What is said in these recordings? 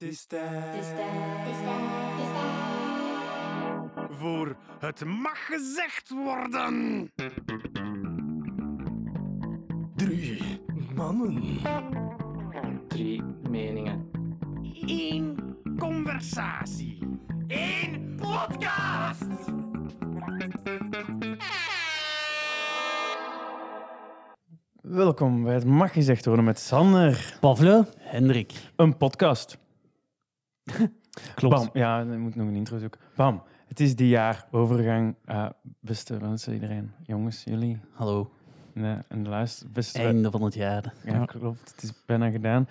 is tijd. Het is tijd. Voor het mag gezegd worden. Drie mannen. Drie meningen. Eén conversatie. Eén podcast. Welkom bij het Mag Gezegd Worden met Sander. Pavle, Hendrik. Een podcast. klopt. Bam. Ja, ik moet nog een intro zoeken. Bam. Het is die jaar overgang. eh, beste mensen, iedereen. Jongens, jullie. Hallo. Nee, en de luister. Beste Einde van het jaar. Ja, klopt. Het is bijna gedaan.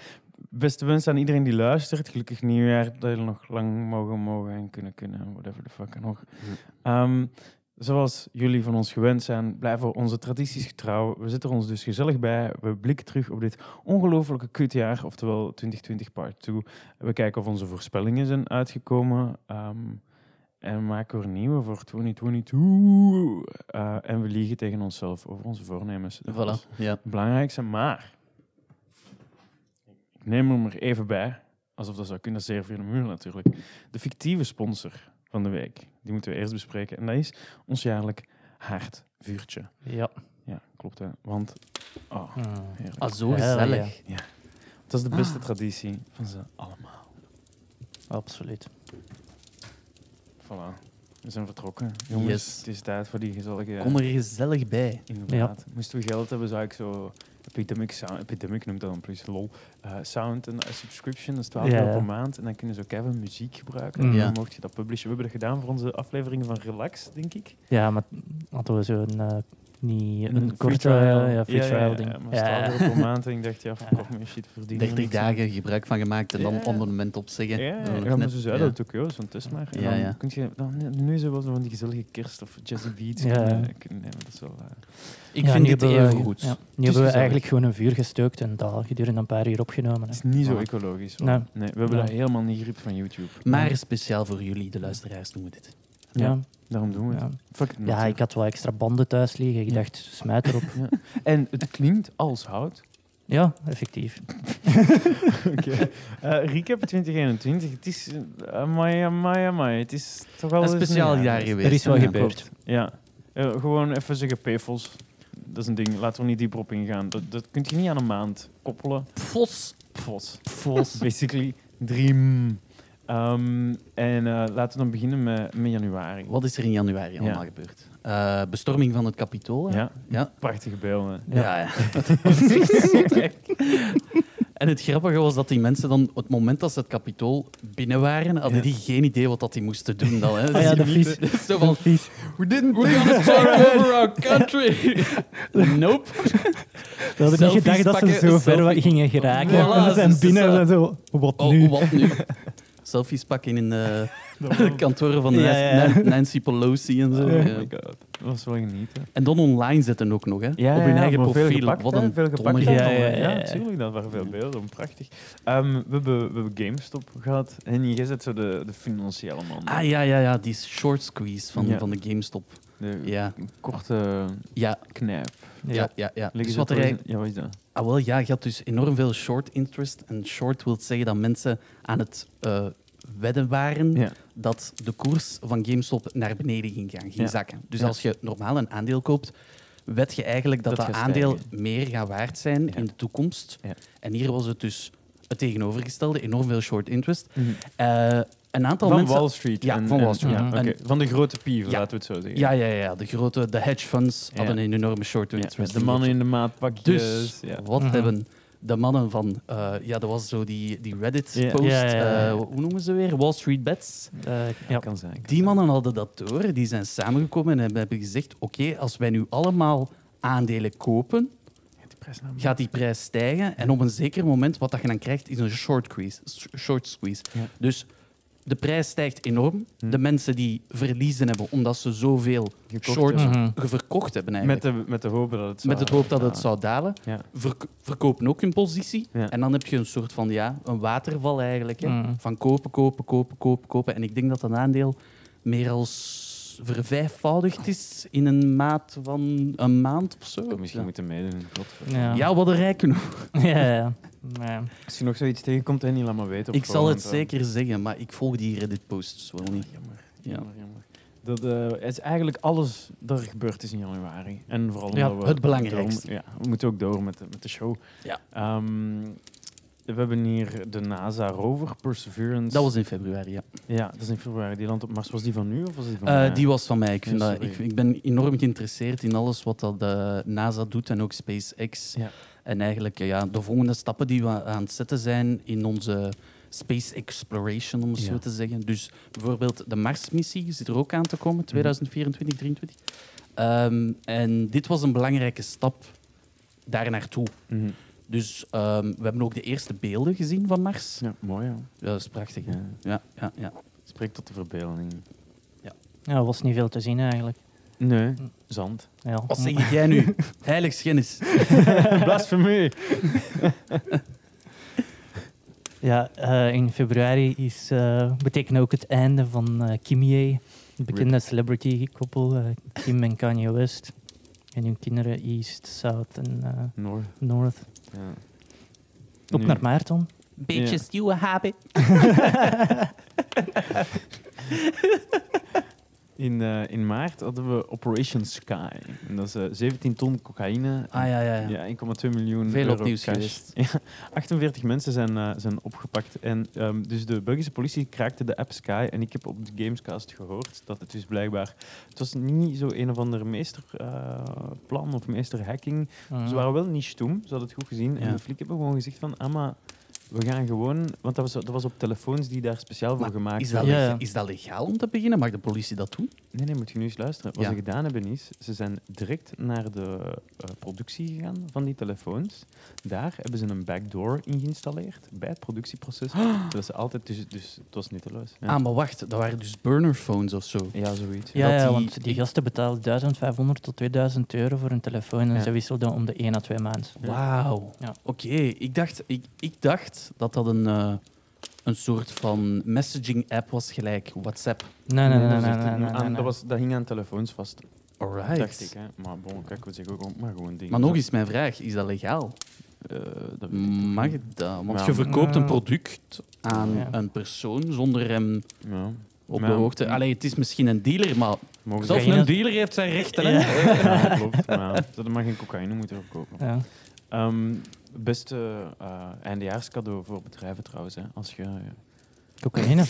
Beste wensen aan iedereen die luistert. Gelukkig nieuwjaar. Dat jullie nog lang mogen, mogen en kunnen, kunnen. Whatever the fuck nog. Ehm, zoals jullie van ons gewend zijn, blijven we onze tradities getrouw. We zitten er ons dus gezellig bij. We blikken terug op dit ongelooflijke kutjaar, oftewel 2020 part 2. We kijken of onze voorspellingen zijn uitgekomen. ehm, en maken er nieuwe voor 2022. Eh, en we liegen tegen onszelf over onze voornemens. Dat is- Voilà. Ja. het belangrijkste, maar ik neem hem er even bij, alsof dat zou kunnen, dat is zeer via de muur natuurlijk. De fictieve sponsor van de week, die moeten we eerst bespreken. En dat is ons jaarlijk haardvuurtje. Ja. Ja, klopt hè. Want, oh, heerlijk. Ah, zo Hell gezellig. dat is de beste traditie van ze allemaal. Absoluut. Voilà, we zijn vertrokken. Jongens, Yes. het is tijd voor die gezellige... Kom er gezellig bij. Inderdaad. Moesten we geld hebben, zou ik zo Epidemic Sound, Epidemic noemt dat dan precies, lol, eh, Sound en eh, Subscription, dat is 12 Ja, euro ja. per maand. En dan kunnen ze ook even muziek gebruiken. Mm. En Ja. dan mocht je dat publishen. We hebben dat gedaan voor onze afleveringen van Relax, denk ik. Ja, maar hadden we zo'n eh, niet een, free korte trial. eh, ja, free trial ding. maar het is Ja. 12 euro per maand en ik dacht, ja, Ja. verkoop me shit verdienen. 30 dagen gebruik van gemaakt en dan Ja. abonnement Ja, opzeggen. ja, Dan ja, maar net- ze zeiden dat ook, joh, zo'n test maar. En Ja, dan ja. kun je, dan, nu is er wel zo van die gezellige kerst of jazzy beats Ja. kunnen, kunnen nemen. Dat is wel, eh, Ik Ja, vind nu dit hebben we- even goed. dus ja, nu hebben we gezellig. eigenlijk gewoon een vuur gestookt en dat gedurende een paar uur opgenomen. het hè. is niet zo Voilà. ecologisch. hoor. Nee. Nee, we hebben Nee. dat helemaal niet grip van YouTube. Maar speciaal voor jullie, de luisteraars, doen we dit. Ja. Ja, Daarom doen we het. ja. Fuck it, ja, ik had wel extra banden thuis liggen. Ik Ja. dacht, smijt erop. En het klinkt als hout. Ja, effectief. Oké. Eh, recap 2021. Het is... eh, Amai, amai, amai. Het is toch wel Een eens speciaal jaar geweest. Er is wel Ja. gebeurd. Ja. Eh, gewoon even zeggen pevels. Dat is een ding. Laten we niet dieper op ingaan. Dat, dat kun je niet aan een maand koppelen. Fos. Pfos. Basically. Dream. Ehm, en eh, laten we dan beginnen met, met januari. Wat is er in januari allemaal Ja. gebeurd? Eh, bestorming van het kapitool. hè? Ja. Ja. Prachtige beelden. Ja, ja. en het grappige was dat die mensen dan, op het moment dat ze het kapitool binnen waren, hadden Ja. die geen idee wat dat die moesten doen. Dan, hè. Ah ja, de Dus vies. die- Zo Wel van, vies. We didn't think to take over our country. nope. We hadden niet Selfies gedacht dat ze pakken, zo ver selfie. gingen geraken. Voilà, en ze zijn ze- ze binnen en zijn- zo, wat Oh, nu? wat nu? Selfies pakken in de kantoren van Ja, Nancy, ja. Nan- Nancy Pelosi en zo. Oh Ja. my god. Dat was wel genieten. En dan online zetten ook nog, hè? Ja, Op ja, hun ja, eigen maar profiel. Veel gepakt, wat hè, een veel gepakt. dommerik. Ja, allemaal. ja, ja, ja. natuurlijk. Dat waren veel beelden. Prachtig. Ehm, we, hebben, we hebben GameStop gehad. En je zet zo de, de financiële man. Ah ja, ja, ja, die short squeeze van, Ja. van de GameStop. De Ja, korte ja, knijp. ja, ja. ja. Liggen Dus ze wat er voor- eigenlijk- Ja, wat is dat? ah, wel, ja, je had dus enorm veel short interest. En short wil zeggen dat mensen aan het eh, wedden waren Ja. dat de koers van GameStop naar beneden ging gaan, ging Ja. zakken. Dus Ja. als je normaal een aandeel koopt, wet je eigenlijk dat Dat dat, gaat aandeel stijgen. meer gaat waard zijn Ja. in de toekomst. Ja. En hier was het dus het tegenovergestelde, enorm veel short interest. Mhm. Eh, een aantal Van mensen... Wall Street. Ja, en- van Wall en- Street. ja, Mhm. oké. Van de grote pieven, Ja. laten we het zo zeggen. Ja, ja, ja, de grote de hedge funds Ja. hadden een enorme short Ja, interest. met de mannen in de maatpakjes. Dus ja. wat Mhm. hebben de mannen van... eh, ja, dat was zo die, die Ja. Reddit-post. Ja, ja, ja. hoe noemen ze weer? Wall Street Bets. Eh, ja. Kan zijn. kan Die zijn. mannen hadden dat door. Die zijn samengekomen en hebben- hebben gezegd... Oké, als wij nu allemaal aandelen kopen, Ja, die prijs nou- gaat die prijs stijgen. En op een zeker moment, wat dat je dan krijgt, is een short, squeeze, s- short squeeze. Ja. Dus de prijs stijgt enorm. Hm. De mensen die verliezen hebben, omdat ze zoveel Gekocht short hebben. Mhm. verkocht hebben eigenlijk. Hm. Met de, met de hoop dat het zou... Met het hoop dat het zou dalen. Ja. Verk- verkopen ook hun positie. Ja. En dan heb je een soort van ja, een waterval eigenlijk. Hè? Mm. Van kopen, kopen, kopen, kopen, kopen. En ik denk dat dat aandeel meer als vervijfvoudigd is in een maat van een maand of zo. Misschien ja. moeten meedoen. godver. Ja. Ja, wat een rijken. Ja, ja, ja. Nee. Als je nog zoiets tegenkomt, hè, niet laat maar weten. op Ik zal het voorhand, hè. zeker zeggen, maar ik volg die Reddit-posts wel niet. Jammer, Ja. jammer, jammer. Dat eh, het is eigenlijk alles dat er gebeurd is in januari. En vooral Ja, omdat we het belangrijkste. Door, ja, we moeten ook door met de, met de show. Ja. Ehm, we hebben hier de NASA rover Perseverance. Dat was in februari, ja. Ja, dat is in februari. Die landt op Mars. Was die van nu of was die van? Eh, eh, die was van mij. Ik, vind Ja, dat, ik, sorry. ik ben enorm geïnteresseerd in alles wat dat, eh, NASA doet en ook SpaceX. Ja. En eigenlijk eh, ja, de volgende stappen die we aan het zetten zijn in onze space exploration, om het Ja. zo te zeggen. Dus bijvoorbeeld de Marsmissie zit er ook aan te Mhm. komen, 2024, 2023. Ehm, en dit was een belangrijke stap daar naartoe. mhm. Dus ehm, we hebben ook de eerste beelden gezien van Mars. Ja, mooi. Ja. Ja, dat is prachtig. hè? Ja. Ja, ja, ja. Spreekt tot de verbeelding. Ja, er was niet veel te zien eigenlijk. Nee, zand. Ja. Wat zeg jij nu? Heiligschennis. Blasphemie. Ja, eh, in februari is, eh betekent ook het einde van eh Kimye, het bekende celebrity-koppel, eh, Kim en Kanye West. En hun kinderen East, South en eh, Noor. North. Ja. Op Nu. naar maart dan. Beetje Ja. nieuwe habit. In, eh, in maart hadden we Operation Sky. En dat is eh, 17 ton cocaïne. Ah ja, ja, ja. Ja, 1,2 miljoen Veel euro opnieuws cash. geweest. Ja, 48 mensen zijn, eh, zijn opgepakt. En, ehm, dus de Belgische politie kraakte de app Sky. En ik heb op de Gamescast gehoord dat het dus blijkbaar... Het was niet zo een of ander meesterplan plan of meesterhacking. Mm. Ze waren wel niet stoem, ze hadden het goed gezien. Ja. En de flik hebben gewoon gezegd van... Ah, maar we gaan gewoon... Want dat was, dat was op telefoons die daar speciaal voor Maar gemaakt Is dat, Ja, leg- ja. is dat legaal om te beginnen? Mag de politie dat doen? Nee, nee, moet je nu eens luisteren. Wat Ja. ze gedaan hebben is, ze zijn direct naar de eh, productie gegaan van die telefoons. Daar hebben ze een backdoor in geïnstalleerd bij het productieproces. Dat ze altijd, dus, dus het was nutteloos. Ja, Ah, maar wacht, dat waren dus burner phones of zo. ja zoiets. Ja, dat ja, die- want die gasten betaalden 1500 tot 2000 euro voor een telefoon en Ja. ze wisselden om de 1 à 2 maanden. Ja. Wauw. Ja. Oké, ik, dacht, ik, ik dacht dat dat een, eh, een soort van messaging app was, gelijk WhatsApp. Nee, nee, nee, nee. dat, is nee, echt- nee, nee, aan- nee. Dat, was, dat hing aan telefoons vast, Alright. dacht ik. Hè. Maar bon, kijk, we zeggen ook maar gewoon dingen. Maar nog eens mijn vraag, is dat legaal? Eh, dat weet ik niet. Mag het dat? Want Ja. je verkoopt een Ja. product aan Ja. een persoon zonder hem Ja. op Ja. de hoogte. Allee, het is misschien een dealer, maar Mogen zelfs ze... Cocaïne. een dealer heeft zijn rechten. hè? Ja, klopt. Maar ze hadden maar geen cocaïne moeten verkopen. Ja. Ehm beste eh eindejaarscadeau voor bedrijven trouwens. Hè. Als je, Cocaïne.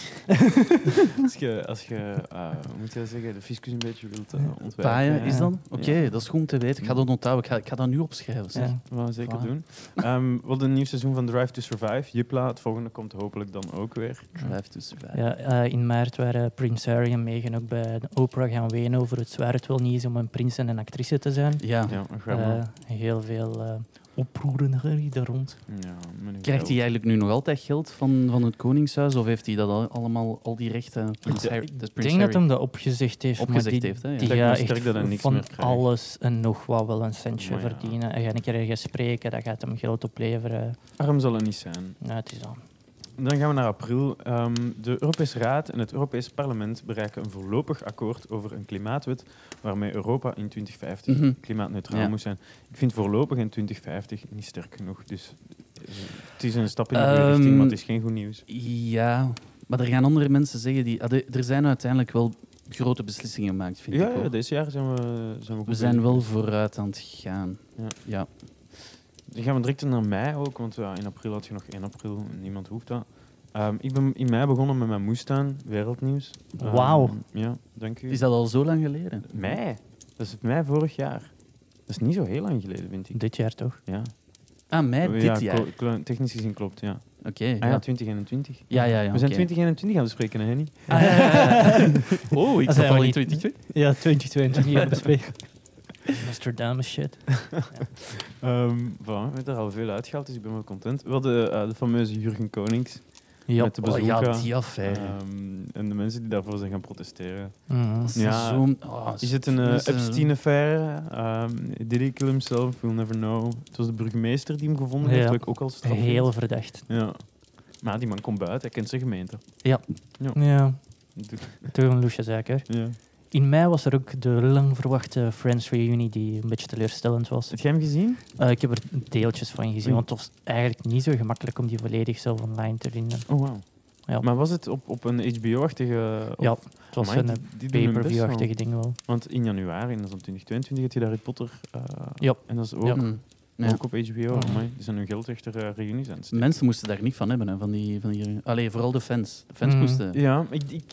als je, als je eh, hoe moet je dat zeggen, de fiscus een beetje wilt eh, ontwijken. Paaien hè. is dan? Ja. Oké, dat is goed om te weten. Ik ga dat onthouden. Ik ga, ik ga dat nu opschrijven. zeg. Ja. Dat gaan we zeker Paaien. doen. Ehm wat een nieuw seizoen van Drive to Survive. Jupla, het volgende komt hopelijk dan ook weer. Drive to survive. Ja, eh, in maart waren Prince Harry en Meghan ook bij de Oprah gaan wenen over het zwaar het wel niet is om een prins en een actrice te zijn. Ja. Ja, ga maar. Eh, heel veel eh oproeren daar rond. ja, meneer Krijgt hij Veld. eigenlijk nu nog altijd geld van, van het Koningshuis? Of heeft hij dat al, allemaal, al die rechten? Prins Harry- dat is Ik Prins denk dat Harry. hem dat opgezegd heeft. maar Opgezegd die, heeft, hè, ja. Die Lijkt me gaat sterk echt dat hij niks van meer krijgt. alles en nog wat wel een centje Maar ja. verdienen. En ga een keer ergens spreken, dat gaat hem geld opleveren. Arm zal het niet zijn. Nou, het is dan. Dan gaan we naar april. Ehm, de Europese Raad en het Europees Parlement bereiken een voorlopig akkoord over een klimaatwet waarmee Europa in 2050 Mhm. klimaatneutraal Ja. moet zijn. Ik vind voorlopig in 2050 niet sterk genoeg. Dus eh, het is een stap in de goede Ehm, richting, maar het is geen goed nieuws. Ja, maar er gaan andere mensen zeggen... Die, ah, de- er zijn uiteindelijk wel grote beslissingen gemaakt, vind Ja, ik ja, ook. deze jaar zijn we, zijn we goed We zijn bezig. wel vooruit aan het gaan. Ja. Ja. Dan gaan we direct naar mei ook, want ja, in april had je nog 1 april. Niemand hoeft dat. Ehm, ik ben in mei begonnen met mijn moestuin, wereldnieuws. Ehm, Wauw. Ja, dank u. Is dat al zo lang geleden? Mei? Dat is mei vorig jaar. Dat is niet zo heel lang geleden, vind ik. Dit jaar toch? Ja. Ah, mei Oh, dit ja, jaar? klo- klo- Technisch gezien klopt, ja. Oké, Ah ja, ja. 2021. Ja, ja, ja. We zijn oké. 2021 aan het bespreken, hè, Henny? Ah, ja, ja, ja. Oh, ik Dat zat zijn we al in niet. 2020. Ja, 2022 jaar bespreken. Nostradamus shit. Ehm voilà, we hebben er al veel uitgehaald, dus ik ben wel content. We hadden eh, de fameuze Jurgen Konings Ja. met de Oh, bezoeker. ja, die affaire. ehm, en de mensen die daarvoor zijn gaan protesteren. Mhm. Dat is Ja. zo'n- oh, Is het een eh, dat is een- Epstein-affaire? Ehm, did he kill himself? We'll never know. Het was de burgemeester die hem gevonden heeft, Ja. wat ik ook al straf vind. Heel verdacht. Ja. Maar die man komt buiten, hij kent zijn gemeente. Ja, Ja. toen Lucia zeker. Ja. In mei was er ook de lang verwachte Friends Reunion die een beetje teleurstellend was. Heb jij hem gezien? Eh, ik heb er deeltjes van gezien, want het was eigenlijk niet zo gemakkelijk om die volledig zelf online te vinden. Oh, wauw. Ja. Maar was het op, op een HBO-achtige... Ja, Het was een pay-per-view-achtige achtige ding wel. Want in januari, en dat is op 2022, had je de Harry Potter. eh, Ja. En dat is ook, Ja. Mm. Ja. ook op HBO. Amai, die zijn hun geld achter eh, reunies aan het steken. Dus Mensen moesten daar niet van hebben, hè, van die, van die... Allee, vooral de fans. De Mm. fans Mhm. moesten... Ja, ik... ik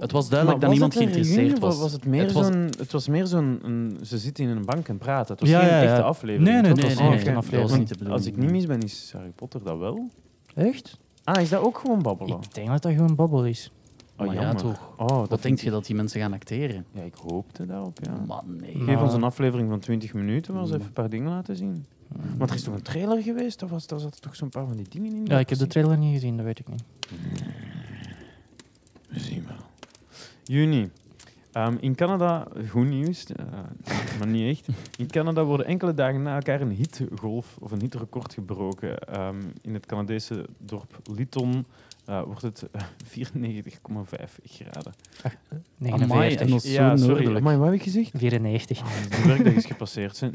Het was duidelijk dat was niemand het een geïnteresseerd reunie of was. Was het, meer Het was- zo'n, het was meer zo'n... een- ze zitten in een bank en praten. Het was Ja, geen ja, ja. echte aflevering. Nee, nee, toch? Oh, het was geen oké. echte Want aflevering. Dat was niet de bedoeling. Als ik niet mis ben, is Harry Potter dat wel. Echt? Ah, is dat ook gewoon babbelen? Ik denk dat dat gewoon babbel is. oh, Maar ja, jammer. toch. Oh, dat Wat vind denk je dat die mensen gaan acteren? ik- Ja, ik hoopte daarop, ja. Man, nee. Maar- Geef ons een aflevering van 20 minuten, maar eens Mm. even een paar dingen laten zien. Mm. Want er is toch een trailer geweest? Of was, daar zaten toch zo'n paar van die dingen in? Ja, ik heb de trailer niet gezien, dat weet ik niet. We zien wel. Juni. Ehm, in Canada, goed nieuws, eh, maar niet echt. In Canada worden enkele dagen na elkaar een hittegolf of een hitterecord gebroken. Ehm, in het Canadese dorp Lytton eh, wordt het eh, 94,5 graden. Amai, 49. en ons zo noordelijk. Maar wat heb ik gezegd? Oh, 94. De werkdag is gepasseerd, hè.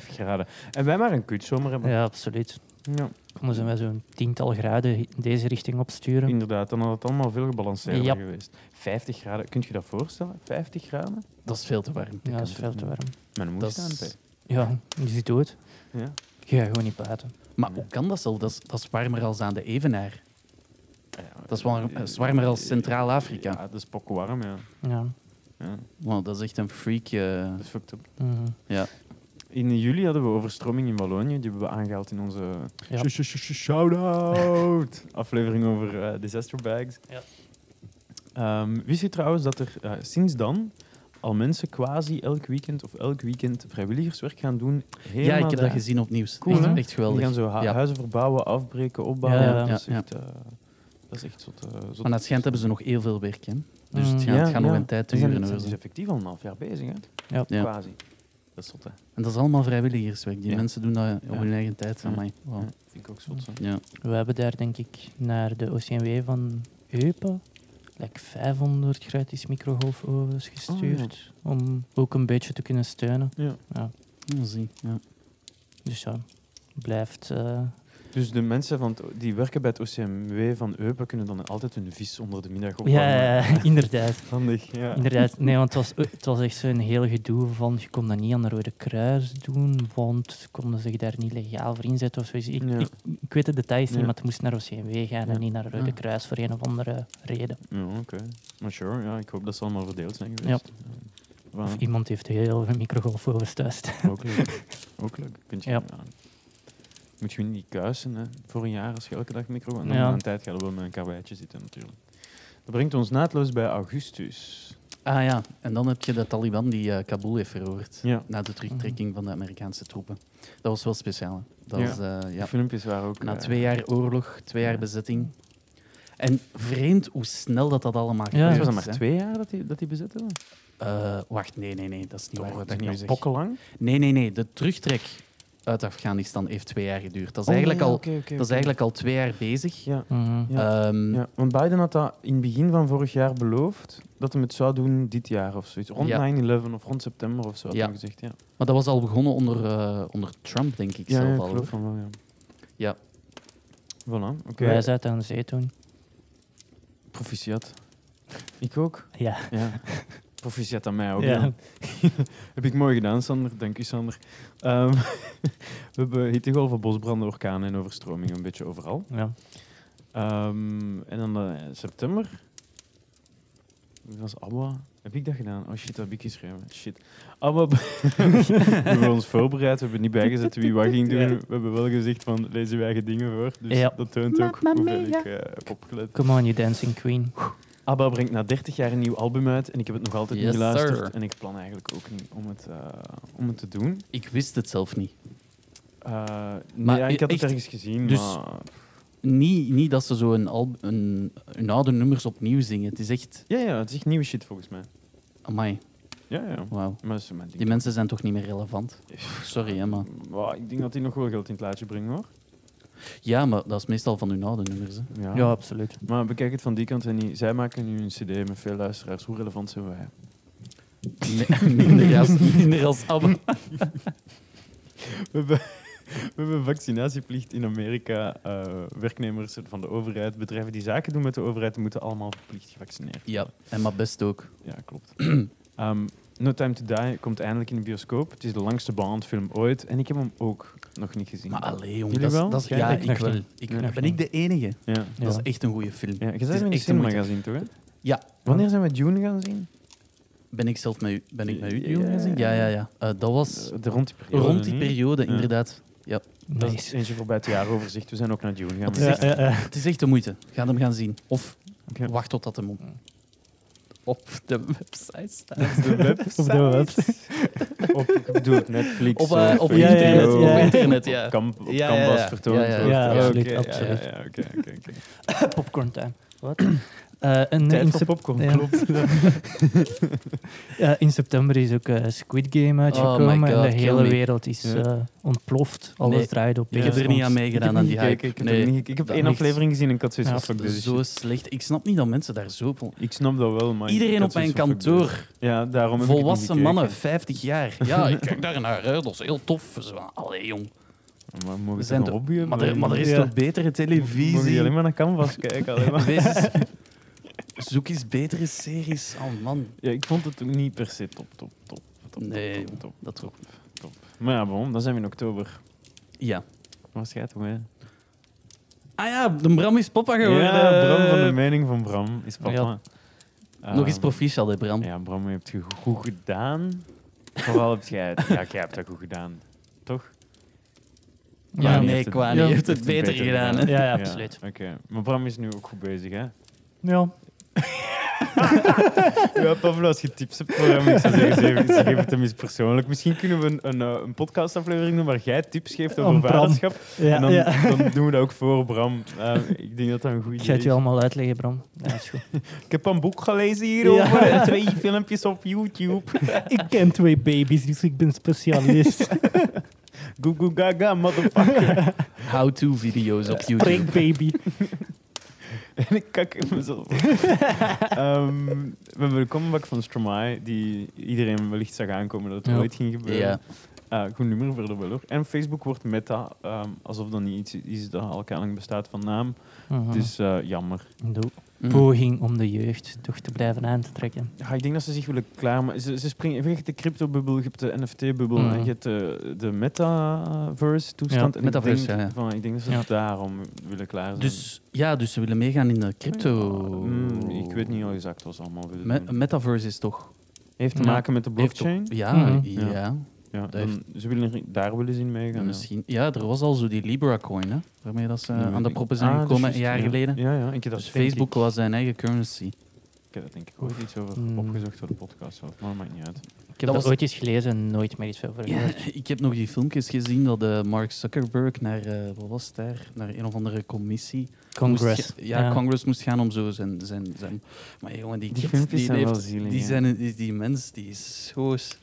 49,5 graden. En wij maar een kutzomer hebben. Ja, absoluut. ja. Konden ze mij zo'n tiental graden hi- deze richting opsturen? Inderdaad, dan had het allemaal veel gebalanceerder Ja. geweest. 50 graden, kunt je dat voorstellen? 50 graden? Dat is veel te warm. Ja, dat is veel te warm. Mijn moeder Dat staan is... Ja, je ziet dood. Ja. Je gaat gewoon niet praten. Maar hoe kan dat zelf? Dat is, dat is warmer als aan de Evenaar. Ja, Dat is warm- eh, is warmer als Centraal-Afrika. Ja, dat is pokkenwarm, ja. Ja. ja. Wow, dat is echt een freak. eh, Dat is fucked up. Mhm. In juli hadden we overstroming in Wallonië. Die hebben we aangehaald in onze Ja. sh- sh- sh- shout-out aflevering over eh, disaster bags. Ja. Ehm, wist je trouwens dat er eh, sinds dan al mensen quasi elk weekend of elk weekend vrijwilligerswerk gaan doen? Ja, ik helemaal heb dat daar- gezien op nieuws. Cool, echt, hè? echt Die geweldig. gaan zo hu- Ja. huizen verbouwen, afbreken, opbouwen. Ja, ja, dat, is ja, echt, eh, dat is echt zot. eh, zot. Maar dat schijnt hebben ze nog heel veel werk. Hè? Dus het Mm. gaat, Ja, het gaat nog ja. een tijd Ze zijn, duren. ze zijn hoor. dus effectief al een half jaar bezig, hè? Ja. Ja. Quasi. Dat is zot, hè? En dat is allemaal vrijwilligerswerk. Die Ja. mensen doen dat op Ja. hun eigen tijd. Ja. Amai, wow. Ja. Vind ik ook zot, hè? Ja. We hebben daar denk ik naar de OCMW van Eupen like 500 gratis microgolfovens Oh, gestuurd. Om ook een beetje te kunnen steunen. Ja. Ja, zie. Ja. Dus ja, blijft. eh, Dus de mensen van het o- die werken bij het OCMW van Eupen kunnen dan altijd hun vis onder de middag opwarmen. ja, ja, ja, inderdaad. Handig, ja. Inderdaad, nee, want het was, het was echt zo'n heel gedoe van je kon dat niet aan de Rode Kruis doen, want ze konden zich daar niet legaal voor inzetten of zoiets. dus Ik, Ja. ik, ik weet de details niet, Ja. maar het moest naar OCMW gaan Ja. en niet naar Rode Ja. Kruis voor een of andere reden. Ja, oké. Maar sure, ja, ik hoop dat ze allemaal verdeeld zijn geweest. Ja. Of iemand heeft heel veel microgolfovens thuis. staan. ook leuk. Ook leuk. Kunt je, Ja. ja. Moet je niet kuisen hè, voor een jaar als je elke dag micro... En dan Ja. na een tijd gaat we wel met een karweitje zitten natuurlijk. Dat brengt ons naadloos bij augustus. Ah ja, en dan heb je de Taliban die eh, Kabul heeft veroverd. Ja. Na de Mhm. terugtrekking van de Amerikaanse troepen. Dat was wel speciaal. hè. Dat Ja. was, eh, De ja. filmpjes waren ook... Na eh, twee jaar oorlog, twee jaar ja. bezetting. En vreemd hoe snel dat, dat allemaal Ja. gebeurt Het was dat maar hè. twee jaar dat die, dat die bezet hebben? Eh, wacht, nee, nee, nee, Oh, dat is niet Toch, waar. wat dat ik is nu niet zeg. pokkenlang. Nee, nee, nee, de terugtrek uit Afghanistan heeft twee jaar geduurd. Oh, Dat is, eigenlijk, al, dat is eigenlijk al twee jaar bezig. Ja. Mhm. Ja. Ehm, Ja, want Biden had dat in het begin van vorig jaar beloofd dat hij het zou doen dit jaar of zoiets. Rond Ja. 9-11 of rond september of zo had Ja. hij gezegd. Ja, Maar dat was al begonnen onder, eh, onder Trump, denk ik ja, zelf ja, ik al. geloof hoor. van wel, ja. Ja. Voilà, oké. Wij zaten aan de zee toen. Proficiat. Ik ook. Ja. Ja. Proficiat aan mij ook. Ja. ja. Heb ik mooi gedaan, Sander. Dank u, Sander. Ehm, we hebben hittegolven, bosbranden, orkanen en overstromingen een beetje overal. ja. Ehm, en dan eh, september. Dat was ABBA. Heb ik dat gedaan? Oh shit, dat heb ik geschreven. Shit. ABBA. be- we hebben ons voorbereid. We hebben niet bijgezet wie wat ging doen. Ja. We hebben wel gezegd van lezen wij eigen dingen voor. Dus Ja. dat toont ook hoeveel ik eh, heb opgelet. Come on, you dancing queen. ABBA brengt na 30 jaar een nieuw album uit. En ik heb het nog altijd Yes, niet geluisterd. sir. En ik plan eigenlijk ook niet om het, eh, om het te doen. Ik wist het zelf niet. Eh, nee, Maar ja, ik had het echt, ergens gezien. dus- maar... Niet, niet dat ze zo een al, een, hun oude nummers opnieuw zingen. Het is echt... Ja, ja, het is echt nieuwe shit volgens mij. Amai, Ja, ja. wauw. Maar dat is mijn ding. Die mensen zijn toch niet meer relevant? Sorry, hè, maar... Wow, ik denk dat die nog wel geld in het laadje brengen hoor. Ja, maar dat is meestal van hun oude nummers. Hè. Ja. Ja, absoluut. Maar bekijk het van die kant en die, zij maken nu een CD met veel luisteraars. Hoe relevant zijn wij? Nee, minder als, minder als ABBA. We hebben, we hebben vaccinatieplicht in Amerika. Eh, werknemers van de overheid, bedrijven die zaken doen met de overheid, moeten allemaal verplicht gevaccineerd Ja, en maar best ook. Ja, klopt. Ehm, no Time to Die komt eindelijk in de bioscoop. Het is de langste Bond-film ooit. En ik heb hem ook nog niet gezien. Maar allee, jongen. Jullie Dat, is- wel? dat is, Jij? ja, Ik ik nog wel. niet. Ik, nog ben niet. ik de enige? ja. Dat Ja. is echt een goede film. ja. Je is bent hem in de echt de cinema moeite. gaan zien, toch? Hè? Ja. Wanneer zijn we June gaan zien? Ben ik zelf met u, ben ik met u Ja. Jeroen, gezien? Ja, ja, ja. Eh, dat was Eh, de- rond die periode. rond die niet? periode, Ja. inderdaad. Dat is Nice. Eentje voorbij het jaaroverzicht. We zijn ook naar June gaan. Wat maar- Ja, ja, ja. Het is echt de moeite. Ga hem gaan zien. Of Oké. wacht totdat hem op, op de website staat. Op de website. Op de website. Op, ik bedoel, op Netflix. Op, eh, of op eh, internet, HBO, ja. Op internet, ja. Op, kamp, op Ja, ja, Canvas ja. vertoond. Ja, ja, wordt. ja, oké, absoluut, ja, absoluut. ja, oké, oké, oké. Popcorn time. Wat? Eh, en Tijd in voor sep- popcorn, ja. klopt. Ja, in september is ook eh, Squid Game Oh uitgekomen my en God, de kill hele me. wereld is Ja. eh, ontploft. Alles Nee, draait op. Ik heb er niet aan meegedaan aan die hype. Ik heb, Nee, er niet, ik heb dat één niet. aflevering gezien en ik had zoiets Ja, van, fuck, dit is Zo shit. slecht. Ik snap niet dat mensen daar zo... van- Ik snap dat wel, maar... ik Iedereen had op mijn zoiets van, fuck, dit is- kantoor, Ja, daarom heb ik het niet volwassen gekeken. mannen, 50 jaar. Ja, ik kijk daar naar uit, dat is heel tof. Ze van, Allee, jong. Maar We mogen we zijn zijn toch- een hobby hebben? Maar er, maar er is Ja. toch betere Mogen jullie televisie? alleen maar naar Canvas kijken? Alleen maar. Wees eens- Zoek eens betere series. Oh man, Ja, ik vond het ook niet per se top, top, top. top Nee, top, joh. top, dat toch. top. Maar ja, waarom? Dan zijn we in oktober. Ja. Wat gaat toch, hè? Ah ja, de Bram is papa geworden. Ja, Bram van de mening van Bram is papa. Ja. Nog eens Ehm, proficiat, hè, Bram. Ja, Bram, je hebt het goed gedaan. Vooral heb jij het. Ja, jij hebt dat goed gedaan. Toch? Ja, Kwani nee, heeft het- Kwani ja, heeft het beter gedaan, hè. Ja, ja, absoluut. Oké, maar Bram is nu ook goed bezig, hè? Ja, Ja, Pablo, als je tips hebt voor hem, ik zou zeggen, ze- ze geven het hem eens persoonlijk. Misschien kunnen we een, een, eh, een podcastaflevering doen waar jij tips geeft over Aan Bram. vaderschap. ja, en dan, ja. dan doen we dat ook voor Bram. Eh, ik denk dat dat een goed Ik idee ga het is. je allemaal uitleggen, Bram. Ja, is goed. Ik heb een boek gelezen hierover, Ja. en twee filmpjes op YouTube. ik ken twee baby's, dus ik ben specialist. Goo goo gaga, motherfucker. How-to-video's Eh, op YouTube. Break baby. en ik kak in mezelf. Ehm, we hebben de comeback van Stromae, die iedereen wellicht zag aankomen dat het Ja. ooit ging gebeuren. Ja. Eh, goed nummer verder wel hoor. En Facebook wordt meta, ehm, alsof dat niet iets is dat al lang bestaat van naam. Mhm. Dus eh, jammer. De Mm. poging om de jeugd toch te blijven aan te trekken. Ja, ik denk dat ze zich willen klaarmaken. Ze, ze springen je hebt echt de crypto-bubbel, je hebt de NFT-bubbel, Mhm. en je hebt de, de metaverse-toestand. Ja, En metaverse, ik denk, ja, ja. Van, ik denk dat ze Ja. daarom willen klaar zijn. Dus ja, dus ze willen meegaan in de crypto. Mm, ik weet niet al exact wat ze allemaal willen Me- doen. metaverse is toch. Heeft te Ja. maken met de heeft blockchain? toch- ja, Mhm. ja, Ja. ja, dat heeft- dan- ze willen er- daar willen ze in meegaan. ja. Misschien. Ja, er was al zo die Libra-coin, hè, waarmee dat ze Nee, weet eh, aan de ik- proppen zijn Ah, dat is gekomen een juist, jaar ja. geleden. Ja, ja. Ik heb dat Dus denk Facebook ik- was zijn eigen currency. Ik heb dat denk ik ooit iets over Mm. opgezocht voor de podcast zelf, maar maakt niet uit. Ik heb Dat dat, was- ooit eens gelezen en nooit meer iets over gehoord. ik heb nog die filmpjes gezien dat eh, Mark Zuckerberg naar, eh, wat was het daar? naar een of andere commissie Congress. moest ga- ja, Congress moest gaan om zo zijn... zijn, zijn maar jongen, die, Die kid, filmpjes die, zijn heeft- wel zielig, die, hè. zijn, die, die mens, die is zo... s-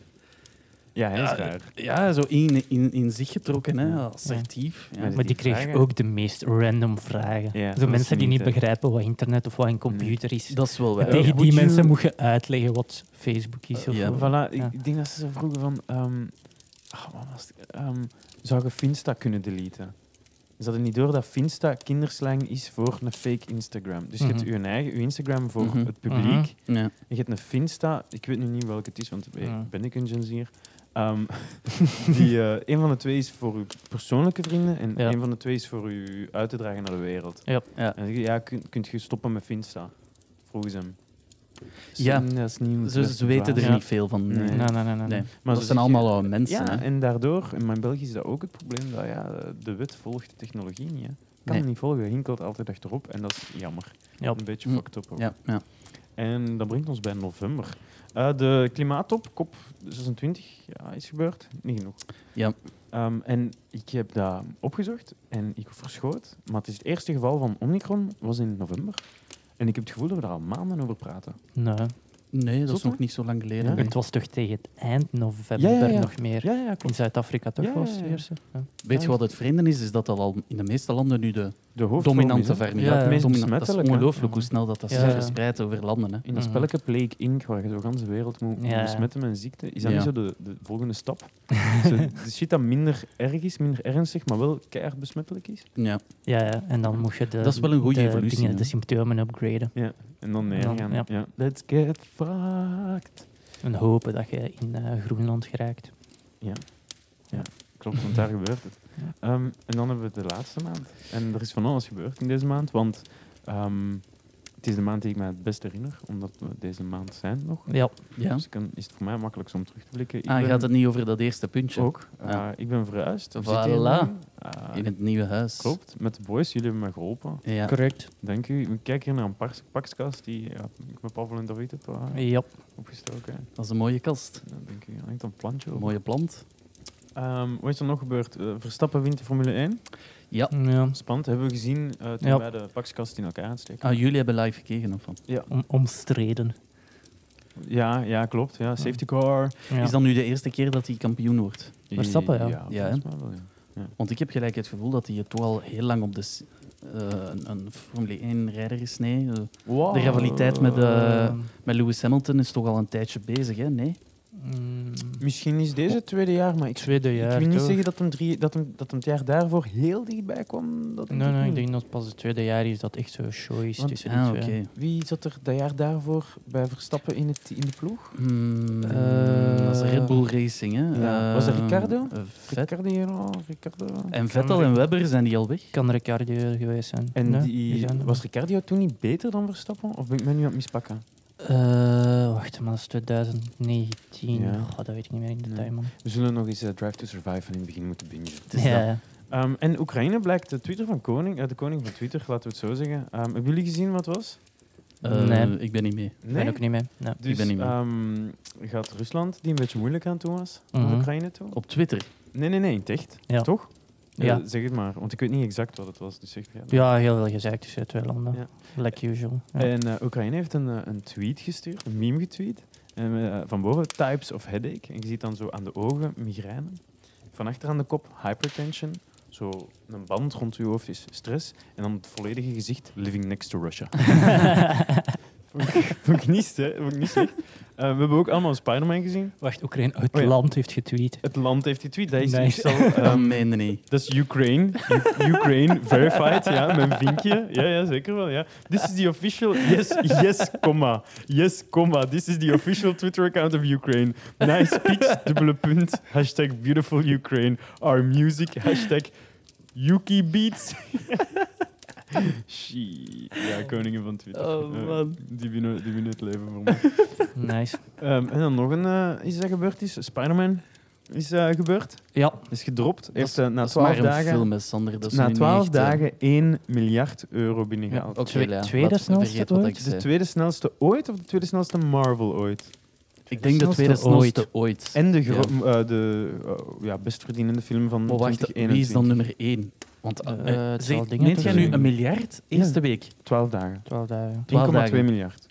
Ja, hij is Ja, raar. Ja, zo in, in, in zich getrokken, hè, Ja. assertief. Ja. Maar Maar die die kreeg vragen- ook de meest random vragen. Ja, dat Zo is mensen die niet, niet hè. begrijpen wat internet of wat een computer is. Dat is wel En waar. tegen Would die you- mensen moet je uitleggen wat Facebook is. Eh, Of ja. wat. Voilà, ik, Ja. ik denk dat ze zo vroegen van... ehm ah, wat was het? Ehm, zou je Finsta kunnen deleten? Ze hadden niet door dat Finsta kinderslang is voor een fake Instagram. Dus je hebt Mhm. je eigen je Instagram voor Mhm. het publiek. Mhm. Ja. En je hebt een Finsta, ik weet nu niet welke het is, want hey, Ja. ben ik een Gen Z'er? Ehm, die, eh, een van de twee is voor uw persoonlijke vrienden en Ja. een van de twee is voor u uit te dragen naar de wereld. Ja. Ja. En dan zeg je, ja, kun, kunt je stoppen met Finsta? Vroegen ze hem. Ja. Zo, dat is niet hoe Ze, het ze weten er werkt. Ja. niet veel van. Nee. Nee. Nee, nee, nee. nee. Nee. Maar dat ze zijn allemaal zeggen- oude mensen. Ja, hè. en daardoor, in mijn België is dat ook het probleem, dat ja, de wet volgt de technologie niet. Hè. Kan Nee. niet volgen, hinkelt altijd achterop en dat is jammer. Ja. Een beetje Hm. fucked up ook. Ja, ja. En dat brengt ons bij november. Eh, de klimaattop, COP 26, ja, is gebeurd. Niet genoeg. Ja. Ehm, en ik heb dat opgezocht en ik verschoot. Maar het is het eerste geval van Omicron was in november. En ik heb het gevoel dat we daar al maanden over praten. Nee. Nee, dat is Zotter? nog niet zo lang geleden. Ja, hè? Het was toch tegen het eind november Ja, ja, ja. nog meer. Ja, ja, In klopt. Zuid-Afrika toch Ja, was ja, het ja. eerste. Ja. Weet je wat het vreemde is? Is dat dat al in de meeste landen nu de De hoofdvorm dominante is, hè? versie Ja, ja, het meest Dat is besmettelijke. ongelooflijk hoe snel dat, dat Ja, zich ja. verspreidt over landen. Hè. In dat Mhm. spelletje Plague Inc., waar je zo gans de wereld moet moet Ja. besmetten met een ziekte, is dat Ja. niet zo de, de volgende stap? zo, de shit dat minder erg is, minder ernstig, maar wel keihard besmettelijk is. Ja. Ja, ja, en dan moest je de, Dat is wel een goede de evolutie, dingen, hè. de symptomen upgraden. En dan En dan, neergaan. ja. Ja. Let's get fucked. En hopen dat je in eh, Groenland geraakt. Klopt, want daar gebeurt het. Ehm, en dan hebben we de laatste maand. En er is van alles gebeurd in deze maand, want ehm, het is de maand die ik me het best herinner, omdat we deze maand zijn nog. Ja, Ja. Dus ik kan, is het voor mij makkelijkst om terug te blikken. Ik Ah, ben gaat het niet over dat eerste puntje? ook. Ja. eh, ik ben verhuisd. We Voilà. dus- zitten hier nu. Eh, In het nieuwe huis. Klopt, met de boys. Jullie hebben me geholpen. Ja. correct. Dank u. We kijken hier naar een pars- pakskast die ja, ik met Pavel en David heb eh, Ja, opgestoken. Dat is een mooie kast. Nou, dank u. Er hangt een plantje Een op. mooie plant. Ehm, wat is er nog gebeurd? Eh, Verstappen wint de Formule 1. ja. Spannend. Hebben we gezien eh, toen Ja. wij de pakskast in elkaar aansteken. Ah, jullie hebben live gekeken of wat? om- omstreden. Ja, ja, klopt. Ja, safety car. Ja. Is dat nu de eerste keer dat hij kampioen wordt? Ah. Verstappen, ja. Ja, Ja, volgens mij wel, ja. Want ik heb gelijk het gevoel dat hij toch al heel lang op de, s- eh, een, een Formule 1-rijder is. Nee, eh, Oh. De rivaliteit met, eh, Ehm, met Lewis Hamilton is toch al een tijdje bezig, hè? Nee? mm, Misschien is deze het tweede jaar, maar ik, tweede ik jaar. wil niet toch? zeggen dat hem, drie, dat, hem, dat hem het jaar daarvoor heel dichtbij kwam. Dat Nee, nee, ik denk dat het pas het tweede jaar is dat echt zo show is Want- tussen Ah, die oké. twee. Wie zat er dat jaar daarvoor bij Verstappen in, het, in de ploeg? Hmm, Eh, dat is Red Bull Racing, hè? ja. Eh, Was dat Ricardo? eh, Vet. Ricardo, Ricardo. Eh, En Vettel en Webber zijn die al weg? Kan Ricciardo geweest zijn. En Nee, die, zijn er was nog. Ricardo toen niet beter dan Verstappen? Of ben ik mij nu aan het mispakken? Eh, wacht, maar dat is 2019. Ja. Goh, dat weet ik niet meer in de Nee. tijd, man. We zullen nog eens eh, Drive to Survive van in het begin moeten bingen. Ja, ja. Ehm, en Oekraïne blijkt de Twitter van koning, eh, de koning van Twitter, laten we het zo zeggen. Ehm, hebben jullie gezien wat het was? Eh, Nee. Ik ben niet mee. Ik ben ook niet mee. Nee. Dus, ik ben niet mee. ehm, gaat Rusland, die een beetje moeilijk aan toe was, Mhm. naar Oekraïne toe? Op Twitter. Nee, nee, nee, in het echt. Ja. Toch? Ja. Eh, zeg het maar, want ik weet niet exact wat het was. Dus zeg jij maar. Ja, heel veel gezegd tussen de twee landen. Ja. Like usual. Ja. En eh, Oekraïne heeft een, eh, een tweet gestuurd, een meme getweet. En, eh, van boven, types of headache. En je ziet dan zo aan de ogen migraine. Van achter aan de kop, hypertension. Zo een band rond je hoofd is stress. En dan het volledige gezicht, living next to Russia. vond, ik, vond ik niet, ster- vond ik niet slecht. Eh, we hebben ook allemaal Spider-Man gezien. Wacht, Oekraïne, het Oh ja. land heeft getweet. Het land heeft die tweet. Dat is Nice. meestal, Dat ehm, meende niet. dat is Ukraine. U- Ukraine verified, ja, mijn vinkje. Ja, ja, zeker wel, ja. This is the official, yes, yes, comma. Yes, comma. This is the official Twitter account of Ukraine. Nice pics, dubbele punt. Hashtag beautiful Ukraine. Our music, hashtag Yuki Beats. Shit. Ja, koningen van Twitter. Oh, Eh, man. die, winnen, die winnen het leven voor mij. Nice. Ehm, en dan nog een eh, iets dat gebeurd is. Spider-Man is eh, gebeurd. Ja. Is gedropt. Heeft eh, na Dat is maar 12 een dagen... film, hè, Sander. Dat is nu Na niet 12 echt, eh, dagen 1 miljard euro binnengehaald. Oké, eh, Twee- ja, tweede laat- snelste vergeet wat ooit? ik De zei. tweede snelste ooit of de tweede snelste Marvel ooit? Ik denk de snelste tweede ooit. snelste ooit. En de, gro- eh, de eh, ja, best verdienende film van Maar Oh, wacht, wie is 2021. dan nummer 1? Want Eh, eh, het zeg, zal dingen neemt jij nu tussen- een miljard? Eerste Ja. week. 12 dagen. 12 dagen. 12 1,2 dagen. miljard.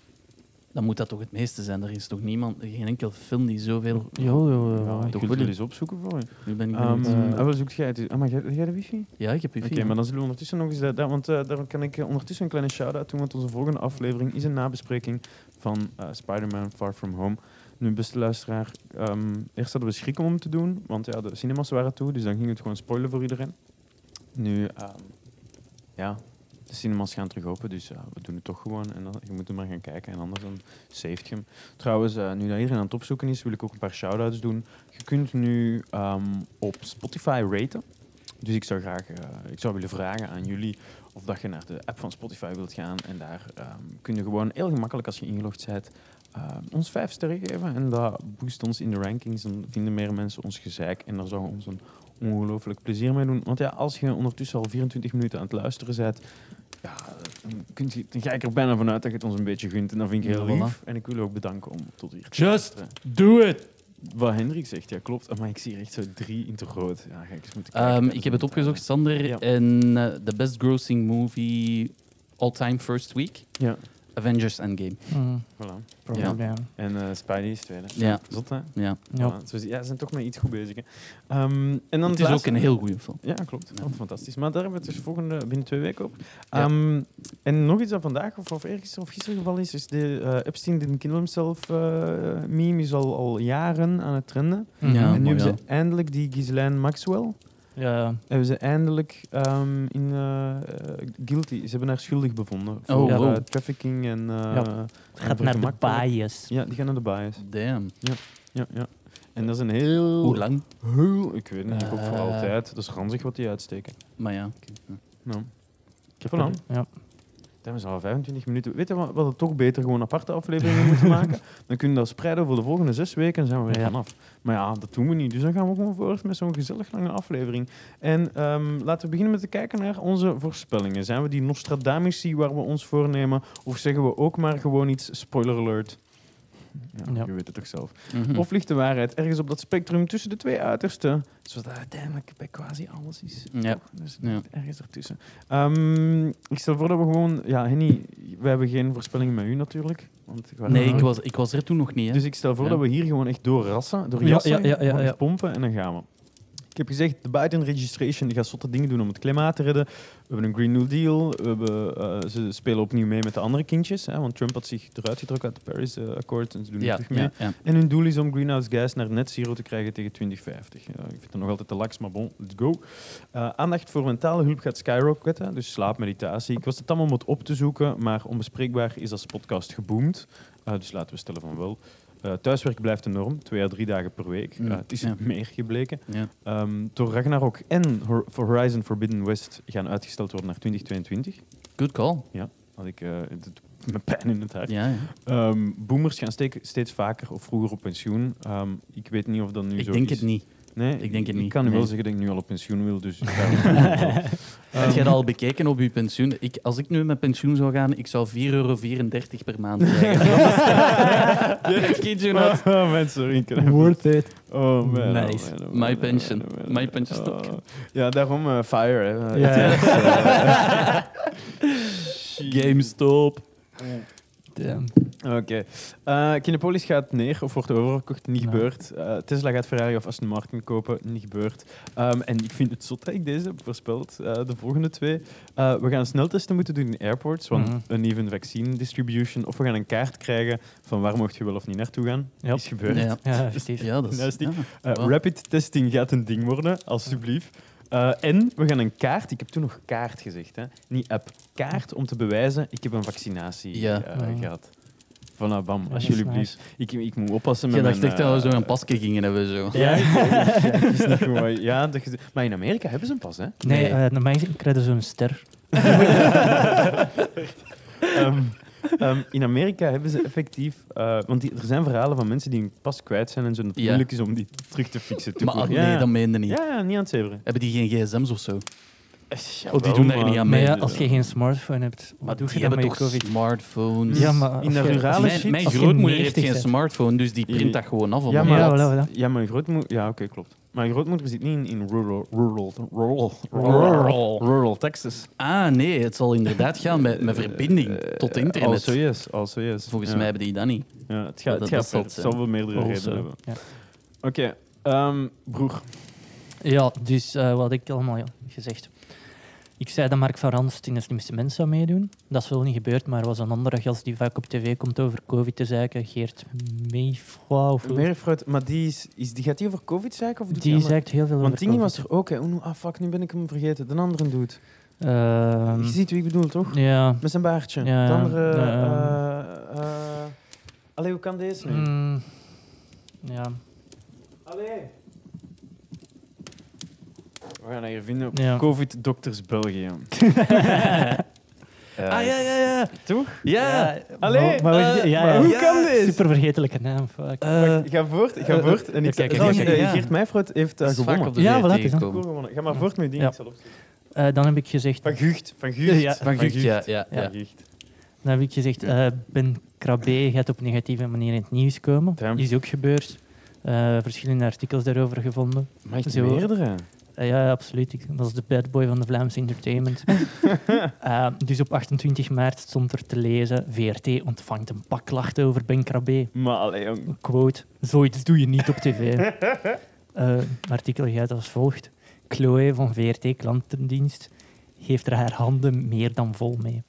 Dan moet dat toch het meeste zijn. Er is toch niemand, geen enkel film die zoveel... Jo, jo, Ja, jo. ik toch wil wel. het eens opzoeken voor je. Nu ben ik Ehm benieuwd. eh, wel, zoekt jij het? eens- Ah, maar jij, jij de wifi? ja, ik heb u Oké, maar dan zullen we ondertussen nog eens... Dat, dat- want eh, daar kan ik eh, ondertussen een kleine shout-out doen, want onze volgende aflevering is een nabespreking van eh Spider-Man Far From Home. Nu, beste luisteraar, ehm, eerst hadden we schrik om hem te doen, want ja, de cinemas waren toe, dus dan ging het gewoon spoilen voor iedereen. Nu, ehm, ja, de cinemas gaan terug open, dus ja, we doen het toch gewoon. En dan, je moet er maar gaan kijken, en anders dan saved je hem. Trouwens, eh, nu dat iedereen aan het opzoeken is, wil ik ook een paar shout-outs doen. Je kunt nu ehm, op Spotify raten. Dus ik zou graag, eh, ik zou willen vragen aan jullie of dat je naar de app van Spotify wilt gaan. En daar ehm, kun je gewoon heel gemakkelijk, als je ingelogd bent, ehm, ons vijf sterren geven. En dat boost ons in de rankings. Dan vinden meer mensen ons gezeik. En daar zouden we ons een ongelooflijk plezier mee doen. Want ja, als je ondertussen al 24 minuten aan het luisteren bent, ja, dan, kunt je, dan ga ik er bijna vanuit dat je het ons een beetje gunt. En dat vind ik heel Ja, voilà. lief. En ik wil je ook bedanken om tot hier te Just luisteren. do it! Wat Hendrik zegt, ja klopt. Oh, Maar ik zie er echt zo drie in het rood. Ja, ga ik eens moeten Ehm, kijken. tijdens ik heb de het opgezocht, Sander. Ja. En eh, de best grossing movie all time first week. Ja. Avengers Endgame. Mm, Eh, Voilà. probably, ja. En eh, Spidey is tweede. Ja, Zot, hè? ja. Ja. Ja, zo zie- ja, ze zijn toch met iets goed bezig. Hè. Ehm, en dan Het is ook laatste- een heel goede film. Ja, klopt. Ja. Oh, fantastisch. Maar daar hebben we het dus volgende, binnen twee weken op. Ja. Ehm, en nog iets dat vandaag of, of eergisteren of gisteren gevallen is, is de eh, Epstein didn't kill himself eh, meme is al, al jaren aan het trenden. Ja, en nu mooi, hebben ze eindelijk die Ghislaine Maxwell, Hmm. Ja, hebben ze eindelijk ehm, in eh, eh, guilty, ze hebben haar schuldig bevonden voor Oh, eh, wow. trafficking en... eh, Ja. het gaat voor naar de gemak- bias. Ja, die gaan naar de bias. Damn. Ja, ja. En dat is een heel... Hoe lang? Heel, ik weet niet, ik hoop voor Eh. altijd. Dat is ranzig wat die uitsteken. Maar ja. oké, ja. Nou, Ik heb Voilà. er- Ja. dat is al 25 minuten. Weet je wat, we hadden toch beter gewoon aparte afleveringen moeten maken? Dan kunnen we dat spreiden over de volgende zes weken en zijn we weer Ja. vanaf. Maar ja, dat doen we niet. Dus dan gaan we gewoon voort met zo'n gezellig lange aflevering. En ehm, laten we beginnen met te kijken naar onze voorspellingen. Zijn we die Nostradamusi waar we ons voornemen? Of zeggen we ook maar gewoon iets, spoiler alert? Ja, Ja. Je weet het toch zelf. Mhm. Of ligt de waarheid ergens op dat spectrum tussen de twee uitersten? Zoals dat uiteindelijk bij quasi alles is. Ja. Dus Ja. ergens ertussen. Ehm, ik stel voor dat we gewoon... Ja, Henny, we hebben geen voorspellingen met u natuurlijk. Want waren Nee, er ik ook. was, ik was er toen nog niet. Hè. Dus ik stel voor Ja. dat we hier gewoon echt doorrassen, door Ja, jassen, ja, ja, ja, gewoon echt ja. pompen en dan gaan we. Ik heb gezegd, de Biden-registration gaat zotte dingen doen om het klimaat te redden. We hebben een Green New Deal. We hebben, eh, ze spelen opnieuw mee met de andere kindjes. Hè, want Trump had zich eruit getrokken uit het Paris-akkoord en ze doen niet ja, terug mee. ja, ja. En hun doel is om greenhouse gas naar net zero te krijgen tegen 2050. Ja, ik vind het nog altijd te laks, maar bon, let's go. Eh, aandacht voor mentale hulp gaat skyrocketen, dus slaap, meditatie. Ik was het allemaal om het op te zoeken, maar onbespreekbaar is als podcast geboomd. Eh, dus laten we stellen van wel. Eh, thuiswerk blijft de norm, twee à drie dagen per week. Mm, Eh, het is ja. meer gebleken. ja. Ehm door Ragnarok en Hor- Horizon Forbidden West gaan uitgesteld worden naar 2022. Good call. Had ik eh, het doet me pijn in het hart. Ja, ja. Ehm, boomers gaan steek- steeds vaker of vroeger op pensioen. Ehm, ik weet niet of dat nu ik zo denk is. het niet. Nee, Ik denk het Ik niet, kan nu nee. wel zeggen dat ik nu al op pensioen wil, dus... ik ga wel- Heb jij dat al bekeken op je pensioen? Ik, als ik nu met pensioen zou gaan, ik zou 4,34 euro per maand krijgen. Kid you not. Oh man, sorry. ik kan- Worth it. Oh man. oh, Nice. man, oh, My man, oh, pension. man, oh, man. My pension stock. Oh. Ja, daarom eh, fire. Hè. Ja. Het is, eh, GameStop. Damn. Oké. Eh, Kinepolis gaat neer of wordt overgekocht, niet Ja. gebeurd. Eh, Tesla gaat Ferrari of Aston Martin kopen, niet gebeurd. Ehm, en ik vind het zot dat ik deze heb voorspeld, eh, de volgende twee. Eh, we gaan sneltesten moeten doen in airports, want Mhm. een even vaccine distribution. Of we gaan een kaart krijgen van waar mocht je wel of niet naartoe gaan. Ja. Is gebeurd. Ja. Ja, effectief. Ja, dat Nou, is... Steve. ja. Eh, Wow. Rapid testing gaat een ding worden, alsjeblieft. Eh, en we gaan een kaart, ik heb toen nog kaart gezegd, hè? niet app, kaart om te bewijzen ik heb een vaccinatie Ja. eh, Ah. gehad. Voilà, bam, Ja, alsjeblieft. dat is ik, ik moet oppassen met Jij dacht mijn... echt dat we eh, zo'n pasje gingen hebben. Zo. Ja, ik weet het. ja, het is niet gewoon- ja dat je- maar in Amerika hebben ze een pas, hè? Nee, Nee. eh normaal gezien krijgen ze een ster. Ehm, ehm, in Amerika hebben ze effectief... eh, want die- er zijn verhalen van mensen die hun pas kwijt zijn en zo, dat het Ja. moeilijk is om die terug te fixen. Maar ah, toevoegen. nee, dat meende niet. ja, ja, niet aan het zeveren. Hebben die geen gsm's of zo? Oh, die doen daar niet aan Maar mee. dus ja, als je geen smartphone hebt, wat doe die je dan met hebben je toch COVID? smartphones? Ja, maar In de als je- rurale als je- shit- Mijn, mijn als je grootmoeder heeft 90 geen bent. smartphone, dus die print dat gewoon af. op Ja, een maar, Ja, blad. voilà, voilà. ja, mijn grootmoeder... Ja, oké, klopt. Mijn grootmoeder zit niet in, in rural, rural, rural, Rural. rural, rural Texas. Ah, nee, het zal inderdaad gaan met, met verbinding Eh, tot Also internet. yes, also yes. Volgens Ja. mij hebben die dat niet. Ja, het gaat, Dat- het dat gaat zal ver. het Het zal zijn. wel meerdere Also, redenen eh, hebben. ja. Oké, ehm, broer. Ja, dus eh, wat ik allemaal gezegd. Ik zei dat Mark van Ranst in de slimste mens zou meedoen. Dat is wel niet gebeurd, maar er was een andere gast die vaak op tv komt over COVID te zeiken. Geert Meefroy of hoe- Meerfruit, maar die, is, is, die gaat die over COVID zeiken? Of doet Die andere- zegt heel veel Want over Dingy COVID. was er ook, hè. Oeh, ah, fuck, nu ben ik hem vergeten. De andere doet. Ehm, Je ziet wie ik bedoel, toch? ja. Met zijn baardje. Ja, de andere... ja, eh ja. eh, allee, hoe kan deze nu? Mm, ja. Allee. We gaan dat hier vinden op Ja. COVID Doctors België. Eh, Ah, ja, ja, ja. Toch? Ja. Allee, Maar- maar- eh, ja, maar ja. hoe kan dit? Super vergelijkelijke naam. Fuck. Eh, Wacht, Ga voort, ga eh, voort. En ja, ik kijk, zeg, kijk, kijk, ja. Geert Meijfruit heeft eh, Dat is vaak gewonnen. op de Ja, zee voilà, het is tegengekomen. Koer gewonnen. Ga maar voort met je ding. Ja. Ik zal opzoeken. Eh, dan heb ik gezegd, Van Gucht. Van Gucht. Ja, Van Gucht, ja. ja, ja. Van Gucht. dan heb ik gezegd eh, Ben Krabbe gaat op negatieve manier in het nieuws komen. Damn. Is ook gebeurd. Eh, verschillende artikels daarover gevonden. Maar echt Zo. meerdere. Eh, ja, absoluut. Ik was de bad boy van de Vlaamse entertainment. Eh, dus op 28 maart stond er te lezen... VRT ontvangt een pak klachten over Ben Krabbe. Maar allee, jong. Quote, zoiets doe je niet op tv. Eh, het artikel gaat als volgt. Chloe van VRT Klantendienst heeft er haar handen meer dan vol mee.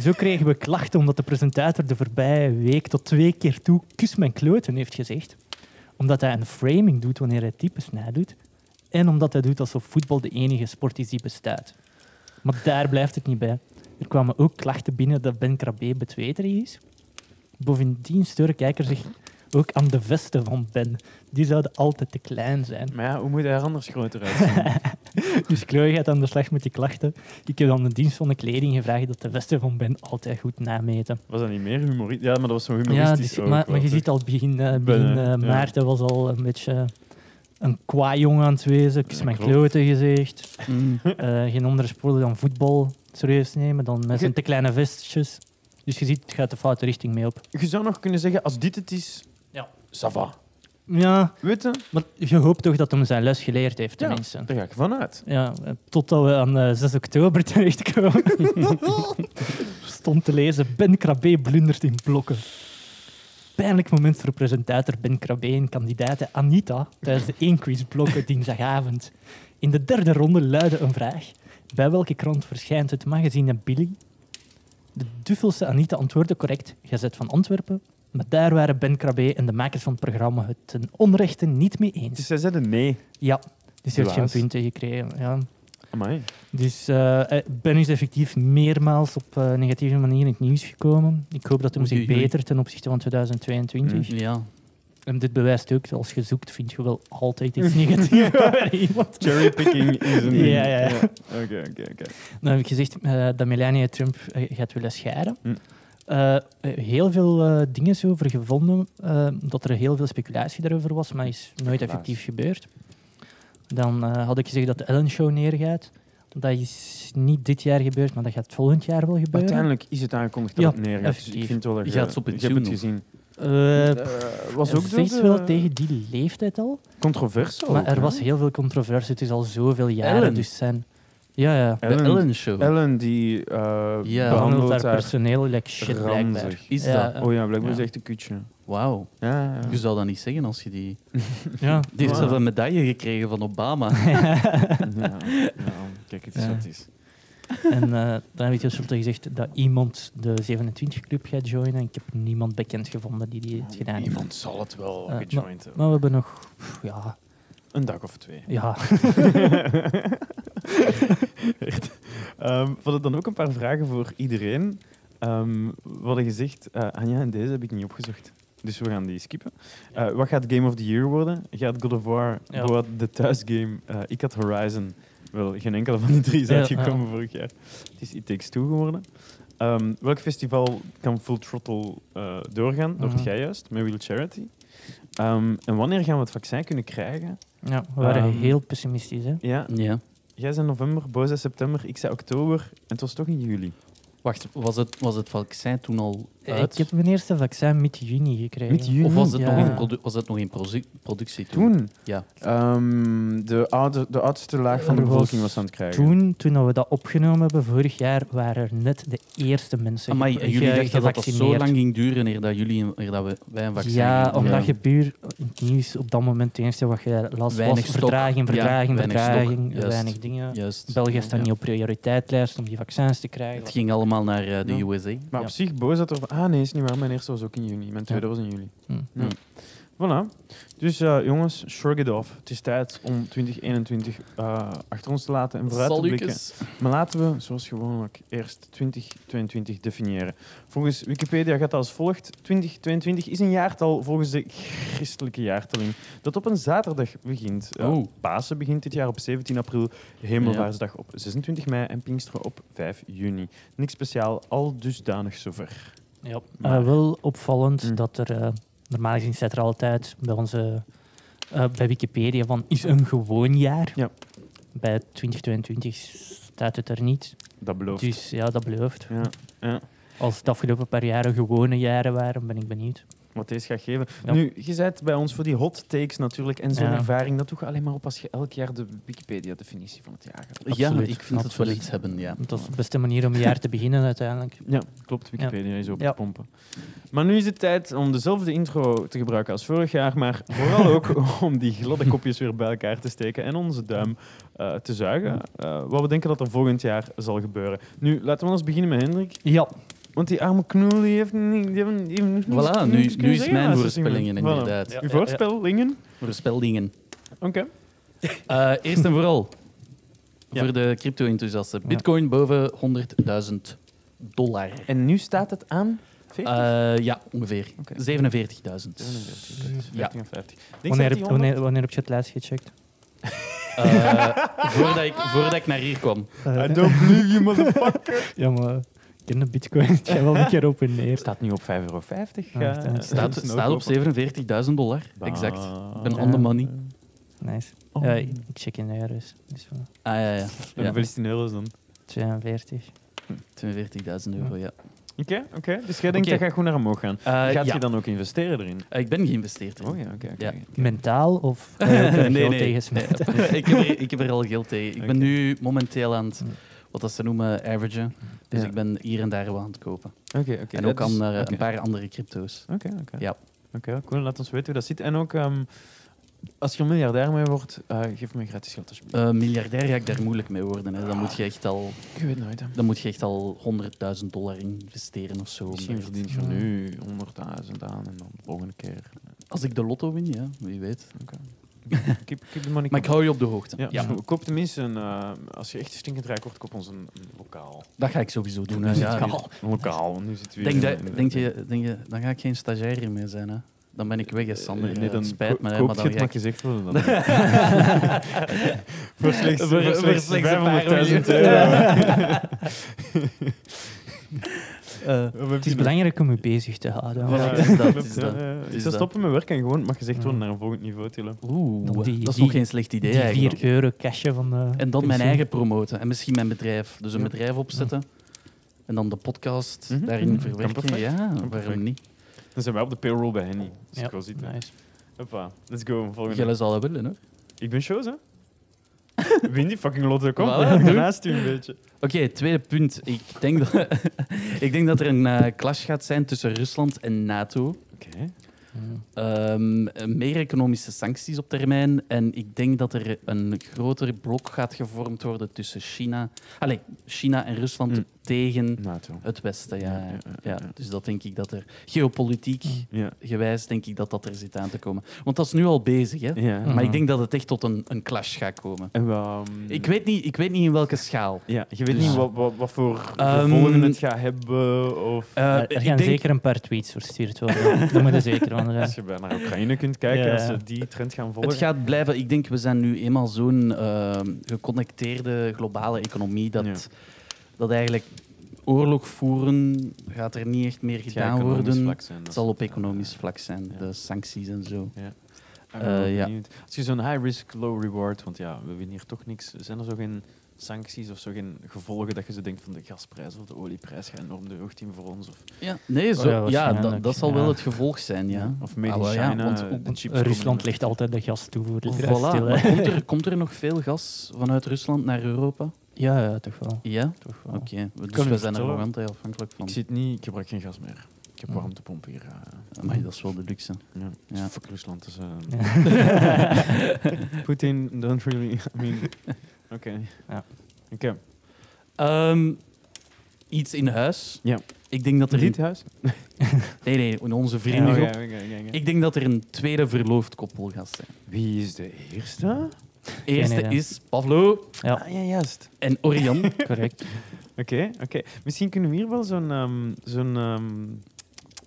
Zo kregen we klachten omdat de presentator de voorbije week tot twee keer toe kus mijn kloten heeft gezegd. Omdat hij een framing doet wanneer hij types nadoet. En omdat hij doet alsof voetbal de enige sport is die bestaat. Maar daar blijft het niet bij. Er kwamen ook klachten binnen dat Ben Krabbe betweterig is. Bovendien steuren kijkers zich ook aan de vesten van Ben. Die zouden altijd te klein zijn. Maar ja, hoe moet hij er anders groter uitzien? Dus Chloe gaat aan de slag met die klachten. Ik heb dan de dienst van de kleding gevraagd dat de vesten van Ben altijd goed nameten. Was dat niet meer humoristisch? Ja, maar dat was zo Ja, humoristisch dus- ook. maar, wel, maar je toch? ziet al begin, eh, Ben, begin hè? eh, Ja. maart, hij was al een beetje eh, een kwaai jongen aan het wezen. Ik is Ja, mijn klopt. Hm. klote gezegd. Mm. Eh, geen andere sporen dan voetbal serieus nemen, dan met zijn Je- te kleine vestjes. Dus je ziet, het gaat de foute richting mee op. Je zou nog kunnen zeggen, als dit het is, Ja. ça va. Ja, Weet je? maar je hoopt toch dat hem zijn les geleerd heeft, Ja. tenminste. Daar ga ik vanuit. Ja, eh, totdat we aan eh, 6 oktober terechtkomen. Stond te lezen, Ben Krabbe blundert in blokken. Pijnlijk moment voor presentator Ben Krabbe en kandidaat Anita tijdens de één quiz blokken dinsdagavond. In de derde ronde luidde een vraag. Bij welke krant verschijnt het magazine Billy? De duffelse Anita antwoordde correct, gezet van Antwerpen. Maar daar waren Ben Krabbe en de makers van het programma het ten onrechte niet mee eens. Dus zij zeiden nee. Ja, dus heeft geen Helaas. punten gekregen. Ja. Amai. Dus eh, eh, Ben is effectief meermaals op eh, negatieve manier in het nieuws gekomen. Ik hoop dat hem zich Oei, oei. betert ten opzichte van 2022. Mm. Ja. En dit bewijst ook, als je zoekt, vind je wel altijd iets negatiefs over iemand. Cherrypicking is een ding. Ja, ja, ja. Oké, oké, oké. Dan heb ik gezegd eh, dat Melania Trump eh, gaat willen scheiden. Mm. Eh, eh, heel veel eh, dingen is over gevonden, eh, dat er heel veel speculatie daarover was, maar is nooit effectief gebeurd. Dan eh, had ik gezegd dat de Ellen Show neergaat. Dat is niet dit jaar gebeurd, maar dat gaat volgend jaar wel gebeuren. Uiteindelijk is het aangekondigd dat Ja, het neergaat. Dus ik effectief. vind wel dat Je je, gaat ze op het je hebt het doen nog. gezien. Eh, Eh, was Het ook door zegt de- Oh, wel tegen die leeftijd al. Controverse maar ook, er hè? was heel veel controverse. Het is al zoveel jaren. Ellen? Dus zijn. Ja, ja. De Ellen- Ellen Show. Ellen die eh Ja. Behandelt behandelt haar haar personeel like shit blijkbaar. ranzig. Is Ja. dat? Oh ja, blijkbaar Ja. is echt een kutje. Wauw. Ja, ja. Je zou dat niet zeggen als je die... Ja. Die heeft Wauw. zelf een medaille gekregen van Obama. Ja, ja. Kijk, het is Ja. wat het is. En eh, dan heb ik dus gezegd dat iemand de 27-club gaat joinen. Ik heb niemand bekend gevonden die, die het gedaan heeft. Iemand zal het wel Eh, gejoind hebben. Maar we hebben nog... pff, Ja, Een dag of twee. ja. Echt. Ehm, we hadden dan ook een paar vragen voor iedereen. Ehm, we hadden gezegd, eh, Anja, en deze heb ik niet opgezocht. Dus we gaan die skippen. Eh, wat gaat Game of the Year worden? Gaat God of War, Ja. Boat, de thuisgame, eh, ik had Horizon. Wel, geen enkele van die drie is Ja, uitgekomen vorig jaar. Het is It Takes Two geworden. Ehm, welk festival kan Full Throttle eh, doorgaan? Dat Mhm. jij juist, met Will Charity. Ehm, en wanneer gaan we het vaccin kunnen krijgen? ja we waren Ehm. heel pessimistisch. Hè? Ja, ja. Jij zei november, Bo zei september, ik zei oktober en het was toch in juli. Wacht, was het, was het vaccin toen al uit? Ik heb mijn eerste vaccin mid-juni gekregen. Mid-juni? Of was het, Ja. nog in produ- was het nog in produ- productie toen? Toen? Ja. Ehm, de, oude, de oudste laag van de Er was bevolking was aan het krijgen. Toen, toen we dat opgenomen hebben, vorig jaar, waren er net de eerste mensen Amai, ge- en jullie ge- dachten dat dat zo gevaccineerd. lang ging duren eer dat, jullie, een- eer dat we, wij een vaccin Ja, hadden? omdat Ja. je puur in het nieuws op dat moment het eerste wat je las Weinig was stok. vertraging, Ja, vertraging, weinig stok, vertraging, juist. weinig dingen. Juist. België staat Ja. niet op prioriteitslijst om die vaccins te krijgen. Het ging allemaal naar eh, de Ja. USA. Maar op Ja. zich, Bo zat er van, ah nee, is niet waar, mijn eerste was ook in juni, mijn tweede was in juli. Hm. Ja. Voilà. Dus eh, jongens, shrug it off. Het is tijd om 2021 eh, achter ons te laten en vooruit te blikken. Salukes. Maar laten we, zoals gewoonlijk, eerst 2022 definiëren. Volgens Wikipedia gaat dat als volgt. 2022 is een jaartal volgens de christelijke jaartelling. Dat op een zaterdag begint. Eh, Oh. Pasen begint dit jaar op 17 april. Hemelvaartsdag op 26 mei. En Pinksteren op 5 juni. Niks speciaal, al dusdanig zover. Ja. Maar- Eh, wel opvallend Hm. dat er, eh, normaal gezien staat er altijd bij onze, eh, bij Wikipedia van is een gewoon jaar. Ja. Bij 2022 staat het er niet. Dat belooft. Dus ja, dat belooft. Ja, ja. Als het afgelopen paar jaren gewone jaren waren, ben ik benieuwd. wat deze gaat geven. Ja. Nu, je bent bij ons voor die hot takes natuurlijk. En zo'n Ja. ervaring, dat doe je alleen maar op als je elk jaar de Wikipedia-definitie van het jaar gaat. ja, absoluut, ik vind dat we wel absoluut. iets hebben, ja. Dat is de beste manier om een jaar te beginnen uiteindelijk. Ja, klopt. Wikipedia is op Ja. te pompen. Maar nu is het tijd om dezelfde intro te gebruiken als vorig jaar, maar vooral ook om die gladde kopjes weer bij elkaar te steken en onze duim eh, te zuigen. eh, wat we denken dat er volgend jaar zal gebeuren. Nu, laten we eens beginnen met Hendrik, Ja, want die arme knoel die heeft, niet, die heeft, die heeft nog niet Voilà, niks nu- kunnen nu is zeggen mijn laatste voorspellingen segment. Voilà. inderdaad. Ja, Uw voorspellingen? Voor speldingen. Oké. Eh, eerst en vooral, Ja. voor de crypto-enthousiasten. Bitcoin boven 100.000 dollar. En nu staat het aan 50? Eh, ja, ongeveer. Oké. 47.000. 47, ja. 50 en 50. Denk wanneer je heb, dat wanneer, wanneer heb je het laatst gecheckt? Eh, voordat, ik, voordat ik naar hier kwam. Eh, I Ah, don't believe you, motherfucker. ja, maar ik ken de bitcoin. Ik ga wel een keer op en neer. staat nu op 5,50 euro. Ah, eh, Ja, het is- Staat, staat op 47.000 dollar. Exact. ben on the money. Nice. Ah. Oh. Ja, ik ik check in euro's. Dus voilà. Ah ja, ja. En ja. Hoeveel is 10 euro's dan? 42. 42.000 euro, ja. Oké, oké. Dus jij denkt Oké. dat gaat goed naar omhoog gaan. Eh, Gaat ja. je dan ook investeren erin? Eh, ik ben geïnvesteerd. in. Oh ja, oké. oké. Ja. Mentaal of ga je ook er geld tegen smijten? Nee, ik, heb er, ik heb er al geld tegen. Ik ben Oké. nu momenteel aan het, Hm. wat dat ze noemen, averagen. Dus Hmm. Ja. ik ben hier en daar wel aan het kopen. Oké, oké. en dat ook aan is- eh, oké. een paar andere crypto's. Oké, oké. Ja. Oké, cool. Laat ons weten hoe dat zit. En ook, ehm, als je een miljardair mee wordt, eh, geef me gratis geld alsjeblieft. Eh, miljardair ga ik daar moeilijk mee worden. Hè. Dan, moet je echt al, je weet nooit, hè. dan moet je echt al 100.000 dollar investeren of zo. om Misschien daar- verdient je er nu eh, 100.000 aan en dan de volgende keer. Als ik de lotto win, ja, wie weet. Keep, keep the money Maar ik coming. hou je op de hoogte. Ja, ja, dus koop tenminste een... eh, als je echt stinkend rijk wordt, koop ons een, een lokaal. dat ga ik sowieso doen. hè. Dus Ja, het kan. Lokaal, want nu zitten we Denk, hier in- dat- in- denk, je, denk je, dan ga ik geen stagiair meer zijn. Hè. Dan ben ik weg, hè, Sander. Eh, nee, dan spijt ko- me, hè, koopt maar je dan het ga ik... gezegd worden dan. voor slechts, voor, Voor- voor slechts slechts een paar 500.000 miljoen. euro. Eh, Het is belangrijk om je bezig te houden. Voilà. Ja. is dat, is dat, Ik is Eh, zou dat. stoppen met werken en gewoon mag gezegd worden Mm. naar een volgend niveau tillen. Oeh, Dan die- dat is die- nog geen slecht idee Die eigenlijk. 4 euro cashje van de En dan mijn pensioen. eigen promoten en misschien mijn bedrijf. Dus een Ja. bedrijf opzetten en dan de podcast Mhm. daarin Mhm. Kan verwerken. perfect. Ja, perfect. waarom niet? Dan zijn wij op de payroll bij Henny. Dus Ja, ik wil zitten. nice. Hoppa, let's go. Volgende. Jullie zal dat willen, hoor. Ik ben shows, hè? Win die fucking lotto, kom. Voilà, doe. Daarnaast u een beetje. Oké, tweede punt. Ik denk dat, ik denk dat er een eh, clash gaat zijn tussen Rusland en NATO. Oké. Eh, Ehm, eh, meer economische sancties op termijn. En ik denk dat er een groter blok gaat gevormd worden tussen China, allez, China en Rusland Mm. tegen NATO. het Westen. Ja, Ja, ja, ja, ja, ja. Mm. Dus dat denk ik dat er geopolitiek Ja. gewijs denk ik dat dat er zit aan te komen. Want dat is nu al bezig, hè? ja. Maar ik denk dat het echt tot een, een clash gaat komen. En we, ehm, Ik weet niet, ik weet niet in welke schaal. Ja, je weet Dus- niet wat, wat, wat voor Ehm, gevolgen het gaat hebben. Of Eh, Er- ik er gaan denk- zeker een paar tweets verstuurd worden. Daar moet je zeker van als zijn. je bij naar Oekraïne kunt kijken, Ja. als ze die trend gaan volgen. Het gaat blijven. Ik denk, we zijn nu eenmaal zo'n ehm, geconnecteerde globale economie dat, Ja. dat eigenlijk oorlog voeren gaat er niet echt meer Het gedaan economisch worden. dus vlak zijn, Het dat zal is- op economisch vlak zijn, Ja. de sancties en zo. Ik ben wel eh, ja. benieuwd. Als je zo'n high risk, low reward, want ja, we winnen hier toch niks. Zijn er zo geen sancties of zo geen gevolgen dat je zo denkt van de gasprijs of de olieprijs gaat enorm de hoogte in voor ons? Of, Ja, nee, Oh ja, zo, ja, waarschijnlijk, dat, dat zal ja. wel het gevolg zijn. Ja. of made in Ah, wel, ja, China, eh, want de ook- chips komen Rusland niet legt altijd de gas toe. de Voilà. prijs stil, Maar hè. komt, er, komt er nog veel gas vanuit Rusland naar Europa? Ja, ja, toch wel. Ja? Toch wel. Oké, dus kan u we zijn er vertellen? nog altijd afhankelijk meer. van. Ik zit niet, ik gebruik geen gas meer. Ik heb Oh. Mm. warmtepomp hier. eh, Maar dat is wel de luxe. ja. Dus Ja. Fuck Rusland. Dus, eh, Ja. Poetin, don't really. I mean. Oké. Ja. Oké. Ehm, iets in huis. Ja. Ik denk dat er... Dit huis? Nee, nee, in onze Oh, Ja, oké, vriendengroep. oké, oké, oké. Ik denk dat er een tweede verloofd koppel gaat zijn. Wie is de eerste? Eerste idee. is Pavlo Ja. Ah, ja, juist. en Orion. Correct. Oké, oké. Misschien kunnen we hier wel zo'n ehm, zo'n ehm,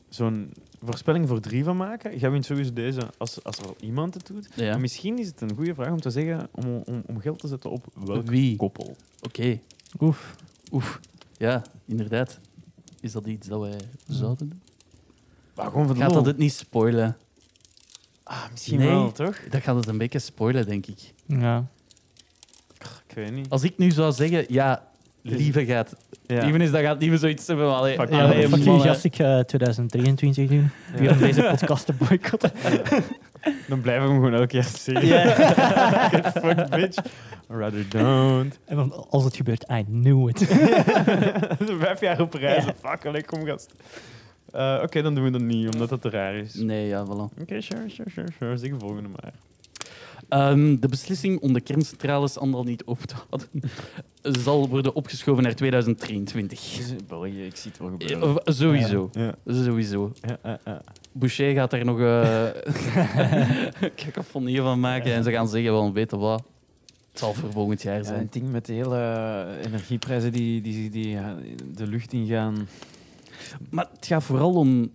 zo'n voorspelling voor drie van maken. Jij wint sowieso deze als, als er al iemand het doet. ja. Maar misschien is het een goede vraag om te zeggen, om, om, om geld te zetten op welk Wie? Oké. koppel. Oef. Oef. Ja, inderdaad. Is dat iets dat wij zouden doen? Maar gewoon van de Gaat dat lol. het niet spoilen? Ah, misschien Nee. wel, toch? Dat gaat het een beetje spoilen, denk ik. Ja. Ik weet niet. Als ik nu zou zeggen, ja, Lieve gaat Ja. Even is dat gaat even zoiets hebben. van, Allee, Fuck Ja, eh, allee, fuck eh, you, mannen. gast, ik ga 2023 doen. Ja. Weer om deze podcast te boycotten. Dan blijven we hem gewoon elk jaar zien. Ja. Fuck bitch. Rather don't. En dan, als het gebeurt, I knew it. Vijf jaar op reis. Fuck, allee, kom gast. Eh, Oké, dan doen we dat niet, omdat dat te raar is. Mm. Oké, Nee, ja, voilà. sure, sure, sure, sure. Zeg de volgende maar. Ehm, de beslissing om de kerncentrales allemaal niet open te houden zal worden opgeschoven naar 2023. België, ik zie het wel Eh, of- Sowieso. oh. Ja. Sowieso. Ja, eh, eh. Boucher gaat er nog eh cacophonie van maken en ze gaan zeggen, wel weten wat. Het zal voor volgend jaar Ja, zijn. het ding met de hele eh, energieprijzen die, die, die ja, de lucht ingaan. Maar het gaat vooral om,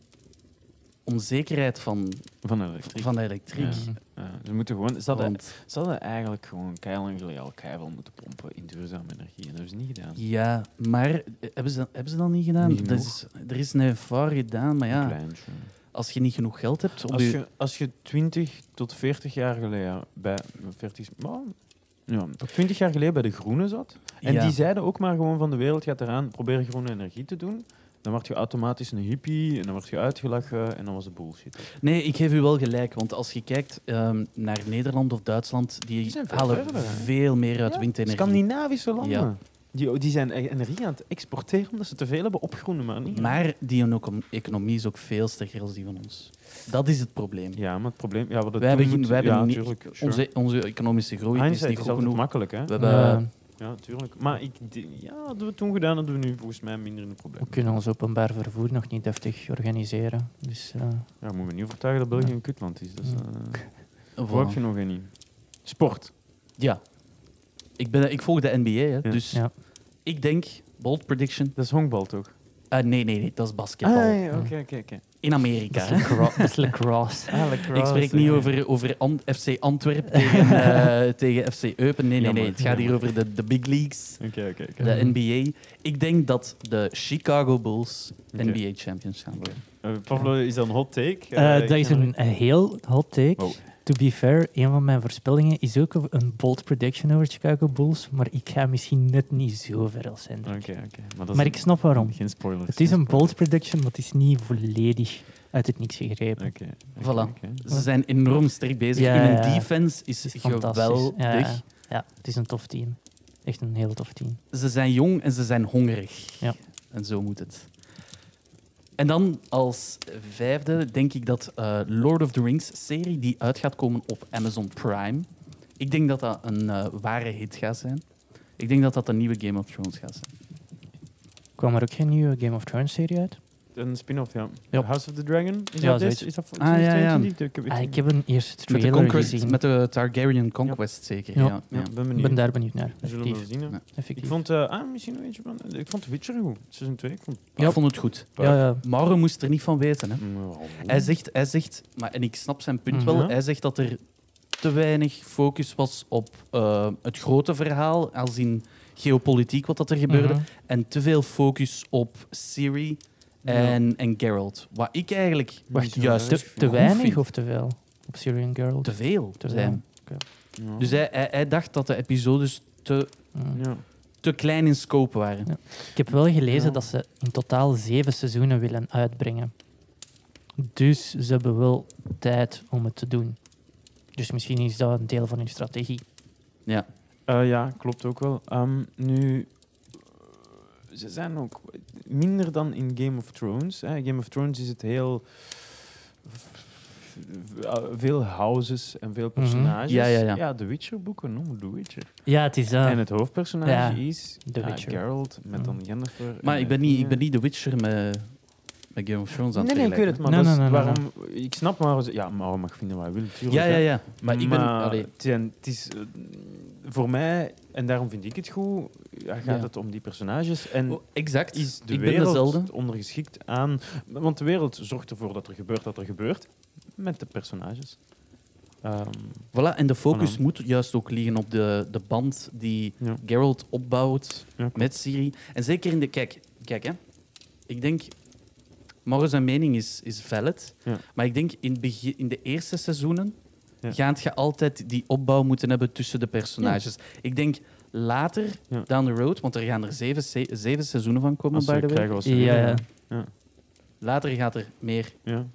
om zekerheid van, Van elektriek. van de elektriek. Ja. Ja, ze, moeten gewoon, ze, hadden, Want ze hadden eigenlijk gewoon keilang geleden al keihard moeten pompen in duurzame energie. En dat hebben ze niet gedaan. ja, maar eh, hebben ze, dat- hebben ze dat niet gedaan? Niet Dat genoeg. is, er is een VAR gedaan, maar Een ja, kleintje. als je niet genoeg geld hebt om Als je je, als je 20 tot 40 jaar geleden bij 40, is- maar, ja, tot 20 jaar geleden bij de Groenen zat. En Ja. die zeiden ook maar gewoon van de wereld gaat eraan, probeer groene energie te doen. Dan word je automatisch een hippie en dan word je uitgelachen en dan was het bullshit. Nee, ik geef u wel gelijk. Want als je kijkt ehm, naar Nederland of Duitsland, die, Die zijn veel halen verder, hè? veel meer uit Ja, windenergie. Scandinavische landen. Ja. Die, die zijn e- energie aan het exporteren omdat ze te veel hebben op groene manier. Maar die econo- economie is ook veel sterker dan die van ons. Dat is het probleem. ja, maar het probleem... Ja, wat het Wij hebben toen geen- moet- wij hebben ja, niet- tuurlijk, sure. Onze, onze economische groei is Hindsight niet is goed altijd genoeg. makkelijk, hè? We hebben, Eh, Ja, tuurlijk. Maar ik, denk- ja, hadden we toen gedaan, hadden we nu volgens mij minder een probleem. we kunnen ons openbaar vervoer nog niet deftig organiseren. Dus eh, Ja, moeten we niet overtuigen dat België Ja. een kutland is. Dus, Ja. eh, Voilà. Voor heb je nog een Sport. Ja. Ik, ben, ik volg de NBA, hè, Ja. dus Ja. ik denk, bold prediction. Dat is honkbal, toch? Ah, nee, nee, nee, dat is basketbal. Ah, ja, oké, oké, oké. In Amerika. dat hè. is lacro- dat is lacrosse. Ik spreek niet over, over Am- FC Antwerpen tegen, eh, tegen FC Eupen. Nee, nee, nee. Het gaat hier over de, de big leagues. Oké, oké, oké. De NBA. Ik denk dat de Chicago Bulls Oké. NBA champions gaan worden. Eh, Pablo, is dat een hot take? Eh, Eh, dat is een, een heel hot take. Wow. To be fair, een van mijn voorspellingen is ook een- een bold prediction over Chicago Bulls. Maar ik ga misschien net niet zo ver als Hendrik. Oh, Oké, oké. Maar, dat is Maar ik snap waarom. Geen spoilers. Het is geen een spoilers. bold prediction, maar het is niet volledig uit het niks gegrepen. Oké. oké, Voilà. oké. Ze zijn enorm sterk bezig. Ja, Hun ja, ja. defense is, Het is fantastisch. geweldig. Ja, Ja, ja, het is een tof team. Echt een heel tof team. Ze zijn jong en ze zijn hongerig. Ja. En zo moet het. En dan als vijfde denk ik dat eh, Lord of the Rings-serie die uit gaat komen op Amazon Prime. Ik denk dat dat een eh, ware hit gaat zijn. Ik denk dat dat een nieuwe Game of Thrones gaat zijn. Kwam er ook geen nieuwe Game of Thrones serie uit? Een spin-off, ja. Ja. House of the Dragon? Is Ja, dat zoiets. dit? Is dat voor Ah, ja, ja. 2022? Ik heb het Ah, niet- ik heb een eerste Met de, trailer Conquest- gezien. met de Targaryen Conquest zeker. Ja. Ja. Ja. Ja, ben Ik benieuwd. ben daar benieuwd naar. We zullen wel Effectief. zien, hè. Ja. Ik Effectief. vond... eh, ah, misschien nog eentje van... Ik vond Witcher goed. Seizoen 2. Ik vond... Ik vond het goed. ja, ja. Mauro moest er niet van weten. Hè. Hij Hij zegt, hij zegt maar, en ik snap zijn punt wel, Mhm. hij zegt dat er te weinig focus was op eh, het grote verhaal, als in geopolitiek wat dat er gebeurde, Mhm. en te veel focus op Siri en, en Geralt. Wat ik eigenlijk Wacht, juist te, te goed weinig vind. of te veel? Op Syrian Girl? te veel Te zijn. Dus hij, hij, hij dacht dat de episodes te, Mm. Ja. te klein in scope waren. Ja. Ik heb wel gelezen Ja. dat ze in totaal zeven seizoenen willen uitbrengen. Dus ze hebben wel tijd om het te doen. Dus misschien is dat een deel van hun strategie. Eh, ja, klopt ook wel. Ehm, nu, eh, ze zijn ook minder dan in Game of Thrones. Hè. Game of Thrones is het heel eh, veel houses en veel personages. Mhm. Ja, ja, ja. Ah. The Witcher boeken noemen The Witcher. Ja, het is dat. En het hoofdpersonage Ja, is The ja, Witcher. Geralt met dan Mhm. Jennifer. Maar en ik ben, niet, ik dingen. ben niet de Witcher met, met Game of Thrones aan Nee, het nee, ik weet het, vergelijken. maar Nee, dat is nee, nee, nee, waarom... Ik snap maar... Ja, maar mag vinden wat hij wil, natuurlijk. Ja, ja, hè. ja. Maar ik ben... allee, het zijn- het is eh, voor mij, en daarom vind ik het goed, ja, gaat Ja. het om die personages. En oh, exact. is de ik ben wereld dezelfde. ondergeschikt aan. Want de wereld zorgt ervoor dat er gebeurt wat er gebeurt met de personages. Ehm, Voilà, en de focus Voilà. moet juist ook liggen op de, de band die Ja. Geralt opbouwt klopt. met Siri. En zeker in de... Kijk, kijk hè. Ik denk... Morgen zijn mening is, is valid. Ja. Maar ik denk in, het begin, in de eerste seizoenen Ja. gaat je altijd die opbouw moeten hebben tussen de personages. Ik denk later Ja. down the road, want er gaan er zeven, se- zeven seizoenen van komen, Als ze by the way. krijgen wat ze Ja, willen. ja. Later gaat er meer Ja.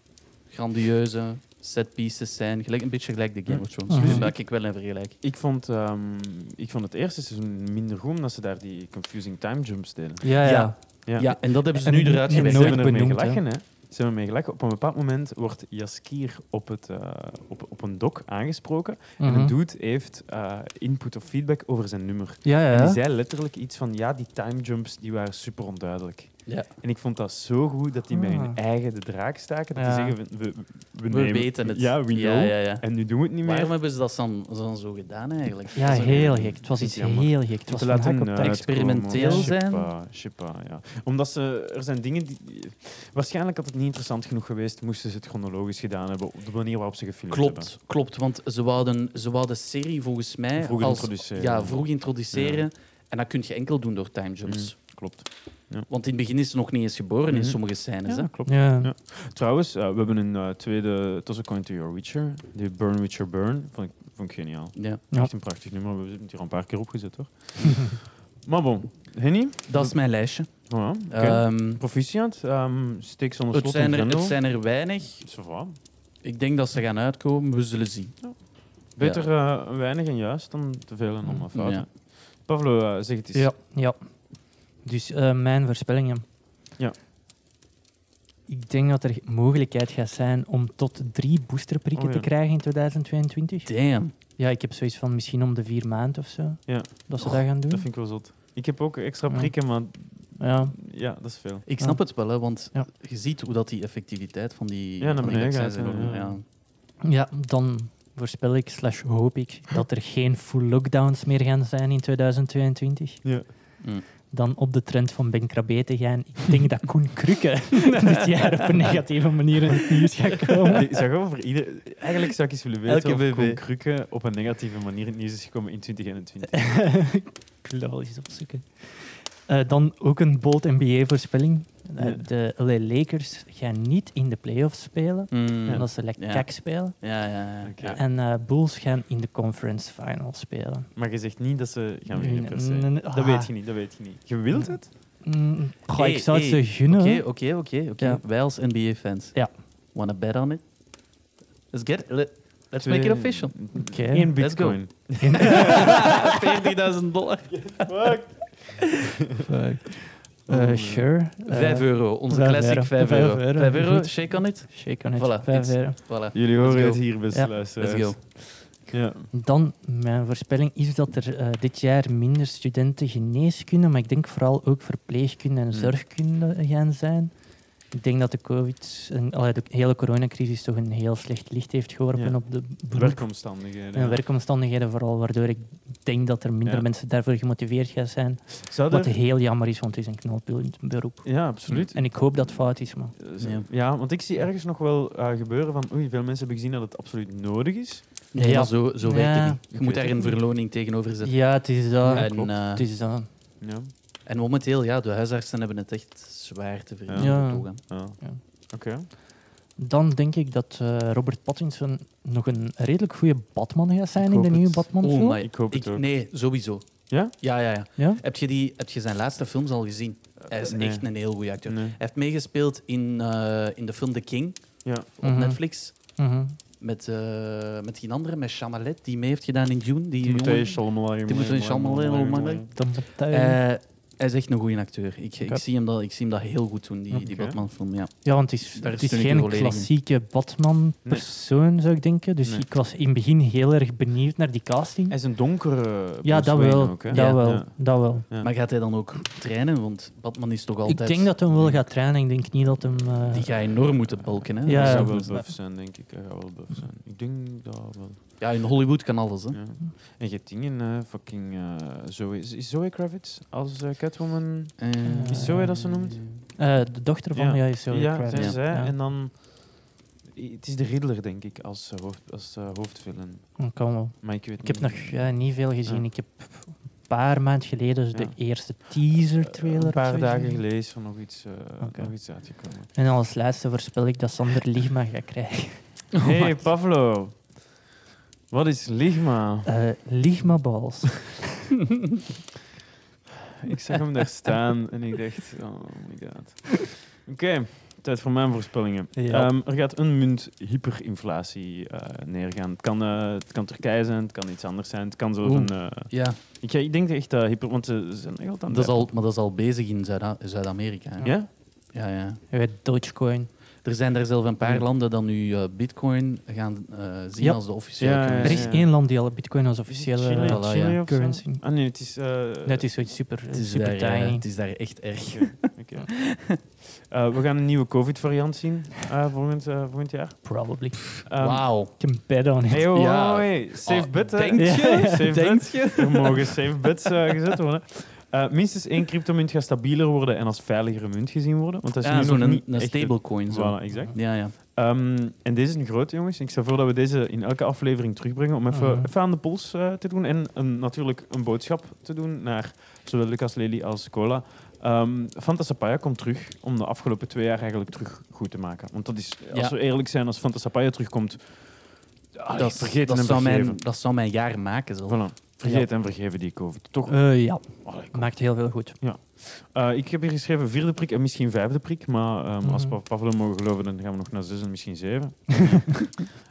grandieuze set pieces zijn, gelijk, een beetje gelijk de Game Ja. of Thrones. Mhm. films, Dat ik wel in vergelijk. Ik, vond, ehm, ik vond het eerste seizoen minder goed omdat ze daar die confusing time jumps deden. Ja, ja. Ja. Ja. en dat hebben ze nu eruit en gewerkt. Ze nooit hebben ermee benoemd, hè? gelachen, hè? Ze hebben ermee gelachen. Op een bepaald moment wordt Jaskier op, het, eh, op, op een doc aangesproken. En Mhm. een dude heeft eh, input of feedback over zijn nummer. Ja, ja. En die zei letterlijk iets van, ja, die time jumps die waren super onduidelijk. Ja. En ik vond dat zo goed dat die met Ah. hun eigen de draak staken. Dat Ja. die zeggen, we, we, We we nemen- weten het. Ja, we know. Ja, ja, ja. En nu doen we het niet meer. Waarom hebben ze dat dan, dan zo gedaan eigenlijk? Ja, Dat is een- heel gek. Het was iets Jammer. heel gek. Het was te van hak laten op eh, tak. experimenteel uitkomen. zijn. Shippa, shippa, ja. Omdat ze, er zijn dingen die... Waarschijnlijk had het niet interessant genoeg geweest moesten ze het chronologisch gedaan hebben op de manier waarop ze gefilmd hebben. Klopt, klopt. Want ze wouden, ze wouden serie volgens mij Vroeg als, introduceren. Ja, vroeg introduceren. En dat kun je enkel doen door timejumps. Mhm, Klopt. Want in het begin is ze nog niet eens geboren in Mhm. sommige scènes. Ja, hè. klopt. Ja. Ja. Trouwens, eh, we hebben een eh, tweede Toss a Coin to Your Witcher. Die Burn Witcher Burn. Vond ik, vond ik geniaal. Ja. Ja. Echt een prachtig nummer. We hebben het hier al een paar keer opgezet, hoor. maar bon. Henny? Dat is mijn lijstje. Voilà. Oké. Ehm, Proficiat. Ehm steek zonder het, slot in zijn er, grendel. het zijn er weinig. Ça va. Ik denk dat ze gaan uitkomen. We zullen zien. Beter eh, weinig en juist dan te veel en allemaal fouten. Ja. Pablo, eh, zeg het eens. Ja, ja. Dus eh, mijn voorspellingen. Ja. Ik denk dat er mogelijkheid gaat zijn om tot drie boosterprikken Oh, ja. te krijgen in 2022. Damn. Ja, ik heb zoiets van misschien om de vier maanden of zo. Ja. Oh, Dat ze dat gaan doen. Dat vind ik wel zot. Ik heb ook extra Ja. prikken, maar Ja, ja, dat is veel. Ik Ja. snap het wel, hè, want Ja. je ziet hoe dat die effectiviteit van die, Ja, naar van die beneden vaccins gaat, is geworden. ja. Ja. ja dan voorspel ik, slash hoop ik, dat er geen full lockdowns meer gaan zijn in 2022. Ja. Mm. Dan op de trend van Ben Krabbe te gaan. Ik denk dat Koen Krukke dit jaar op een negatieve manier in het nieuws gaat komen. Ik zag over ieder... Eigenlijk zou ik eens willen weten Elke of BB. Koen Krukke op een negatieve manier in het nieuws is gekomen in 2021. ik wil dat wel eens opzoeken. Eh, dan ook een bold NBA-voorspelling. Ja. Eh, De LA Lakers gaan niet in de playoffs spelen, Mm. omdat ze lekker Ja. kak spelen. Ja, ja, ja. Oké. ja. En eh, Bulls gaan in de conference final spelen. Maar je zegt niet dat ze gaan winnen per Nee, se. nee, nee, Dat ah. weet je niet, dat weet je niet. Je wilt het? Mm, goh, Hey, ik zou het hey, ze gunnen. Oké, oké, oké. Ja. oké. Wij als NBA-fans. Ja. Wanna bet on it? Let's get it. Let- Let's Twee- make it official. Oké. Eén Let's go. bitcoin. 40.000 dollar. Eh, sure. Eh, 5 euro. Onze vijf classic euro. 5 Vijf euro. euro, 5 euro, goed. shake on it. Shake on it. Voilà, Vijf iets. euro. Voilà. Jullie horen go. het hier, beste Ja. luisteraars. Let's go. Ja. Dan, mijn voorspelling is dat er eh, dit jaar minder studenten geneeskunde, maar ik denk vooral ook verpleegkunde en Hmm. zorgkunde gaan zijn. Ik denk dat de COVID, en, allee, de hele coronacrisis toch een heel slecht licht heeft geworpen Ja. op de beroep Werkomstandigheden. en werkomstandigheden vooral, waardoor ik denk dat er minder Ja. mensen daarvoor gemotiveerd gaan zijn. Zou Wat er- heel jammer is, want het is een knalpunt beroep. Ja, absoluut. En ik hoop dat het fout is, maar... Eh, zo- Ja. Ja, want ik zie ergens nog wel eh, gebeuren van oei, veel mensen hebben gezien dat het absoluut nodig is. Nee, Ja. maar zo, zo werkt Ja. het niet. Ik Je moet weet daar het een niet. verloning tegenover zetten. Ja, het is dat. en, klopt. eh, het is dat. Ja. en momenteel, ja, de huisartsen hebben het echt zwaar te verdienen. Ja. toch, hè. Ah. Ja. Oké. Dan denk ik dat eh, Robert Pattinson nog een redelijk goede Batman gaat zijn Ik in de hoop nieuwe het. Batman-film. Oh my. Ik hoop het Ik- ook. nee, sowieso. Ja? Ja, ja, ja. Ja? Heb, je die, heb je zijn laatste films al gezien? Hij is nee. echt een heel goede acteur. Nee. Hij heeft meegespeeld in, eh, in de film The King Ja. op Mhm. Netflix. Mhm. Met, eh, met die andere, met Chamalet, die mee heeft gedaan in Dune. Die Timothée jongen. Chalamet. Timothée Chalamet, Chalamet. Dan moet hij- Eh, hij is echt een goede acteur. Ik, ik, Oké. zie hem dat, ik zie hem dat heel goed doen, die, die Oké. Batman-film. Ja. ja, want het is, daar het is steun ik je geen volledig in. klassieke Batman-persoon, zou ik denken. Dus Nee. ik was in het begin heel erg benieuwd naar die casting. Hij is een donkere ja, Bruce dat Wayne wel, ook, hè? dat, Ja. wel Ja. dat wel. Ja. Maar gaat hij dan ook trainen? Want Batman is toch altijd... Ik denk dat hij wel gaat trainen. Ik denk niet dat hem... eh, Die gaat enorm moeten balken. Hè? Ja, Hij Dus- zou wel buff zijn, denk ik. Hij zou wel buff zijn. Ik denk dat wel. ja, in Hollywood kan alles. Hè? Ja. En je hebt dingen, eh, fucking eh, Zoe... Is Zoe Kravitz als eh, Catwoman? Eh, Is Zoe dat ze noemt? eh, de dochter van... Ja. Ja, is zo. ja, Kravitz. zijn zij. Ja. En dan... I- Het is de Riddler, denk ik, als, eh, hoofd, als eh, hoofdvillain. Dat kan wel. Maar ik weet Oh, Ik heb nog niet. ja, niet veel gezien. Ja. Ik heb een paar maanden geleden dus Ja. de eerste teaser trailer. Eh, Een paar of zo dagen gezien. geleden is er nog iets, eh, Oké. nog iets uitgekomen. En als laatste voorspel ik dat Sander Ligma gaat krijgen. Hey Pavlo, wat is Ligma? Eh Ligma Balls. Ik zag hem daar staan en ik dacht, oh my god. Oké, tijd voor mijn voorspellingen. Ja. Ehm, er gaat een munt hyperinflatie eh, neergaan. Het kan, eh, het kan Turkije zijn, het kan iets anders zijn. Het kan zo'n... eh Ja, ik, ik denk echt dat hyper... Want eh, ze ze zijn echt altijd aan dat is het- al, maar dat is al bezig in Zuid- Zuid-Amerika. hè. Ja? Ja, ja. Bij Dogecoin. Er zijn er zelf een paar Ja. landen dat nu eh, bitcoin gaan eh, zien Ja. als de officiële Ja, ja, Er currency. is ja. één land die al bitcoin als Chili, officiële eh, Voilà, ja. Chili of zo? currency. Ah nee, het is... eh, Dat is zoiets super, Het is, daar, super eh, tiny. het is daar echt erg. Oké. Eh, we gaan een nieuwe COVID-variant zien eh, volgend, eh, volgend jaar. Probably. Ehm, Wauw. Can bet on it. Hey, oh, Ja. oh, hey. Safe Oh, bet, hè? denk je? Ja, Safe Denk bet. Er mogen safe bets eh, gezet worden. Eh, minstens één cryptomunt gaat stabieler worden en als veiligere munt gezien worden. Want dat is Ja, nu zo'n nog een, niet een echt het- stablecoin. Zo. Voilà, exact. Ja, ja. Ehm, en deze is een grote, jongens. Ik stel voor dat we deze in elke aflevering terugbrengen om even, Mhm. even aan de pols eh, te doen. En een- natuurlijk een boodschap te doen naar zowel Lucas Lely als Cola. Ehm Fanta Sapaya komt terug om de afgelopen twee jaar eigenlijk terug goed te maken. Want dat is, als Ja. we eerlijk zijn, als Fanta Sapaya terugkomt... ah, Dat, vergeten dat, en zou vergeven. mijn, dat zou mijn jaar maken zelf. Voilà. Vergeet en vergeven die COVID. Toch? Eh, ja, Allee, kom. maakt heel veel goed. Eh, ik heb hier geschreven vierde prik en misschien vijfde prik. Maar ehm, als Mhm. we Pavlo mogen geloven, dan gaan we nog naar zes en misschien zeven.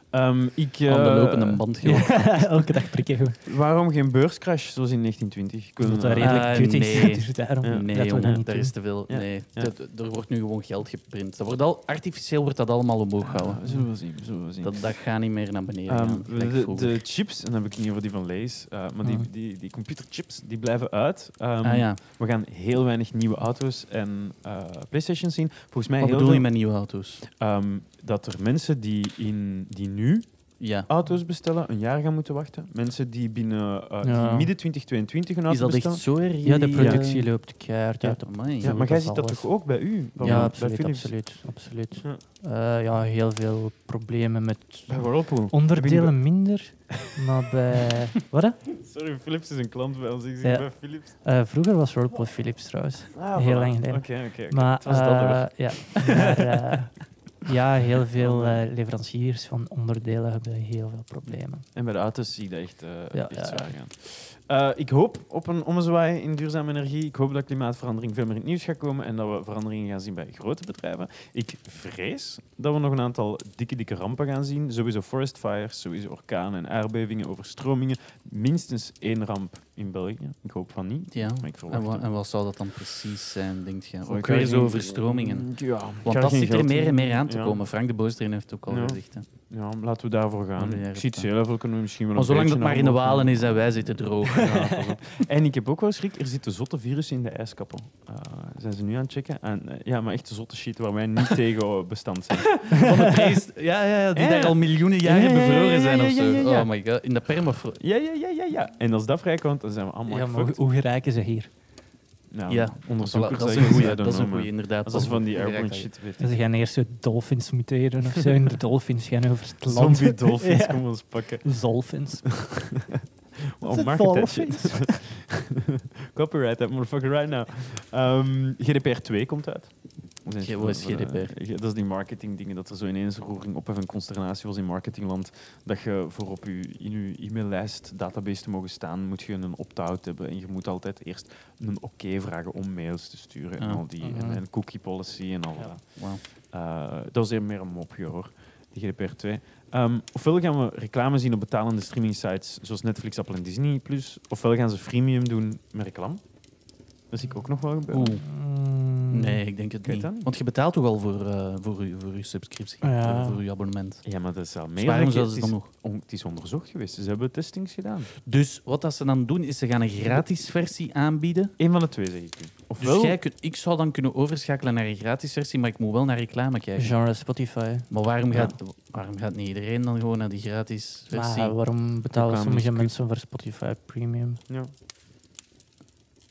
Ehm, ik, eh, Aan de lopende band gewoon. Elke dag prikken we. Waarom geen beurscrash zoals in 1920? Ik wil Omdat een- dat redelijk eh, kut is. nee. Eh, Dus daarom Ja. laten we Nee, dat jongen, niet daar doen. is te veel. Ja, Nee. ja. Dat- er wordt nu gewoon geld geprint. Dat wordt al, artificieel wordt dat allemaal omhoog Ah, gehouden. zullen we zien, zullen we zien. Dat, dat gaat niet meer naar beneden. Ehm, gaan, gelijk de, vroeger. de chips, en dan heb ik niet over die van Lees, eh, maar die, Mhm. die, die computerchips, die blijven uit. Ehm, ah ja, We gaan heel weinig nieuwe auto's en eh, Playstations zien. Volgens mij wat heel bedoel je veel, met nieuwe auto's? ehm, dat er mensen die, in, die nu Ja. auto's bestellen, een jaar gaan moeten wachten. Mensen die binnen eh, die Ja. midden 2022 een auto Is dat bestellen. echt zo erg? Ja, de die- productie loopt keihard Ja. uit. op- Amai. Ja, zo, maar jij dat ziet dat alles. toch ook bij u? Van- Ja, bij absoluut, Philips? absoluut. absoluut. Ja. Eh, ja, heel veel problemen met Bij Whirlpool. onderdelen minder. Maar bij... Wat? hè? Sorry, Philips is een klant bij ons. Ik Ja. bij Philips. Eh, vroeger was Whirlpool Philips trouwens. Ah, Heel voilà. lang geleden. Oké, oké. oké. Maar, was dat eh, weer. ja, maar, eh, ja, heel veel eh, leveranciers van onderdelen hebben heel veel problemen. En bij de auto's zie ik dat echt, eh, Ja, echt ja. zwaar gaan. Eh, ik hoop op een ommezwaai in duurzame energie. Ik hoop dat klimaatverandering veel meer in het nieuws gaat komen en dat we veranderingen gaan zien bij grote bedrijven. Ik vrees dat we nog een aantal dikke, dikke rampen gaan zien. Sowieso forest fires, sowieso orkanen en aardbevingen, overstromingen. Minstens één ramp in België. Ik hoop van niet, Ja. maar ik verwacht En, wa- het. en wat zou dat dan precies zijn, denk je? Zo, ik Ook krijg weer zo geen- overstromingen. Ja, ik Want krijg dat geen zit er geld meer in. en meer aan te Ja. komen. Frank de Boosdreen heeft ook al Ja. gezegd. Hè. Ja, laten we daarvoor gaan. Ja, Ik zie het ja. zelf wel, kunnen we misschien wel Maar een zolang dat beetje maar in de handelen. walen is en wij zitten droog. Ja, pas op. en ik heb ook wel schrik, er zitten zotte virussen in de ijskappen. Eh, zijn ze nu aan het checken? En, eh, ja, maar echt zotte shit waar wij niet tegen bestand zijn. Van de trees, ja, ja, ja, die Ja. daar al miljoenen jaren Ja, ja, ja, ja, bevroren zijn ja, of ja, zo. ja, ja. Oh my god, in de permafrost. Ja, ja, ja, ja, ja. En als dat vrijkomt, dan zijn we allemaal ja, maar hoe, gefucked. hoe geraken ze hier? Nou, Ja, onderzoekers Voilà, dat is een zeggen ze, goeie, I don't dat is een know, man. goeie, inderdaad. Als dat van die Direct airborne aan je. shit, weet ik. Ze gaan eerst de dolphins muteren of zo. En de dolphins gaan over het land. Zombie dolphins, Ja. kom ons pakken. Zolfins. Oh, Is market het that dolphins? shit. Copyright that motherfucker right now. Ehm, GDPR 2 komt uit. Dat is Ge- van- wat is van, eh, GDPR? ge- dat is die marketing dingen, dat er zo ineens roering op en consternatie was in marketingland. Dat je voor op je, in je e-maillijst database te mogen staan, moet je een opt-out hebben. En je moet altijd eerst een oké vragen om mails te sturen. En, Ah. al die, en, Mhm. en cookie policy en al Ja. dat. Wauw. Eh, dat was even meer een mopje hoor, die GDPR 2. Ehm, ofwel gaan we reclame zien op betalende streaming sites zoals Netflix, Apple en Disney+. Plus, ofwel gaan ze freemium doen met reclame. Dat zie ik ook nog wel gebeuren. Oeh, Mm, nee, ik denk het weet niet. dat niet. Want je betaalt toch al voor, eh voor, uw, voor uw subscriptie, Ah, Ja. eh, voor uw abonnement. Ja, maar dat is al Dus meer. waarom dan- zouden ze het, dan is, nog? on- het is onderzocht geweest. Ze hebben testings gedaan. Dus wat dat ze dan doen, is ze gaan een gratis versie aanbieden. Eén van de twee zeg ik nu. Dus Ofwel, jij kunt, ik zou dan kunnen overschakelen naar een gratis versie, maar ik moet wel naar reclame kijken. Genre Spotify. Maar waarom gaat, waarom gaat niet iedereen dan gewoon naar die gratis versie? Maar waarom betalen Reclame is sommige kut. mensen voor Spotify Premium? ja.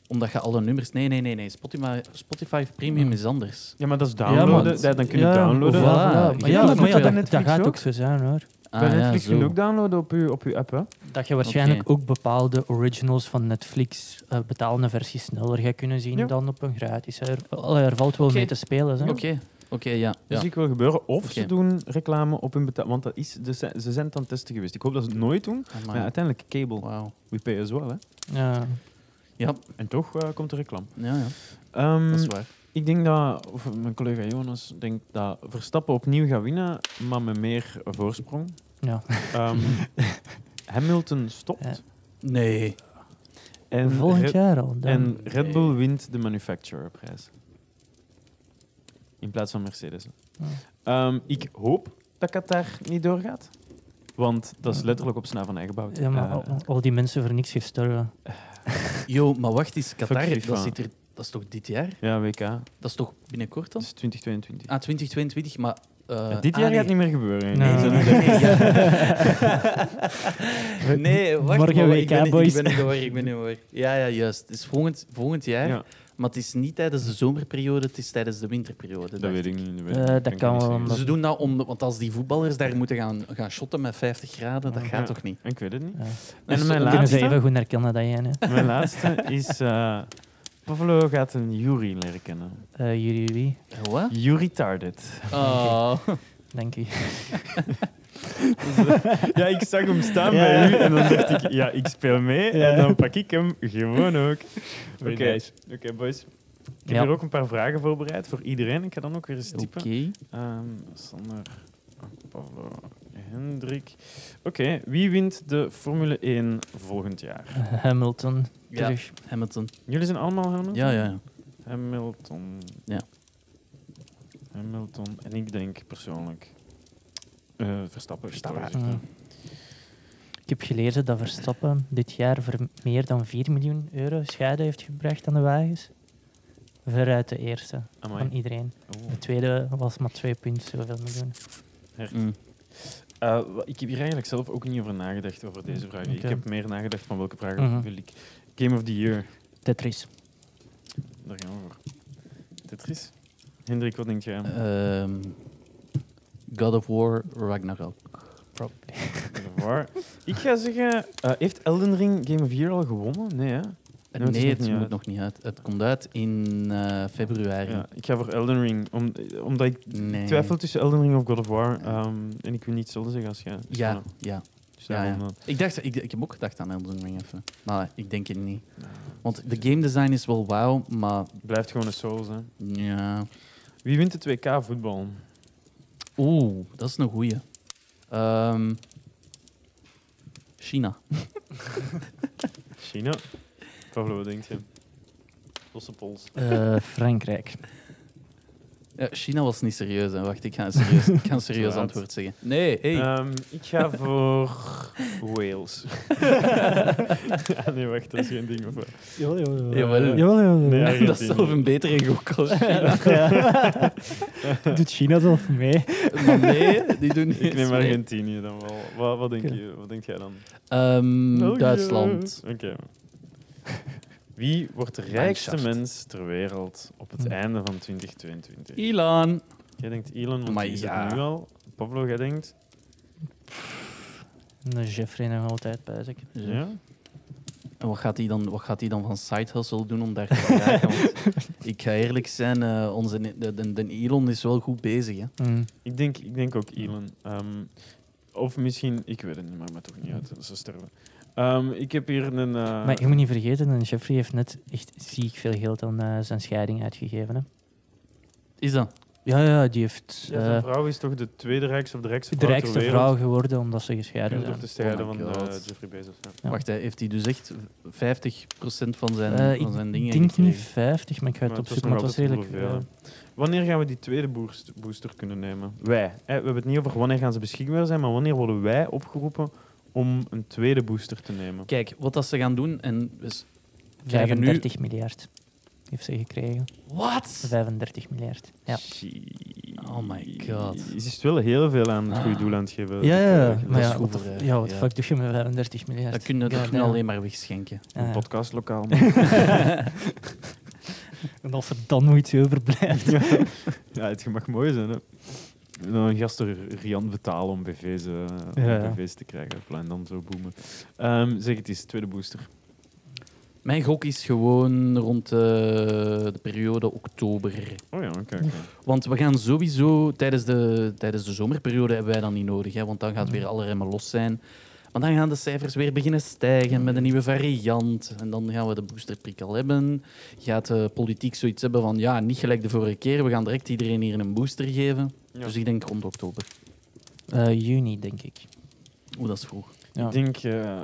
Omdat je alle nummers... Nee, nee, nee. nee. Spotify, Spotify Ah. Premium is anders. ja, maar dat is downloaden. want- Ja, dan kun je downloaden. of Ja, voilà. voilà. Maar Je ja, doet dat maar ja, bij dat, dat Netflix gaat ook. ook zo zijn hoor. Bij Netflix Ah, zo. kun je ook downloaden op je, op je app. Hè? Dat je waarschijnlijk Oké. ook bepaalde originals van Netflix eh, betalende versies sneller gaat kunnen zien Ja. dan op een gratis. Er, allee, er valt wel Oké. mee te spelen. Hè? Oké. Oké, ja. ja. zie Dus ik wel gebeuren. Of ze Oké. doen reclame op hun betaal. Want dat is, dus ze ze zijn het aan het testen geweest. Ik hoop dat ze het nooit doen. Maar Amai. ja, uiteindelijk, cable, Wauw. we pay as well. Hè? Ja. Ja, En toch eh, komt er reclame. ja, ja. Ehm, Dat is waar. ik denk dat, of mijn collega Jonas denkt dat Verstappen opnieuw gaat winnen, maar met meer voorsprong. ja. Ehm, Hamilton stopt. Ja. Nee. En Volgend Red- jaar al. Dan. eh, En Red Nee. Bull wint de manufacturerprijs. In plaats van Mercedes. Ja. Ehm, ik hoop dat Qatar niet doorgaat. Want dat is letterlijk op snaar van eigen Eh, gebouw. ja, maar al, al die mensen voor niks gestorven. Jo, maar wacht eens. Qatar, FIFA. dat, zit er, dat is toch dit jaar? ja, WK. Dat Dat is toch binnenkort dan? is 2022. Ah, 2022, maar... eh, Dit ah, jaar nee. gaat het niet meer gebeuren. Nee, Nee, We zijn nee, er- nee, ja. nee, wacht. Morgen maar, WK, ik ben, boys. Ik ben in de war, ik ben in de war. Ja, ja, juist. Het is volgend, volgend jaar, Ja. maar het is niet tijdens de zomerperiode, het is tijdens de winterperiode. Dat dacht weet ik ik. niet. Eh, dat kan wel, wel. omdat- Ze doen dat om, want als die voetballers daar moeten gaan, gaan shotten met 50 graden, dat Oh, Ja. gaat toch niet? Ik weet het niet. Ja. En mijn Dan kunnen ze laatste? even goed naar Canada heen. hè. Mijn laatste is... eh Pavlo gaat een Yuri leren kennen. Eh, Jullie wie? Wat? Yuri Tardit. Oh. Dank u. Ja, ik zag hem staan Ja. bij u en dan dacht ik, ja, ik speel mee Ja. en dan pak ik hem gewoon ook. Oké, oké boys. Ik heb Ja. hier ook een paar vragen voorbereid voor iedereen. Ik ga dan ook weer eens typen. Oké. Ehm, Sander, Pablo, Hendrik. Oké, wie wint de Formule 1 volgend jaar? Hamilton. Ja, Terug. Hamilton. Jullie zijn allemaal Hamilton? Ja, ja, ja. Hamilton. Ja. Hamilton. En ik denk persoonlijk... eh, Verstappen. Verstappen. Mm. Ja. Ik heb gelezen dat Verstappen dit jaar voor meer dan 4 miljoen euro schade heeft gebracht aan de wagens. Veruit de eerste Amai. van iedereen. Oeh. De tweede was maar 2 punt zoveel miljoen. Mm. Eh, wa- ik heb hier eigenlijk zelf ook niet over nagedacht over deze vraag. Ik Oké. heb meer nagedacht van welke vragen Mhm. wil ik. Game of the Year, Tetris. daar gaan we voor. Tetris. Hendrik, wat denk jij? Ehm, God of War, Ragnarok. Probably. Waar? Ik ga zeggen, eh, heeft Elden Ring Game of the Year al gewonnen? Nee, hè? Eh, Nee, het is Nee, nog het niet moet uit. nog niet uit. Het komt uit in eh, februari. Ja, ik ga voor Elden Ring, om, eh, omdat ik Nee. twijfel tussen Elden Ring of God of War. ehm, en ik wil niet hetzelfde zeggen als jij. Dus Ja, voilà. ja. Dus ja, ja. daarom, Ik, dacht, ik, ik heb ook gedacht aan Elden Ring even. Maar ik denk het niet. Want de game design is wel wauw, maar eh, blijft gewoon een Souls, hè. ja. Wie wint de 2K voetbal? Oeh, dat is een goeie. Ehm, China. China. Pablo, wat denk je? Losse pols. Eh, Frankrijk. Ja, China was niet serieus. Hè. Wacht, ik ga een serieus, ik ga een serieus Laat. antwoord zeggen. Nee, hey. Ehm, ik ga voor Wales. ah, nee, wacht, dat is geen ding. Of wat? Jawel, jawel. Jawel. Nee, Argentinië. Oh, dat is toch een betere gok als China. Doet China zelf mee? maar nee, die doen niet Ik neem eens mee. Argentinië dan wel. Wat, wat, denk, je, wat denk jij dan? Mm, Ehm, België. Duitsland. Oké. Wie wordt de rijkste Mannschaft. mens ter wereld op het Hm. einde van 2022? Elon. Jij denkt Elon, want Maar die is het ja. nu al. Pablo, jij denkt? Nee, Jeffrey nog altijd buiten. Ja? En wat gaat hij dan, wat gaat hij dan van side hustle doen om daar te geraken? Want ik ga eerlijk zijn, eh, onze, de, de, de Elon is wel goed bezig. Hè? Mm. Ik denk, ik denk ook Elon. Ehm, of misschien, ik weet het niet, maakt me toch niet uit. Ze sterven. Ehm, ik heb hier een. eh, Maar je moet niet vergeten, dat Jeffrey heeft net echt ziek veel geld aan eh, zijn scheiding uitgegeven. Hè? Is dat? Ja, ja, die heeft ja, eh, zijn vrouw is toch de tweede rijkste of de rijkste de vrouw rijkste ter wereld? vrouw geworden omdat ze gescheiden Puur zijn. door te strijden Oh my van eh, God. Jeffrey Bezos. ja. Ja. Wacht, hè, heeft hij dus echt 50% van zijn, Eh, van zijn ik dingen denk niet gekregen? 50, maar ik ga Maar het het was opzoeken, maar het nog was redelijk... altijd Wanneer gaan we die tweede boost- booster kunnen nemen? Wij. Hè, we hebben het niet over wanneer gaan ze beschikbaar zijn, maar wanneer worden wij opgeroepen om een tweede booster te nemen? Kijk, wat dat ze gaan doen en... Dus, eh, Krijgen nu- 35 miljard heeft ze gekregen. Wat? 35 miljard, ja. Shit. Oh my god. Ze is wel heel veel aan het goede doel aan het geven. Ah. Ja, ja, Dat maar is ja, goed wat, voor, de- eh, ja, wat de ja. fuck doe je met 35 miljard? Dat kunnen we God toch niet damn. alleen maar wegschenken. Een Ah, podcastlokaal. En als er dan nog iets overblijft. ja. ja, het mag mooi zijn. Hè. En Dan een gast er Rian betalen om BV's, eh, om Ja, ja. BV's te krijgen. En dan zo boemen. Ehm, zeg het eens, tweede booster. Mijn gok is gewoon rond eh, de periode oktober. Oh ja, oké. oké. Want we gaan sowieso tijdens de, tijdens de zomerperiode hebben wij dat niet nodig. Hè, want dan gaat Mm. weer alle remmen los zijn. Maar dan gaan de cijfers weer beginnen stijgen met een Mm. nieuwe variant. En dan gaan we de boosterprik al hebben. Gaat de politiek zoiets hebben van ja, niet gelijk de vorige keer. We gaan direct iedereen hier een booster geven. Ja. Dus ik denk rond oktober. Eh, juni, denk ik. Oeh, dat is vroeg. Ja. Ik denk... eh,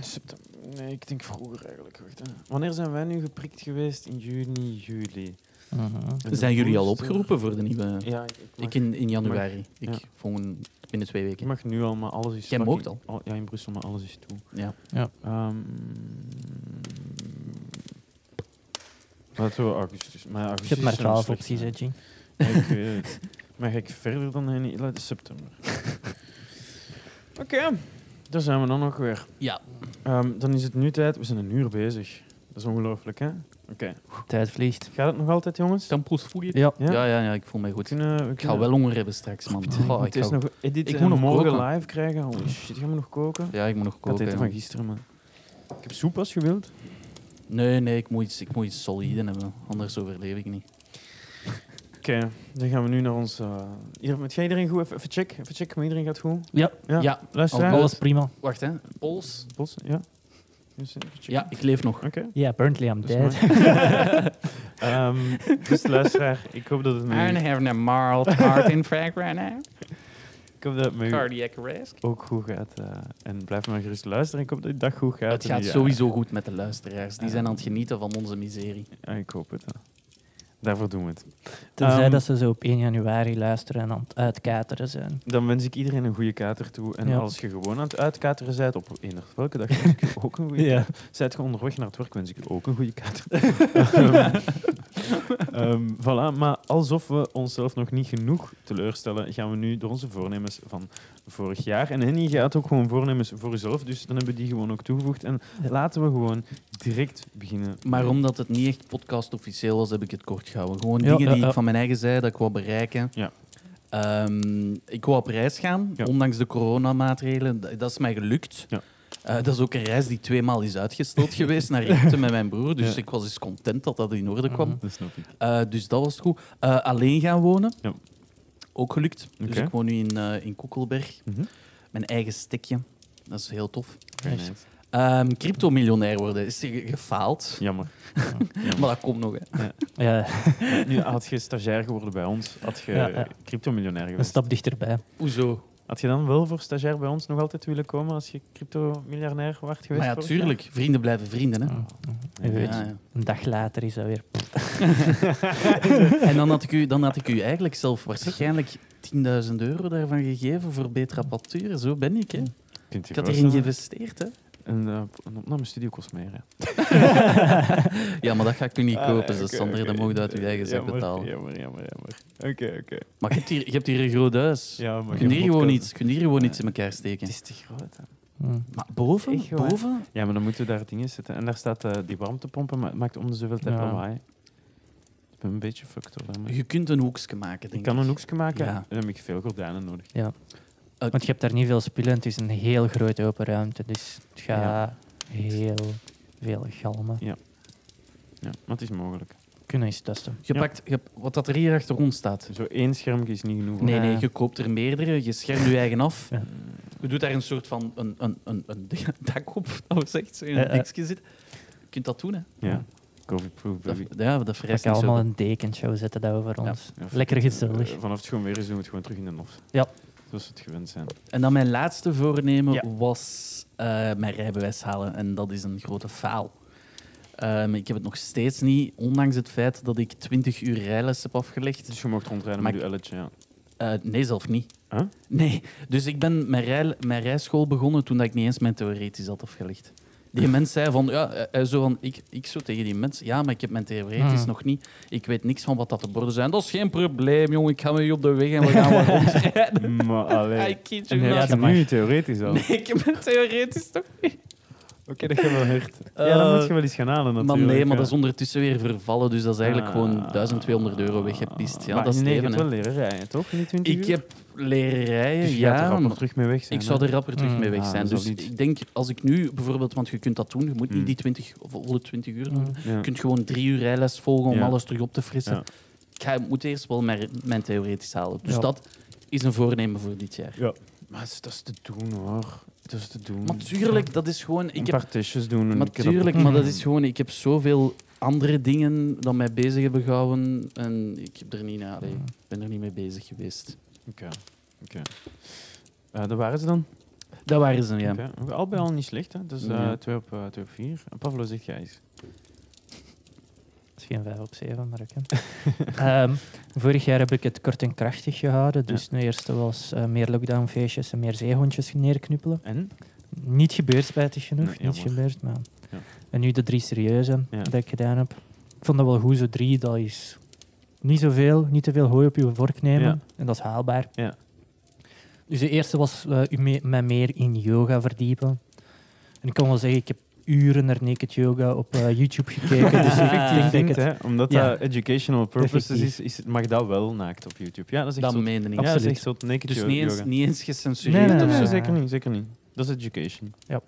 september. Nee, ik denk vroeger eigenlijk. Wacht, hè. Wanneer zijn wij nu geprikt geweest? In juni, juli. Mhm. En de Zijn jullie al booster- opgeroepen voor de nieuwe? Ja, ik, ik mag, Ik in, in januari. Ik Ja. volgende, binnen twee ik weken. mag nu al, maar alles is... Jij fucking- moogt al. Ja, in Brussel, maar alles is toe. Ja. Ehm laten we augustus. Maar augustus Ik heb maar zou nog 12 slecht opties, hè, zijn. Jing. Ik weet het. Maar ga ik verder dan hen? niet? Laat- September. Oké, daar zijn we dan nog weer. Ja. Ehm, dan is het nu tijd. We zijn een uur bezig. Dat is ongelooflijk, hè? Oké. Tijd vliegt. Gaat het nog altijd, jongens? Stampels voel je? Ja. Ja, ja, ja, ik voel mij We goed. kunnen, we Ik ga kunnen- wel honger hebben straks, man. Oh, ik het is ga- nog edit Ik ik moet nog moet morgen koken. live krijgen. Holy shit, gaan we nog koken? Ja, ik moet nog Ik had koken. eten ja. van gisteren, man. Ik heb soep als je wilt. Nee, nee, ik moet iets, ik moet iets solide hebben. Anders overleef ik niet. Oké, dan gaan we nu naar ons... eh, ieder, het gaat iedereen goed? Even, even check. Even check, maar iedereen gaat goed? Ja. Ja. Ja. Luisteraar? Al- Alles prima. Wacht, hè. Pols? Bos, ja? Dus even checken. Ja, ik leef nog. Oké. Ja, apparently I'm Dat is dead. mooi. Ehm, dus luisteraar, ik hoop dat het met u, have a mild heart infarct right now. ik hoop dat het met u Cardiac arrest. ook goed gaat. eh, en blijf maar gerust luisteren. Ik hoop dat je dag goed gaat. Het en gaat ja, sowieso goed met de luisteraars. Die Ja. zijn aan het genieten van onze miserie. ja, ik hoop het. hè. Daarvoor doen we het. Tenzij Ehm, dat ze zo op 1 januari luisteren en aan het uitkateren zijn. Dan wens ik iedereen een goede kater toe. En Ja. als je gewoon aan het uitkateren bent, op eender welke dag wens ik je ook een goede Ja. Zijt je onderweg naar het werk, wens ik u ook een goede kaart. Ehm, ehm, voilà, maar alsof we onszelf nog niet genoeg teleurstellen, gaan we nu door onze voornemens van vorig jaar. En Henny gaat ook gewoon voornemens voor uzelf, dus dan hebben we die gewoon ook toegevoegd. En Ja. laten we gewoon direct beginnen. Maar omdat het niet echt podcast officieel was, heb ik het kort gehouden. Gewoon Ja, dingen ja, die ja. ik van mijn eigen zij dat ik wou bereiken. Ja. Ehm, ik wou op reis gaan, Ja. ondanks de coronamaatregelen. Dat, dat is mij gelukt. Ja. Eh, dat is ook een reis die tweemaal is uitgesteld geweest naar Egypte met mijn broer. Dus Ja. ik was eens content dat dat in orde kwam. Mhm. Dat snap ik. Eh, dus dat was goed. Eh, alleen gaan wonen. Ja. Ook gelukt. Dus Oké. ik woon nu in, eh, in Koekelberg. Mhm. Mijn eigen stekje. Dat is heel tof. Very Dus, nice. Ehm crypto-miljonair worden is ge- gefaald. Jammer. Maar dat komt nog. Hè. Ja, Nu had je stagiair geworden bij ons, had je Ja, ja. crypto-miljonair een geweest. stap dichterbij. Hoezo? Had je dan wel voor stagiair bij ons nog altijd willen komen als je crypto-miljardair werd geweest? Maar ja, vorig jaar? tuurlijk. Vrienden blijven vrienden. Hè? Mhm. Je weet, Ja, ja. een dag later is dat weer. En dan had, ik u, dan had ik u eigenlijk zelf waarschijnlijk 10.000 euro daarvan gegeven voor betere apparatuur. Zo ben ik. Hè? Kunt je Ik had erin voorstellen? geïnvesteerd. Hè? Een, eh, een opnamestudio kost meer. Hè. ja, maar dat ga ik u niet Ah, kopen. nee, dus oké, Sander, oké. dat mogen uit uw eigen zak Jammer, betalen. Jammer, jammer, jammer. Oké, oké. Maar je hebt, hier, je hebt hier een groot huis. Ja, maar Je kunt hier gewoon podcast- iets, je kunt hier gewoon iets in elkaar steken. Het is te groot. hè. Mhm. Maar boven? Echt waar. Boven? Ja, maar dan moeten we daar dingen zetten. En daar staat eh, die warmtepompen, maar het maakt om de zoveel tijd Ja. lawaai. Ik ben een beetje fucked hoor. maar- Je kunt een hoekje maken, Ik denk ik. kan een hoekje maken, Ja. en dan heb ik veel gordijnen nodig. Eh, Want je hebt daar niet veel spullen en het is een heel grote open ruimte. Dus het gaat Ja. heel veel galmen. Ja, maar het is mogelijk. Kunnen eens testen. je Ja. pakt, je, wat dat er hier achter ons staat. Zo één schermpje is niet genoeg. hoor. Nee, nee, Ja. je koopt er meerdere, je schermt je eigen af. Ja. Je doet daar een soort van een, een, een, een dak op, dat was echt zo in Ja, een ja. dikje zit. Je kunt dat doen, hè. Ja, covid-proof Dat, baby. ja, dat Ik vereist ga niet allemaal zo. een dekentje zetten daar over Ja. ons. Ja, Lekker gezellig. eh, vanaf het schoon weer is, doen we het gewoon terug in de nof. Ja. Zoals we het gewend zijn. En dan mijn laatste voornemen Ja. was eh, mijn rijbewijs halen. En dat is een grote faal. Ehm, ik heb het nog steeds niet, ondanks het feit dat ik 20 uur rijles heb afgelegd. Dus je mag rondrijden Maar met je elletje, ja. Eh, nee, zelf niet. Huh? Nee, dus ik ben mijn, rij, mijn rijschool begonnen toen dat ik niet eens mijn theoretisch had afgelegd. Die mens zei van, ja, eh, eh, zo van, ik, ik zo tegen die mens, ja, maar ik heb mijn theoretisch Hmm. nog niet. Ik weet niks van wat dat de borden zijn. Dat is geen probleem, jongen. Ik ga mee op de weg en we gaan wel rondrijden. Maar I alleen. kid En you heb not. je nu theoretisch al. Nee, ik heb mijn theoretisch toch niet. dat gaat wel hard. ja, dan moet je wel iets gaan halen Eh, Maar natuurlijk. nee, maar dat is ja. ondertussen weer vervallen, dus dat is eigenlijk gewoon Ah. 1200 euro weggepist. Ja, maar dat is het nee, je leven, hebt hè. wel leren rijden, toch? In die 20 Ik uur? heb leren rijden, Dus je gaat er ja. rap nog maar terug mee weg zijn. Ik zou hè? er rapper terug Mm. mee weg Ah, zijn. dat is Dus wel iets. ik denk, als ik nu bijvoorbeeld, want je kunt dat doen, je moet Mm. niet die 20, of volle 20 uur doen. Mm. Ja. Je kunt gewoon drie uur rijles volgen om Ja. alles terug op te frissen. Ja. Ik ga, moet eerst wel mijn, mijn theoretisch halen. Dus Ja. dat is een voornemen voor dit jaar. Maar het is- dat is te doen, hoor. Dat is te doen. Natuurlijk, dat is gewoon... Een Ik heb paar testjes doen. en ik heb dat Natuurlijk, maar dat boek- is gewoon. Ik heb zoveel andere dingen dan mij bezig hebben gehouden. En ik heb er niet naar. allee, Ik ben er niet mee bezig geweest. Oké. oké. Eh, dat waren ze dan? Dat waren ze, ja. Oké. Al bij al niet slecht, hè? Dus eh Ja. twee op eh, twee op vier. En Pavlo zegt jij eens. is geen 5 op 7, maar oké. Ehm, vorig jaar heb ik het kort en krachtig gehouden. Dus de eerste was eh, meer lockdownfeestjes en meer zeehondjes neerknuppelen. En? Niet gebeurd, spijtig genoeg. Nee, niet jammer. gebeurd, maar... Ja. En nu de drie serieuze Ja. dat ik gedaan heb. Ik vond dat wel goed, zo drie. Dat is niet zoveel, niet te veel hooi op je vork nemen. Ja. En dat is haalbaar. Ja. Dus de eerste was eh, u me- mij meer in yoga verdiepen. En ik kan wel zeggen, ik heb uren naar Naked Yoga op eh, YouTube gekeken. dus ik denk Effectief, dat ik het... hè? Omdat Ja. dat educational purposes is, Effectief. is, mag dat wel naakt op YouTube. Ja, dat is echt Dat zo. meende Ja, niet. dat is Absoluut. echt zo naked Dus yo- niet eens, yoga. niet eens Nee, gecensureerd nee, nee, of nee, zo. Ja. zeker niet, zeker niet. Dat is education. Ja.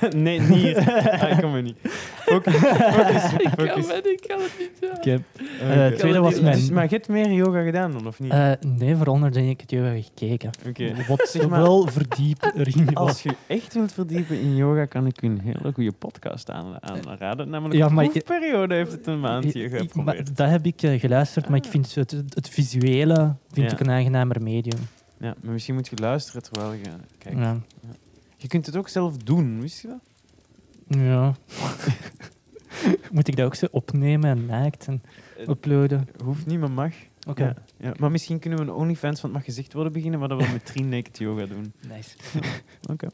nee, niet hier. Ah, kom maar niet. Focus, focus, focus. ik kan het niet. Ik heb, Eh, Eh, oké. tweede was Dus- mijn- dus- maar je hebt meer yoga gedaan dan, of niet? eh, nee, vooral naar de Naked Yoga gekeken. Oké. Wat Zeg maar- wel verdiept erin was. Als je echt wilt verdiepen in yoga, kan ik u een hele goede podcast aan, aanraden. Namelijk Ja, maar de ik- proefperiode heeft het een maandje Ik- ik- geprobeerd. maar dat heb ik eh, geluisterd, maar ik vind het, het, het visuele vind Ja. ik een aangenamer medium. Ja, maar misschien moet je luisteren terwijl je kijkt. Ja. Je kunt het ook zelf doen, wist je dat? ja. Moet ik dat ook zo opnemen en naakt en Eh, uploaden? Hoeft niet, maar mag. Oké, Ja, ja. Maar misschien kunnen we een OnlyFans van het mag gezicht worden beginnen, maar dat we met drie naked yoga doen. nice. Oké.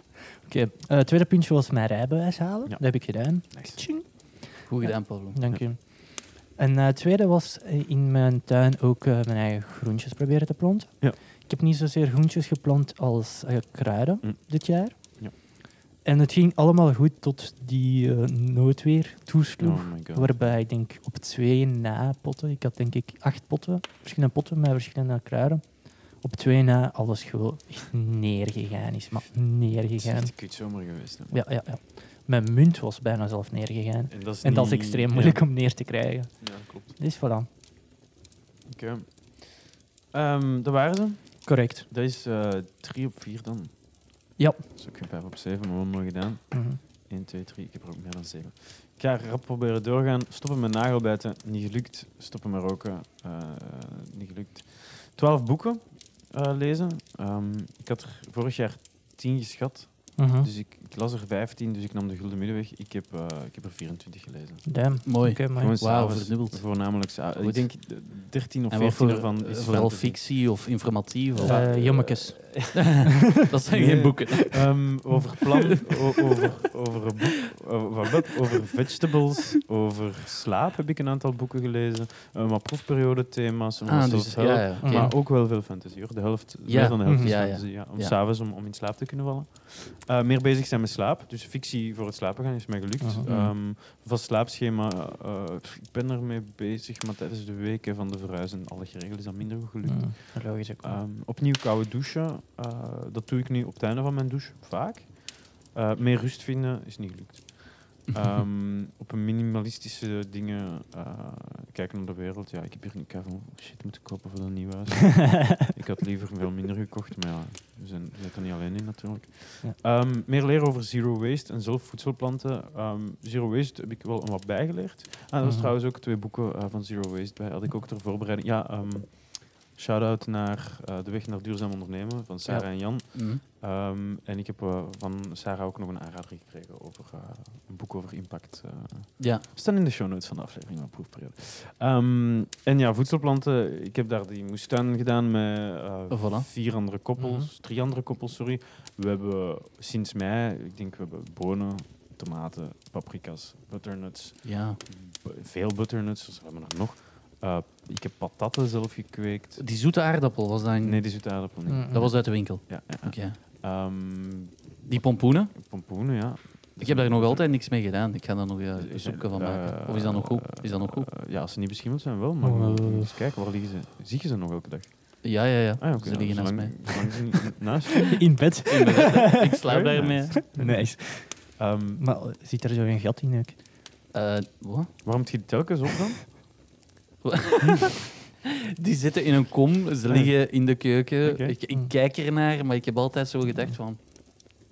Oké, eh, het tweede puntje was mijn rijbewijs halen. Ja. Dat heb ik gedaan. Tjing. Goed gedaan, Pablo. Dank u. En eh, het tweede was eh, in mijn tuin ook eh, mijn eigen groentjes proberen te planten. Ja. Ik heb niet zozeer groentjes geplant als eh, kruiden Mm. dit jaar. Ja. En het ging allemaal goed tot die eh, noodweer toesloeg. Oh my god. Waarbij ik denk op twee na potten, ik had denk ik acht potten, verschillende potten met verschillende kruiden. Op twee na alles gewoon echt neergegaan is, maar Het is neergegaan. echt een kut zomer geweest. hè. Ja, ja, ja. Mijn munt was bijna zelf neergegaan. En dat is, En dat is niet- extreem ja. moeilijk om neer te krijgen. Ja, klopt. Dus voilà, Oké. Ehm, dat waren ze. correct. Dat is eh, drie op vier dan. Ja. Dat is ook geen vijf op zeven, maar wel mooi gedaan. Mhm. 1, 2, 3. Ik heb er ook meer dan 7. Ik ga rap proberen doorgaan. Stoppen met nagelbijten. Niet gelukt. Stoppen met roken. eh, niet gelukt. 12 boeken eh, lezen. Ehm, ik had er vorig jaar 10 geschat. Dus ik, ik las er 15, dus ik nam de gulden middenweg. Ik heb, eh, ik heb er 24 gelezen. Damn. Mooi. Oké, maar Gewoon Wauw, s'avonds, verdubbeld. Voornamelijk s'avonds. Ik Goed. denk eh, 13 of En wat 14 voor, ervan eh, is vooral fantasy. fictie of informatief? Of, Eh, jommetjes. dat zijn Nee. geen boeken. Ehm, over plan, o- over, over, een boek- over, wat dat- over vegetables, over slaap heb ik een aantal boeken gelezen. Eh maar proefperiode-thema's, en Ah, alles dus, zelfs ja, help. ja, oké. Maar ook wel veel fantasy hoor. De helft, Ja. meer dan de helft Mhm. is Ja, ja. fantasy. Ja. Om Ja. s'avonds om, om in slaap te kunnen vallen. Eh, meer bezig zijn met slaap. Dus fictie voor het slapen gaan is mij gelukt. Mhm. Aha. Ehm, vast slaapschema. eh, pff, ik ben ermee bezig, maar tijdens de weken van de verhuizen en alle geregeld is dat minder goed gelukt. Mm, Logisch ook. wel. Ehm, opnieuw koude douchen. eh, dat doe ik nu op het einde van mijn douche, vaak. Eh, meer rust vinden is niet gelukt. Ehm, op een minimalistische dingen eh, kijken naar de wereld. Ja, ik heb hier een keer van shit moeten kopen voor dat nieuw huis. ik had liever veel minder gekocht, maar ja, we zijn, we zitten er niet alleen in natuurlijk. Ja. Ehm, meer leren over zero waste en zelf voedsel planten. Ehm, zero waste heb ik wel een wat bijgeleerd. Ah, er was Mhm. trouwens ook twee boeken eh, van zero waste bij. Had ik ook ter voorbereiding. Ja, ehm, shout-out naar eh, De Weg naar Duurzaam Ondernemen van Sarah Ja. en Jan. Mhm. Ehm, en ik heb eh, van Sarah ook nog een aanrader gekregen over eh, een boek over impact. eh, Ja, we staan in de show notes van de aflevering van proefperiode. Ehm, en ja, voedselplanten. Ik heb daar die moestuin gedaan met eh, Oh, voilà. Mhm. vier andere koppels, drie andere koppels, sorry. We hebben sinds mei, ik denk we hebben bonen, tomaten, paprika's, butternuts, ja, bu- veel butternuts, dus we hebben er nog. Eh, ik heb patatten zelf gekweekt. die zoete aardappel was dat. een- Nee, die zoete aardappel niet. Mm, mm. Dat was uit de winkel. Ja, ja. ja. Oké. Ehm, Die pompoenen? pompoenen, ja. Ik heb daar nog altijd niks mee gedaan. Ik ga daar nog eh, een zoeken van maken. Eh, Of is dat nog goed? Is dat nog goed? eh, ja, als ze niet beschimmeld zijn, wel. Maar Oh. ik moet eens kijken, waar liggen ze? Zie je ze nog elke dag? Ja, ja, ja. Ah, ja, oké, Ze liggen naast nou, mij. zolang- zolang ze niet- naast je? In bed. Ik ben- Ik slaap Very daarmee. Nice. Ehm, Maar eh, zit er zo een gat in ook? Eh wat? waarom heb je die telkens op dan? Die zitten in een kom, ze liggen in de keuken. Ah, Oké. Ik, ik kijk ernaar, maar ik heb altijd zo gedacht van...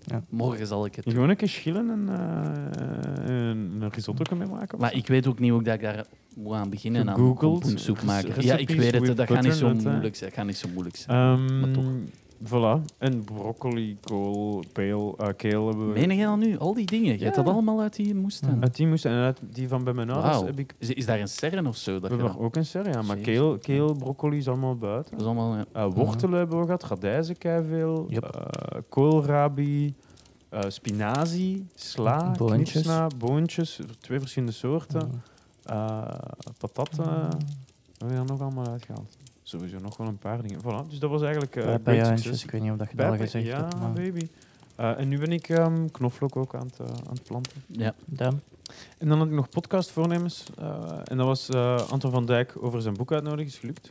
Ja. Morgen zal ik het Je doen. gewoon een keer schillen en eh, een een risotto kan mee maken? of Maar zo? ik weet ook niet hoe ik dat daar moet aan beginnen. Aan Gegoogeld, een soep maken. recipes Ja, ik weet het. with eh? Dat gaat niet zo butternut, hè? moeilijk zijn. Dat gaat niet zo moeilijk zijn. Ehm, maar toch. Voilà. En broccoli, kool, peel, eh, keel hebben we. Meen je dan nu? Al die dingen. Je hebt dat allemaal uit die moestuin. Uit die moest en uit die van bij mijn ouders Wauw. heb ik Is, is daar een serre of zo? we Dat, je hebben dan- nog ook een serie. Ja, maar Zeker. keel, keel, broccoli is allemaal buiten. dat is allemaal... eh, Ah. Eh, wortelen hebben we gehad, radijzen keiveel, Yep. eh, koolrabi, eh, spinazie, sla, Boontjes. knipsna, boontjes, twee verschillende soorten, eh, patatten. Wat hebben we daar nog allemaal uitgehaald? Sowieso nog wel een paar dingen. Voilà, dus dat was eigenlijk eh Pepper, great ja, success. ik weet niet of dat je dat al Pepper, gezegd ja, hebt. maar baby. Eh, en nu ben ik ehm, knoflook ook aan het, eh, aan het planten. ja. dan. En dan had ik nog podcastvoornemens. eh, en dat was eh, Anton van Dijk over zijn boek uitnodigen, is gelukt.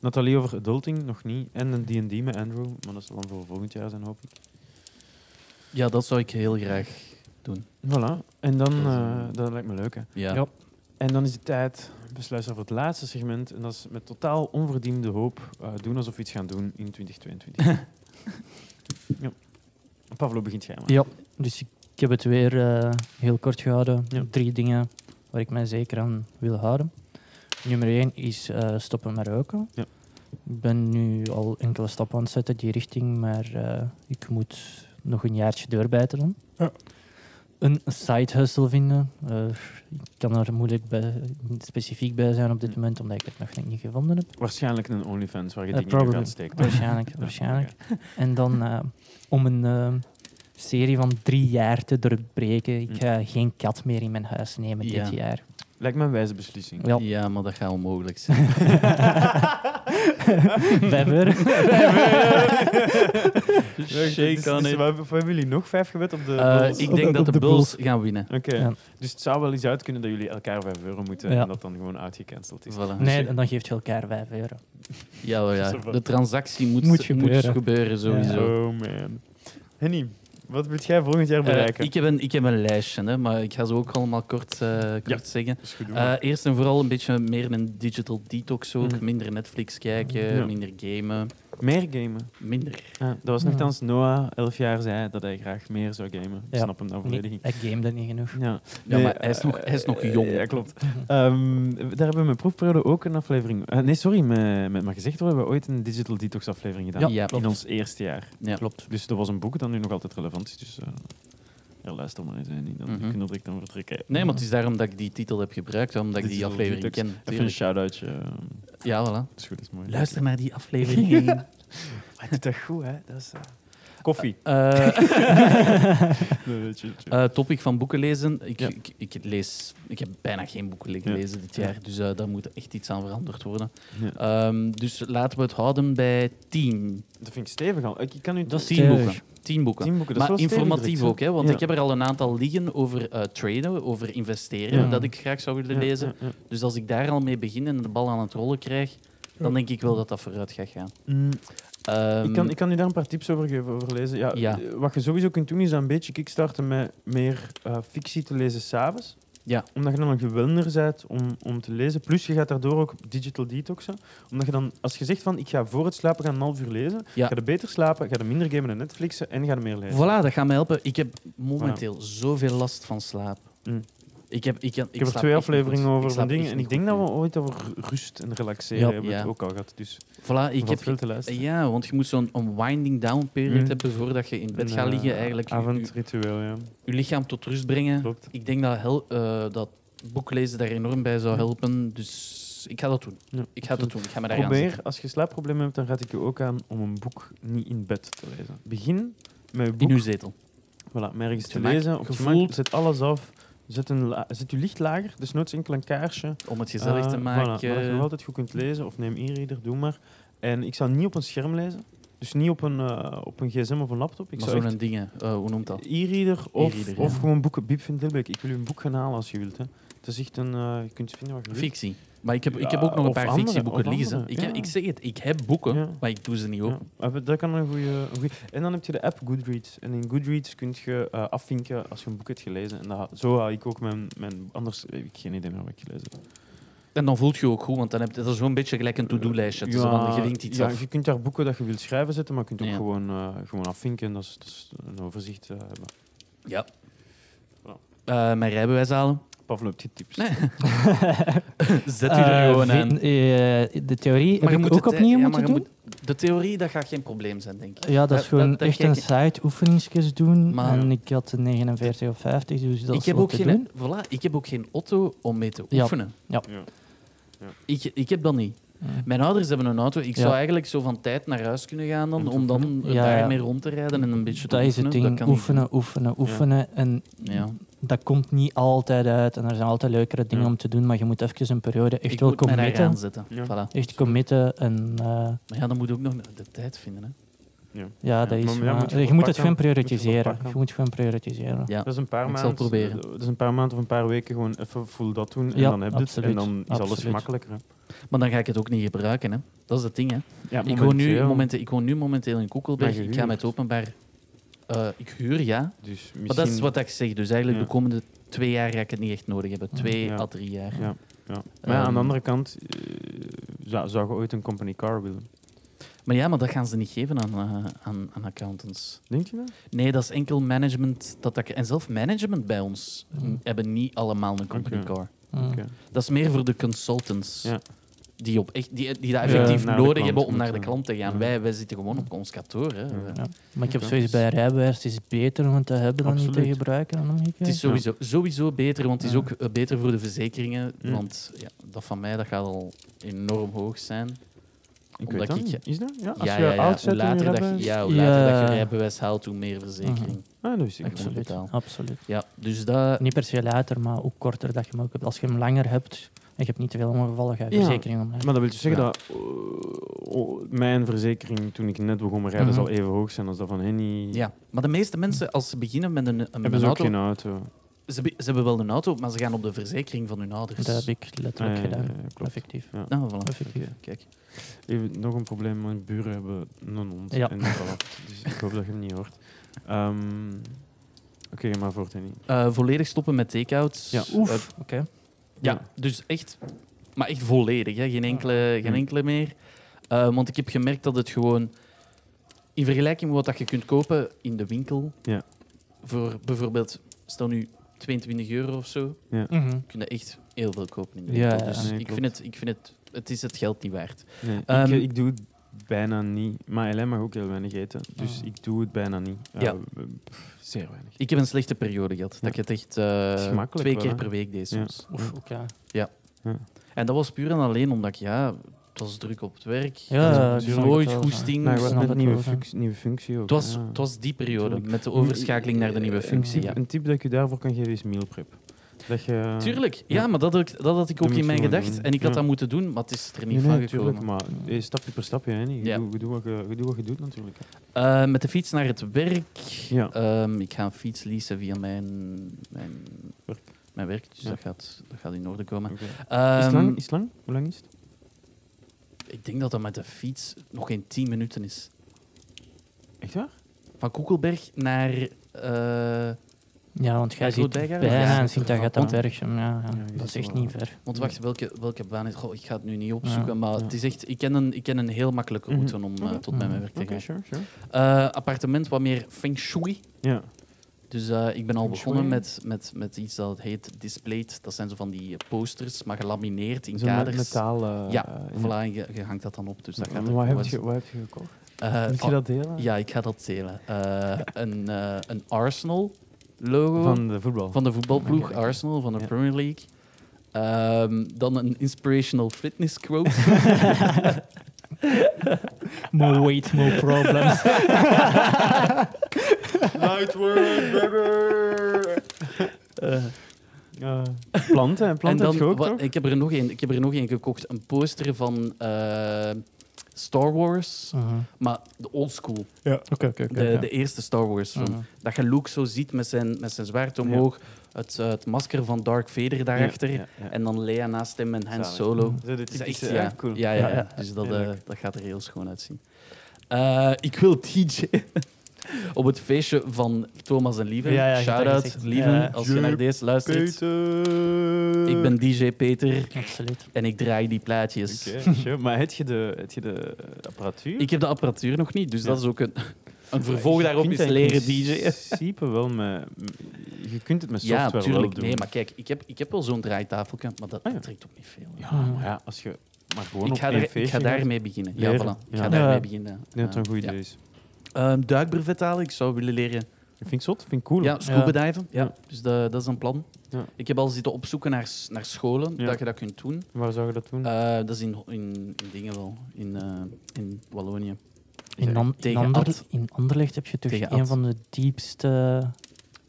Nathalie over adulting, nog niet. En een D&D met Andrew, maar dat zal dan voor volgend jaar zijn, hoop ik. ja, dat zou ik heel graag... Voilà. En dan, Dat is, eh, eh, dat lijkt me leuk, hè. Ja. Ja. En dan is het tijd, besluiten over het laatste segment. En dat is met totaal onverdiende hoop eh, doen alsof we iets gaan doen in 2022. ja. Pavlo begint jij maar. Ja, dus ik, ik heb het weer eh, heel kort gehouden. Ja. Drie dingen waar ik mij zeker aan wil houden. Nummer één is eh, stoppen met roken. Ja. Ik ben nu al enkele stappen aan het zetten die richting, maar eh, ik moet nog een jaartje doorbijten dan. Ja. Een side hustle vinden. Eh, ik kan er moeilijk bij, specifiek bij zijn op dit Hm. moment, omdat ik het nog niet gevonden heb. Waarschijnlijk een OnlyFans waar je Eh, dingen in probably. gaat steken. Waarschijnlijk, Ja, waarschijnlijk. oké. En dan eh, om een eh, serie van drie jaar te doorbreken. Ik ga geen kat meer in mijn huis nemen Hm. Ja. dit jaar. Lijkt me een wijze beslissing. Ja. ja, maar dat gaat onmogelijk zijn. Bever. Shake on it. Dus- Wat hebben jullie nog vijf gewet op de Eh, Bulls? ik denk dat de de Bulls Bulls. gaan winnen. Oké, Ja. dus het zou wel eens uit kunnen dat jullie elkaar 5 euro moeten Ja. en dat dan gewoon uitgecanceld is. Voilà. Dus Nee, en dan geeft je elkaar 5 euro. Ja, wel, ja. Zo van- de transactie moet, moet, Moet gebeuren. gebeuren. sowieso. Oh man. Henny, wat wil jij volgend jaar Eh, bereiken? ik, heb een, ik heb een lijstje, hè, maar ik ga ze ook allemaal kort, eh, kort zeggen. is goed doen. Eh, eerst en vooral een beetje meer een digital detox ook. Mm. Minder Netflix kijken, Ja. minder gamen. meer gamen. Minder. Ah, dat was Ja. nogthans Noah, 11 jaar, zei dat hij graag meer zou gamen. Ik Ja. snap hem nou volledig. Nee, ik game dat niet genoeg. Ja, Ja, maar hij is nog- hij is nog eh, jong. Ja, klopt. Ehm, daar hebben we met proefperiode ook een aflevering. eh, nee, sorry, met, met maar gezegd worden, we hebben ooit een digital detox aflevering gedaan. Ja, klopt. in ons eerste jaar. Ja. Klopt. Dus dat was een boek dat nu nog altijd relevant is. Dus eh ja, luister maar eens, hè, niet dan Mhm. kunnen we direct dan vertrekken. Nee, maar het is daarom dat ik die titel heb gebruikt, omdat ik die Digital aflevering detox. ken. Even een tuurlijk. shout-outje. Ja, voilà. Dat is goed, dat is mooi. Luister naar die aflevering. Hij doet dat goed, hè? Dat is, eh, Koffie. Eh, Nee, nee, chill, chill. Eh, topic van boeken lezen. Ik, Ja. ik, ik, lees, ik heb bijna geen boeken le- Ja. gelezen dit jaar, dus eh, daar moet echt iets aan veranderd worden. Ja. Ehm, dus laten we het houden bij tien. Dat vind ik stevig al. Ik ik kan nu Dat is Tien stevig. boeken. Tien boeken. tien boeken. Dat is maar wel stevig informatief direct, hè? ook, hè, want Ja. ik heb er al een aantal liggen over eh, traden, over investeren, Ja. dat ik graag zou willen Ja, lezen. ja, ja. Dus als ik daar al mee begin en de bal aan het rollen krijg, dan denk ik wel dat dat vooruit gaat gaan. Mm, Ehm, ik, kan, ik kan u daar een paar tips over geven, over lezen. Ja, Ja. eh, Wat je sowieso kunt doen, is dat een beetje kickstarten met meer eh, fictie te lezen s'avonds. Ja. Omdat je dan een gewilder bent om, om te lezen. Plus, je gaat daardoor ook digital detoxen. Omdat je dan, als je zegt van, ik ga voor het slapen gaan een half uur lezen, Ja. ga je beter slapen, ga je minder gamen en Netflixen en ga je meer lezen. Voilà, dat gaat me helpen. Ik heb momenteel zoveel last van slaap. Mm. Ik heb, ik, Ik, heb er slaap twee echt niet afleveringen goed. over Ik van slaap dingen. echt En niet ik denk goed dat nu. we ooit over rust en relaxeren Ja. hebben Ja. het ook al gehad. Dus Voilà, ik ik eh, heb... veel te luisteren. Ja, want je moet zo'n een winding down period Mm. hebben voordat je in bed Een, gaat liggen. eh, Eigenlijk je, je, Avondritueel, ja. je lichaam tot rust brengen. Klopt. Ik denk dat, hel, eh, dat boeklezen daar enorm bij zou helpen. Dus ik ga dat doen. Ja, Ik ga dat doen. Ik ga me daar aan Probeer, als je slaapproblemen hebt, dan raad ik je ook aan om een boek niet in bed te lezen. Begin met je In boek, uw zetel. voilà, met ergens je te gemak, lezen. Op je gevoeld. gemak, zet alles af. Zet, een la- zet je licht lager, dus noods enkel een kaarsje. Om het gezellig Eh, te voilà, maar dat maken. je nog altijd goed kunt lezen, of neem e-reader, doe maar. En ik zou niet op een scherm lezen. Dus niet op een, eh, op een gsm of een laptop. Ik Maar zou zo'n echt dingen, eh, hoe noemt dat? e-reader of, E-reader, of ja. gewoon boeken. Biep vindt Dilbeek, ik wil u een boek gaan halen als je wilt. Hè. Het is echt een... eh, je kunt het vinden waar je wilt. Fictie. Hm? Maar ik heb, ik heb Ja, ook nog een of paar andere, fictieboeken of lezen. andere, Ik, heb, ja. ik zeg het, ik heb boeken, Ja. maar ik doe ze niet Ja, Ah, open. maar dat kan een goede. En dan heb je de app Goodreads. En in Goodreads kun je eh, afvinken als je een boek hebt gelezen. En dat, zo haal ik ook mijn, mijn. Anders heb ik geen idee meer wat ik gelezen heb. En dan voelt je ook goed, want dan heb je, dat is zo'n beetje gelijk een to-do-lijstje. Het is van, je vinkt iets ja, af. je kunt daar boeken dat je wilt schrijven zetten, maar je kunt ook Ja. gewoon, eh, gewoon afvinken. En dat is, dat is een overzicht eh, hebben. Ja. Voilà. Eh, mijn rijbewijs halen. Pavlo, heb je tips? Nee. Zet u er gewoon aan. Eh, de theorie heb ik ook het, eh, opnieuw ja, moeten maar je doen. moet- de theorie, dat gaat geen probleem zijn, denk ik. Ja, dat is Dat- gewoon dat- dat echt kijk een ik- site oefeningsjes doen. Maar- en ik had een 49 of 50, dus dat Ik is heb, wel ook te geen, voilà, ik heb ook geen auto om mee te Ja. oefenen. Ja. Ja. Ja. Ik, ik heb dat niet. doen. Mijn ouders hebben een auto. Ik Ja. zou eigenlijk zo van tijd naar huis kunnen gaan dan, Om te om dan Ja, ja. daarmee rond te rijden en een beetje te Dat is het oefenen. ding. kan ik oefenen, oefenen, oefenen. En niet. Ja. dat komt niet altijd uit. En er zijn altijd leukere dingen Ja. om te doen. Maar je moet even een periode echt ik wel moet mij daar aan committen. zetten. Ja. Voilà. Echt committen. En eh, Maar ja, dan moet je ook nog de tijd vinden. Hè. ja, dat Ja, is. maar ja, maar- moet je je, wel moet het pakken. gewoon Moet je wel prioritiseren. pakken. Je moet gewoon prioritiseren. Ja. Dat is een paar Ik maanden. zal het proberen. Dat is een paar maanden of een paar weken gewoon even full dat doen. En Ja, dan heb je het. En absoluut, dan is alles absoluut. gemakkelijker. hè. Maar dan ga ik het ook niet gebruiken. Hè. Dat is het ding. Hè. Ja, Ik, woon nu, momenteel. momente, ik woon nu momenteel in Koekelberg. Maar Ik ga met gehuurd. openbaar... eh, ik huur, ja. Dus Maar dat is misschien- wat ik zeg. Dus eigenlijk Ja. de komende twee jaar ga ik het niet echt nodig hebben. Twee Ja. à drie jaar. Ja. Ja. Maar ja, aan Ehm, de andere kant, eh, zou, zou je ooit een company car willen? Maar ja, maar dat gaan ze niet geven aan, eh, aan, aan accountants. Denk je dat? Nee, dat is enkel management. Dat dat, en zelf management bij ons Hmm. m, hebben niet allemaal een company Mhm. Oké. car. Mm. Oké. Dat is meer voor de consultants. Ja. Die, op echt, die, die dat Ja, effectief naar de nodig klant hebben om naar moeten. de klant te gaan. Ja. Wij, wij zitten gewoon op ons kantoor. Hè. Ja. Ja. Maar ik heb Oké. zoiets bij rijbewijs. Het is beter om het te hebben dan niet te Absoluut. gebruiken. dan omgekeerd. Het is sowieso, sowieso beter, want het is Ja. ook eh, beter voor de verzekeringen. Ja. Want ja, dat van mij dat gaat al enorm hoog zijn. Ik Omdat weet dat ik- niet. Is dat? Ja, als Ja, je ja, ja. oud Hoe bent, dan later, dat je, rijbewijs- ja, hoe later dat je Ja. rijbewijs haalt, hoe meer verzekering. Ah, dat wist ik Absoluut. niet. Absoluut. betaal. Absoluut. Ja, dus dat... Niet per se later, maar ook korter dat je hem ook hebt. Als je hem langer hebt en je hebt niet te veel ongevallen, ga je Ja. verzekering omlaag. Maar dat wil dus zeggen Ja. dat eh, oh, mijn verzekering toen ik net begon met rijden Mhm. zal even hoog zijn als dat van Henny. Ja, maar de meeste mensen, als ze beginnen met een, een- met Hebben een ze ook auto... geen auto? Ze, be- ze hebben wel een auto, maar ze gaan op de verzekering van hun ouders. Dat heb ik letterlijk Ah, ja, ja, gedaan. ja, klopt. Effectief. Nou, voilà. Effectief. Kijk. Even nog een probleem, mijn buren hebben een hond Ja. en dat lapt. Dus ik hoop dat je hem niet hoort. Ehm, Oké, maar voort Henny. Dus Eh, volledig stoppen met take-out. Ja. Eh, Oef. Oké. ja, dus echt... Maar echt volledig, hè. Geen, enkele, geen Hm. enkele meer. Eh, want ik heb gemerkt dat het gewoon... In vergelijking met wat dat je kunt kopen in de winkel... Ja. Voor bijvoorbeeld, stel nu 22 euro of zo. Mhm. kunnen echt heel veel kopen in de Ja, winkel. ja, ja. Dus Nee, ik, klopt. vind het, ik vind het, het is het geld niet waard. Nee, ik, Ehm, eh, ik doe het bijna niet. Maar Ellen mag ook heel weinig eten. Dus Ah. ik doe het bijna niet. Eh, Ja. eh, pff, zeer weinig. Ik heb een slechte periode gehad. Dat ik het echt eh, is gemakkelijk twee wel, keer hè? per week deed Ja. soms. Oef, oké. En dat was puur en alleen omdat ik, ja, het was druk op het werk. Ja, Het ik was snap nooit het wel, goesting. Nou, ik wat snap met het nieuwe wel, ja. functie, nieuwe functie ook. het, was, ja. het was die periode, Tuurlijk. met de overschakeling naar de nieuwe Een functie. Ja. tip, een tip dat ik u daarvoor kan geven is meal prep. Dat je, Tuurlijk, ja. ja, maar dat, had ik- dat had ik Dat ook moet in je mijn gewoon gedacht. doen. En ik had Ja. dat moeten doen, maar het is er niet Nee, van nee, gekomen. tuurlijk, maar eh, stapje per stapje. Hè, niet? Je, Ja. doet, je, doet wat je, je doet wat je doet natuurlijk. Eh, met de fiets naar het werk. Ja. Ehm, ik ga een fiets leasen via mijn, mijn, Werk. mijn werk, dus Ja. dat, gaat, dat gaat in orde komen. Oké. is, het Ehm, lang, is het lang? Hoe lang is het? Ik denk dat dat met de fiets nog geen 10 minuten is. Echt waar? Van Koekelberg naar. eh, Ja, want jij Ja, goed zit bijgaan, bijna ja. aan sint agatha Want- bergem ja, ja. Ja, je Dat is zit echt wel- niet ver. want wacht, welke, welke baan is. Goh, ik ga het nu niet opzoeken, Ja, maar ja. het is echt. Ik ken een, ik ken een heel makkelijke route om eh, Oké. tot bij mijn werk te Mhm. Oké, gaan. sure, sure. Eh, appartement wat meer feng shui. Ja. Dus eh, ik ben al Feng shui. begonnen met, met, met iets dat heet displayed. Dat zijn zo van die eh, posters, maar gelamineerd in Zo'n kaders. metaal... eh, Ja, eh, Voilà, en je, je hangt dat dan op. Dus dat gaat er Wat heb goed je, uit. wat heb je gekocht? Eh, Moet je oh, dat delen? Ja, ik ga dat delen. Eh, een, eh, een Arsenal logo. Van de voetbal. Van de voetbalploeg Oké, oké. Arsenal van de Ja. Premier League. Ehm, dan een inspirational fitness quote. More weight, more problems. Lightwork, baby! planten, planten en heb dan, je ook, wa- toch? ik, heb er nog één, ik heb er nog één gekocht. Een poster van eh, Star Wars, Mhm. maar de old school. Ja, oké, oké. oké, De, ja. de eerste Star Wars film. Mhm. Dat je Luke zo ziet met zijn, met zijn zwaard omhoog, het, eh, het masker van Dark Vader daarachter. En dan Leia naast hem en Han Zalig. Solo. Mhm. De, de Het is echt, typische, ja. ja, cool. Ja, ja, Ja, ja. dus dat, Ja, eh, leuk. dat gaat er heel schoon uitzien. Eh, ik wil DJ op het feestje van Thomas en Lieven. Ja, ja, je hebt dat Shout-out, gezegd. Lieven, Ja. als je naar deze luistert. Peter! Ik ben DJ Peter Absoluut. en ik draai die plaatjes. Oké, sure. Maar heb je de, heb je de eh, apparatuur? Ik heb de apparatuur nog niet, dus Ja. dat is ook een, een vervolg Je daarop kunt is leren dat in DJ'en. principe wel met... Je kunt het met software Ja, wel natuurlijk. doen. Nee, maar kijk, ik heb, ik heb wel zo'n draaitafeltje, maar dat, Ah, ja. dat trekt op niet veel. Ja, maar ja, als je maar gewoon Ik op ga, één daar, feestje ik ga gaat, daarmee beginnen. Ja, Leren. voilà. Ik ga Ja. daarmee Ja. beginnen. Nee, dat is Eh, een goed ja. idee. is. Ehm, duikbrevet halen, ik zou willen leren Ik vind het zot, vind ik cool. Ja, scuba diven. Ja. Ja. Dus dat, dat is een plan. Ja. Ik heb al zitten opzoeken naar, s- naar scholen, Ja. Hm. dat je dat kunt doen. Waar zou je dat doen? Eh, dat is in, Ho- in, in dingen wel, in, eh, in Wallonië. In, an, in, tegen Ander- Ad. in Anderlecht heb je toch Tegen een Ad. van de diepste...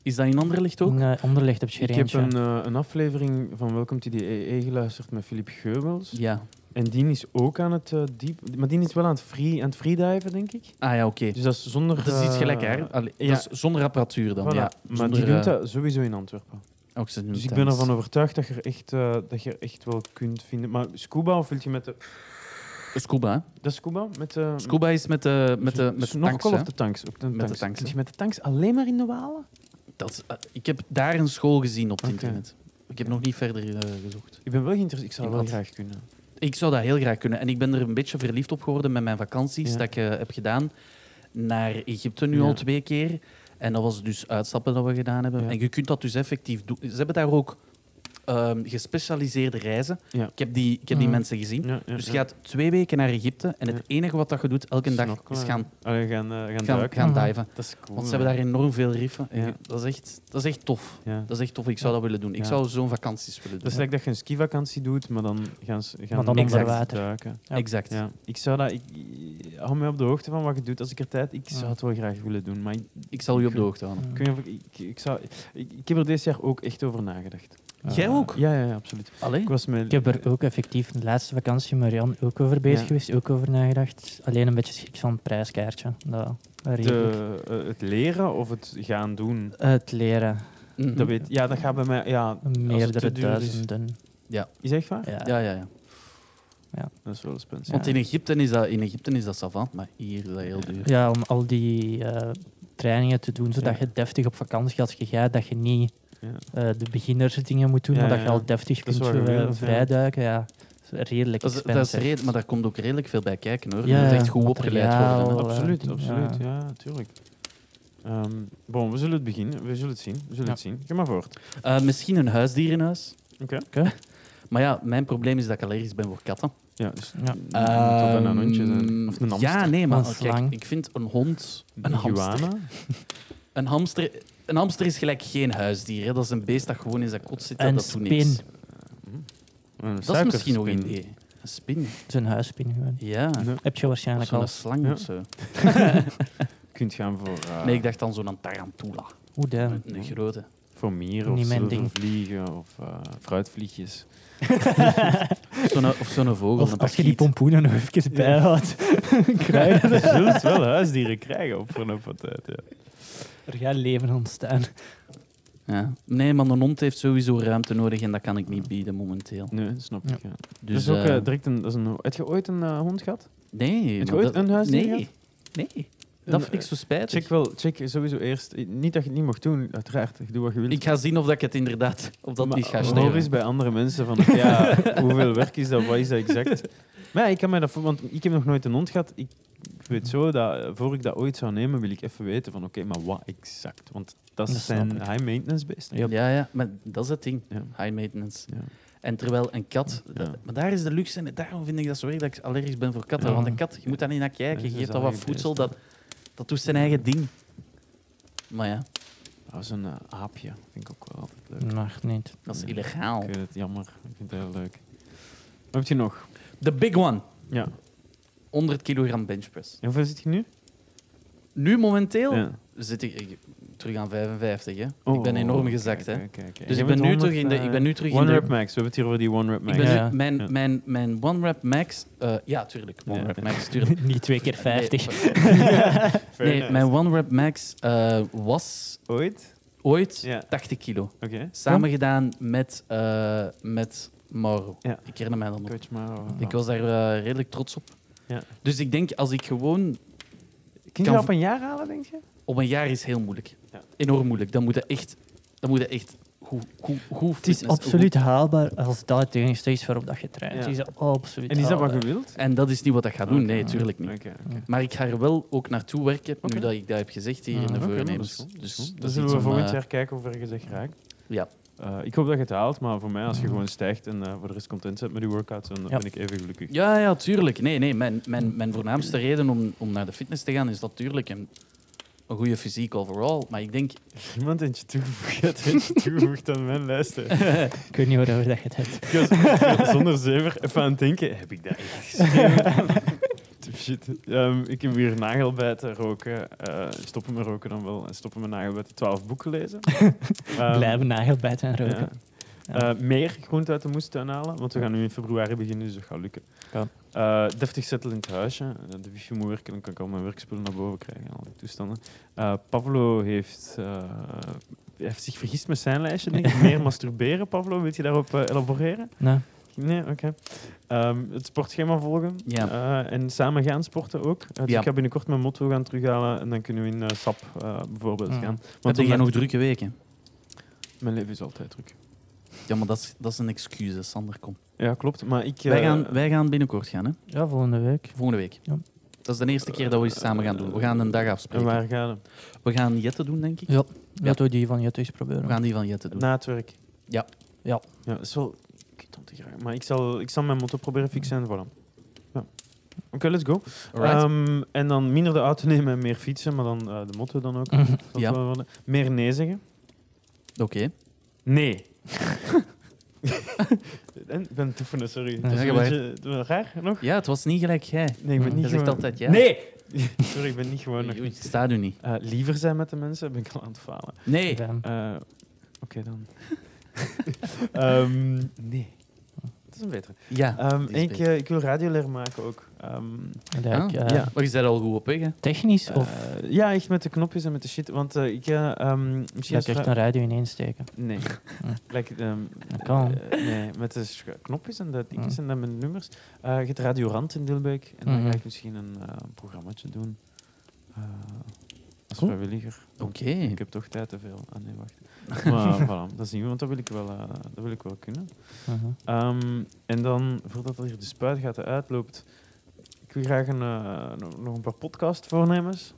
Is dat in Anderlecht Hm. ook? Nee, Anderlecht heb je er ik heb eentje. een, eh, een aflevering van Welcome to the EE geluisterd met Philippe Geubels. Ja. En die is ook aan het eh, diep... Maar die is wel aan het, free, aan het freediven, denk ik. Ah ja, oké. Dus dat is zonder... Dat is iets eh, gelijk, hè? Allee, ja. dat is zonder apparatuur dan. voilà. Ja. maar Zonder, die doet eh, dat sowieso in Antwerpen. ook ze doen Dus het ik ben thuis. ervan overtuigd dat je er echt, eh, dat je er echt wel kunt vinden. Maar scuba, of wil je met de... Scuba, hè? Dat is scuba? Met de... Scuba is met de, met Dus de, met de tanks, Snorkel hè. of de tanks? Ook de Met de tanks. tanks, Kun hè. je met de tanks alleen maar in de walen? Dat is- eh, ik heb daar een school gezien op het Oké. internet. Ik heb nog niet verder eh, gezocht. Ik ben wel geïnteresseerd. Ik zou In dat wel wat? Hm? graag kunnen. Ik zou dat heel graag kunnen. En ik ben er een beetje verliefd op geworden met mijn vakanties Ja. dat ik eh, heb gedaan. Naar Egypte nu Ja. al twee keer. En dat was dus uitstappen dat we gedaan hebben. Ja. En je kunt dat dus effectief doen. Ze hebben daar ook ehm, gespecialiseerde reizen. Ja. Ik heb die, ik heb die Mhm. mensen gezien. Ja, ja, Dus je ja. gaat twee weken naar Egypte. En het Ja. enige wat dat je doet elke dag Snorkelen. is gaan, Allee, we gaan, eh, we gaan gaan, duiken. gaan Mhm. diven. Dat is cool. Want ze hebben daar enorm veel riffen. En Ja. je- Dat, is echt, dat is echt tof. Ja. Dat is echt tof. Ik zou dat willen doen. Ik Ja. zou zo'n vakanties willen Dat is doen. like dat je een skivakantie doet, maar dan gaan ze gaan Maar dan mensen onder water. duiken. ja. Exact. Ja. Ik zou dat... Ik, hou mij op de hoogte van wat je doet als ik er tijd... Ik zou Ah. Ja. het wel graag willen doen, maar ik, Ik zal u op de hoogte houden. ik weet niet of ik, ik, ik zou, ik, ik heb er dit jaar ook echt over nagedacht. Eh, Jij ook? Ja, ja, ja, absoluut. Allee. Ik was met... Ik heb er ook effectief de laatste vakantie met Jan ook over bezig eh, Ja. geweest, ook over nagedacht. Alleen een beetje schrik van het prijskaartje. Dat, dat regel ik. de, eh, het leren of het gaan doen. Het leren, Mhm. Dat weet, ja, dat gaat bij mij... Ja, meerdere te duur is. duizenden. is echt waar? Ja. Ja, ja, ja. Dat is wel spannend. Want in Egypte is dat, in Egypte is dat savant, maar hier is dat heel duur. Ja, om al die eh, trainingen te doen, zodat Ja. je deftig op vakantie als je gaat, dat je niet Ja. eh, de beginnersdingen moet doen, Ja, maar dat ja, je ja. al deftig Dat is kunt waar je eh, wil, ja. vrijduiken. Ja. Dat is redelijk Dat is, dat is expensive. reden, maar daar komt ook redelijk veel bij kijken hoor. Ja, je moet echt goed opgeleid materiaal. worden. hè. wel, eh, Absoluut, doen, absoluut. Ja, tuurlijk. Ehm, bon, we zullen het beginnen. We zullen het zien. We zullen Ja. het zien. Ga maar voort. Eh, misschien een huisdier in huis. Oké. Oké. Maar ja, mijn probleem is dat ik allergisch ben voor katten. Ja, dus Ja. moet dan een hondje zijn. Ehm, Of een hamster. Ja, nee, maar Een kijk, slang. ik vind een hond, een hamster, iguana. een hamster... Een hamster is gelijk geen huisdier. Hè. Dat is een beest dat gewoon in zijn kot zit en, Een dat doet niks. spin, Een Dat is misschien nog een suikerspin. idee. Een spin, zijn huispin gewoon. ja. Ja. Heb je Of waarschijnlijk al. zo'n slang Ja. of zo. Je kunt gaan voor, eh, Nee, ik dacht dan zo'n tarantula. Hoe dan? Een, een grote. voor mieren of Niet mijn zilvervliegen of eh, fruitvliegjes. Zo'n- eh, of zo'n vogel. Of een als je pakiet. die pompoenen nog even bijhoudt, krijg je Je dat. zult wel huisdieren krijgen op voor een patat. Ja. Er gaat leven ontstaan. Ja. Nee, maar een hond heeft sowieso ruimte nodig en dat kan ik niet bieden momenteel. Nee, snap ik. Ja. Dus, Dus, dat is ook eh, eh, direct een, dat is een... Heb je ooit een eh, hond gehad? nee. Heb je maar ooit dat- een huisdier Nee. Nee. Dat Een, vind ik eh, zo spijtig. Check wel, check sowieso eerst. Niet dat je het niet mocht doen, uiteraard. Ik doe wat je wilt. Ik ga zien of dat ik het inderdaad of dat Maar niet ga hoor eens sneeuwen. bij andere mensen van, ja, hoeveel werk is dat, wat is dat exact? Maar ja, ik kan mij dat voor- want ik heb nog nooit een hond gehad. Ik, ik weet zo dat, eh, voor ik dat ooit zou nemen, wil ik even weten van, oké, maar wat exact? Want dat, Dat snap zijn ik. high maintenance beesten. Ja, ja, maar dat is het ding. Ja. High maintenance. Ja. En terwijl een kat, Ja. dat- maar daar is de luxe en daarom vind ik dat zo erg dat ik allergisch ben voor katten. Ja. Want een kat, je moet daar niet naar kijken. Nee, Je ze geeft zijn dat wat eigen voedsel, beest, dat, dat doet zijn eigen ding. Maar ja, Dat is een eh, aapje, vind ik ook wel altijd leuk. Mag niet. dat is Ja. illegaal. Ik vind het jammer, ik vind het heel leuk. Wat heb je nog? The big one. Ja. 100 kilogram bench press. En hoeveel zit je nu? Nu momenteel Ja. zit ik, ik- terug aan 55. Hè. ik Oh, ben enorm oké, gezakt. oké, hè. oké, oké. Dus Je ik ben, bent nu 100, terug in de, eh, ik ben nu terug in One de... rap max, we hebben het hier over die one rap max. Ik ben nu- Ja, ja. mijn, Ja. Mijn, mijn One Rap Max... eh, ja, tuurlijk. One Ja. Rap Max, tuurlijk. Niet twee keer 50. Fair Nee, enough. mijn One Rap Max eh, was Ooit? ooit Ja, 80 kilo. oké. Hm? Samen gedaan met, eh, met Mauro. Ja. Ik herinner mij dat nog. Coach Maro. Ik was daar eh, redelijk trots op. Ja. Dus ik denk, als ik gewoon... Kun je kan dat op een jaar halen, denk je? Op een jaar is heel moeilijk. Ja. Enorm moeilijk. Dan moet je echt... Dan moet je echt goed, goed, goed Het is fitness- absoluut haalbaar als dat het enige is waarop dat je traint. Ja. Het is absoluut En is dat wat je haalbaar. wilt? En dat is niet wat ik ga doen. Oké. Nee, tuurlijk niet. Oké, oké. Maar ik ga er wel ook naartoe werken, Oké. nu dat ik dat heb gezegd hier Ah, in de oké, Oké, nou, dat voornemens. is goed, dat is Dus goed. dat Dan is zullen iets we om, volgend eh, jaar kijken of er gezegd raakt. Ja. Eh, ik hoop dat je het haalt, maar voor mij, als je Mhm. gewoon stijgt en eh, voor de rest komt inzet met die workouts, dan Ja. ben ik even gelukkig. Ja, ja, tuurlijk. Nee, nee, mijn, mijn, mijn voornaamste reden om, om naar de fitness te gaan is natuurlijk een, een goede fysiek overall. Maar ik denk, Als Iemand eentje toegevoegd, had eentje toegevoegd aan mijn lijst. hè. Ik weet niet waarover dat je het hebt. Ik was zonder zever even aan het denken, heb ik dat echt geschreven? Shit. Ehm, ik heb hier nagelbijten, roken, eh, stoppen met roken dan wel, en stoppen met nagelbijten, twaalf boeken lezen. Ehm, Blijven nagelbijten en roken. ja. Ja. Eh, meer groente uit de moestuin halen, want we gaan nu in februari beginnen, dus dat gaat lukken. Kan. Eh, deftig zetten in het huisje. Eh, de wifi moet werken, dan kan ik al mijn werkspullen naar boven krijgen en al die toestanden. Eh, Pavlo heeft, eh, hij heeft zich vergist met zijn lijstje, denk ik. meer masturberen, Pavlo. Wil je daarop eh, elaboreren? Nou, Nee, oké. Ehm, het sportschema volgen. Ja. Eh, en samen gaan sporten ook. Eh, dus Ja. ik ga binnenkort mijn motto gaan terughalen. En dan kunnen we in eh, SAP eh, bijvoorbeeld Mm. gaan. wat heb jij omdat- nog drukke weken? Mijn leven is altijd druk. Ja, maar dat is, dat is een excuus, hè, Sander, kom. Ja, klopt. Maar ik... wij, eh, gaan, wij gaan binnenkort gaan, hè? ja, volgende week. volgende week. Ja. Dat is de eerste keer dat we iets samen gaan doen. We gaan een dag afspreken. En waar gaan we? We gaan Jette doen, denk ik. Ja, laten we die van Jette eens proberen. We gaan die van Jette doen. Na het werk. Ja. Ja. Ja, dat is wel... Ik weet het niet graag. Maar ik zal, ik zal mijn motto proberen fixen en voilà. Ja. Oké, let's go. Alright. Ehm, en dan minder de auto nemen en meer fietsen. Maar dan eh, de motto dan ook. Mhm. Dat Ja. zal worden. Meer nee zeggen. ehm, Oké. Nee. en, ik ben toefende, sorry. Het is Ja, een maar- beetje eh, raar nog. Ja, het was niet gelijk jij. Nee, ik ben niet Jij zegt gewoon- altijd ja. Nee! sorry, ik ben niet gewoon nog. Oei, Het staat u niet. Eh, liever zijn met de mensen, ben ik al aan het falen. Nee. Dan- Eh, Oké dan. Ehm, nee. Dat is een betere. Ja. Ehm, die is en ik, beter. eh, ik wil radio leren maken ook. Ehm, dat ik, Ah, eh, ja. Maar je bent al goed op weg, hè? Technisch of eh, ja, echt met de knopjes en met de shit. Want eh, ik... eh, ehm, misschien dat ik als echt vra- een radio ineens steken? Nee. Like, ehm, Dat kan. eh, nee, met de sch- knopjes en dat dingetjes Mm. en dan met de nummers. Eh je hebt Radio Rand in Dilbeek en dan Mhm. ga ik misschien een eh, programmaatje doen. Eh, als Cool. vrijwilliger. Want Oké. Ik heb toch tijd te veel. Ah nee, wacht. maar voilà, dat zien we, want dat wil ik wel, eh, dat wil ik wel kunnen. Mhm. Ehm, en dan, voordat er hier de spuit gaat en uitloopt, ik wil graag een, eh, nog- nog een paar podcast voornemens.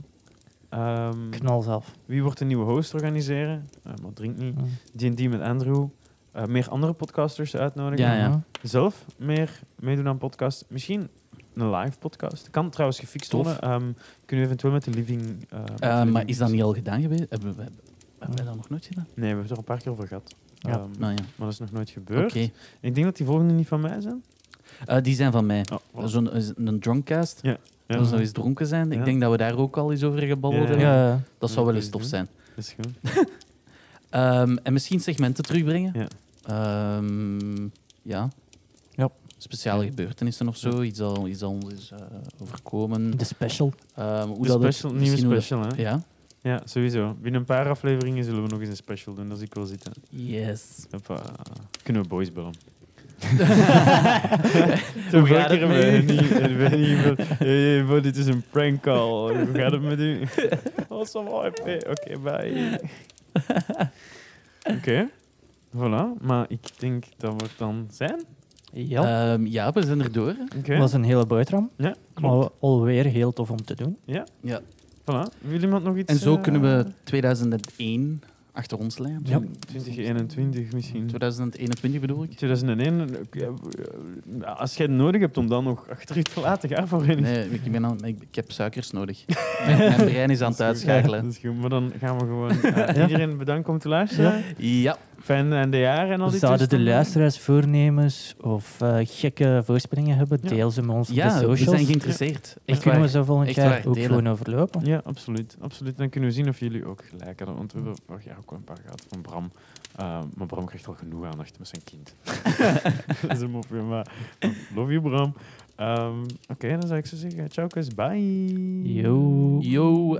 Ehm, Knal zelf. wie wordt een nieuwe host organiseren? Eh, maar drink niet. Mm. Mhm. D&D met Andrew. eh, meer andere podcasters uitnodigen. Ja, ja. Zelf meer meedoen aan podcasts. Misschien een live podcast. Kan trouwens gefixt Tof. worden. Ehm, kunnen we eventueel met de living... eh, met de Eh, maar living is dat niet al gedaan geweest? Hebben we, hebben wij dat nog nooit gedaan? Nee, we hebben het er een paar keer over gehad. Ja. Ehm, Nou ja, Maar dat is nog nooit oké. gebeurd. Ik denk dat die volgende niet van mij zijn. Eh, die zijn van mij. Oh, voilà. Zo'n is een drunkcast. Ja, ja. Dat we eens dronken zijn. Ja. Ik denk dat we daar ook al eens over gebabbeld Ja, ja. hebben. Ja, Dat zou wel eens Ja, tof ja. zijn. Dat is goed. Ehm, en misschien segmenten terugbrengen. Ja. Ehm, ja. Ja. Speciale gebeurtenissen of zo. Iets dat, iets dat ons is eh, overkomen. de special. Ehm, hoe De dat het- special, nieuwe misschien hoe dat- special, hè? Ja. Ja. sowieso. Binnen een paar afleveringen zullen we nog eens een special doen, als ik wil zitten. Yes. Hoppa. Kunnen we boys bellen? Hoe gaat het met u? Hé, hey, dit is een prank call. Hoe gaat het met u? Oh, zo mooi. Oké, bye. Oké. Voilà. Maar ik denk dat we het dan zijn. Ja, Ehm, ja, we zijn er door. Oké. Eh, was een hele buitram. Ja, Maar klopt. alweer heel tof om te doen. Ja. Voilà. Wil iemand nog iets? En zo eh, kunnen we 2001 achter ons leiden. Ja. 2021 misschien. 2021 bedoel ik. 2001. ook, ja, eh, Als jij het nodig hebt om dan nog achter je te laten, ga voor in. Nee, ik, ben aan, ik, ik heb suikers nodig. mijn, mijn brein is aan het Dat is goed. uitschakelen. Dat is goed, maar dan gaan we gewoon eh, iedereen bedanken om te luisteren. Ja, fan en de jaren Nou, en al die Zouden de toestanden? eh, luisteraars voornemens of eh, gekke voorspellingen hebben, Ja. deel ze met ons op de Ja, we socials. zijn geïnteresseerd. Dan Echt kunnen waar. we zo volgend Echt jaar waar, ook delen. gewoon overlopen. Ja, absoluut. absoluut. Dan kunnen we zien of jullie ook gelijk hadden. Want we hebben vorig jaar ook wel een paar gehad van Bram. Eh, maar Bram krijgt al genoeg aandacht met zijn kind. dat is een mopje, maar love you, Bram. Ehm, Oké, dan zou ik zo zeggen, ciao, guys, bye. Yo. Yo.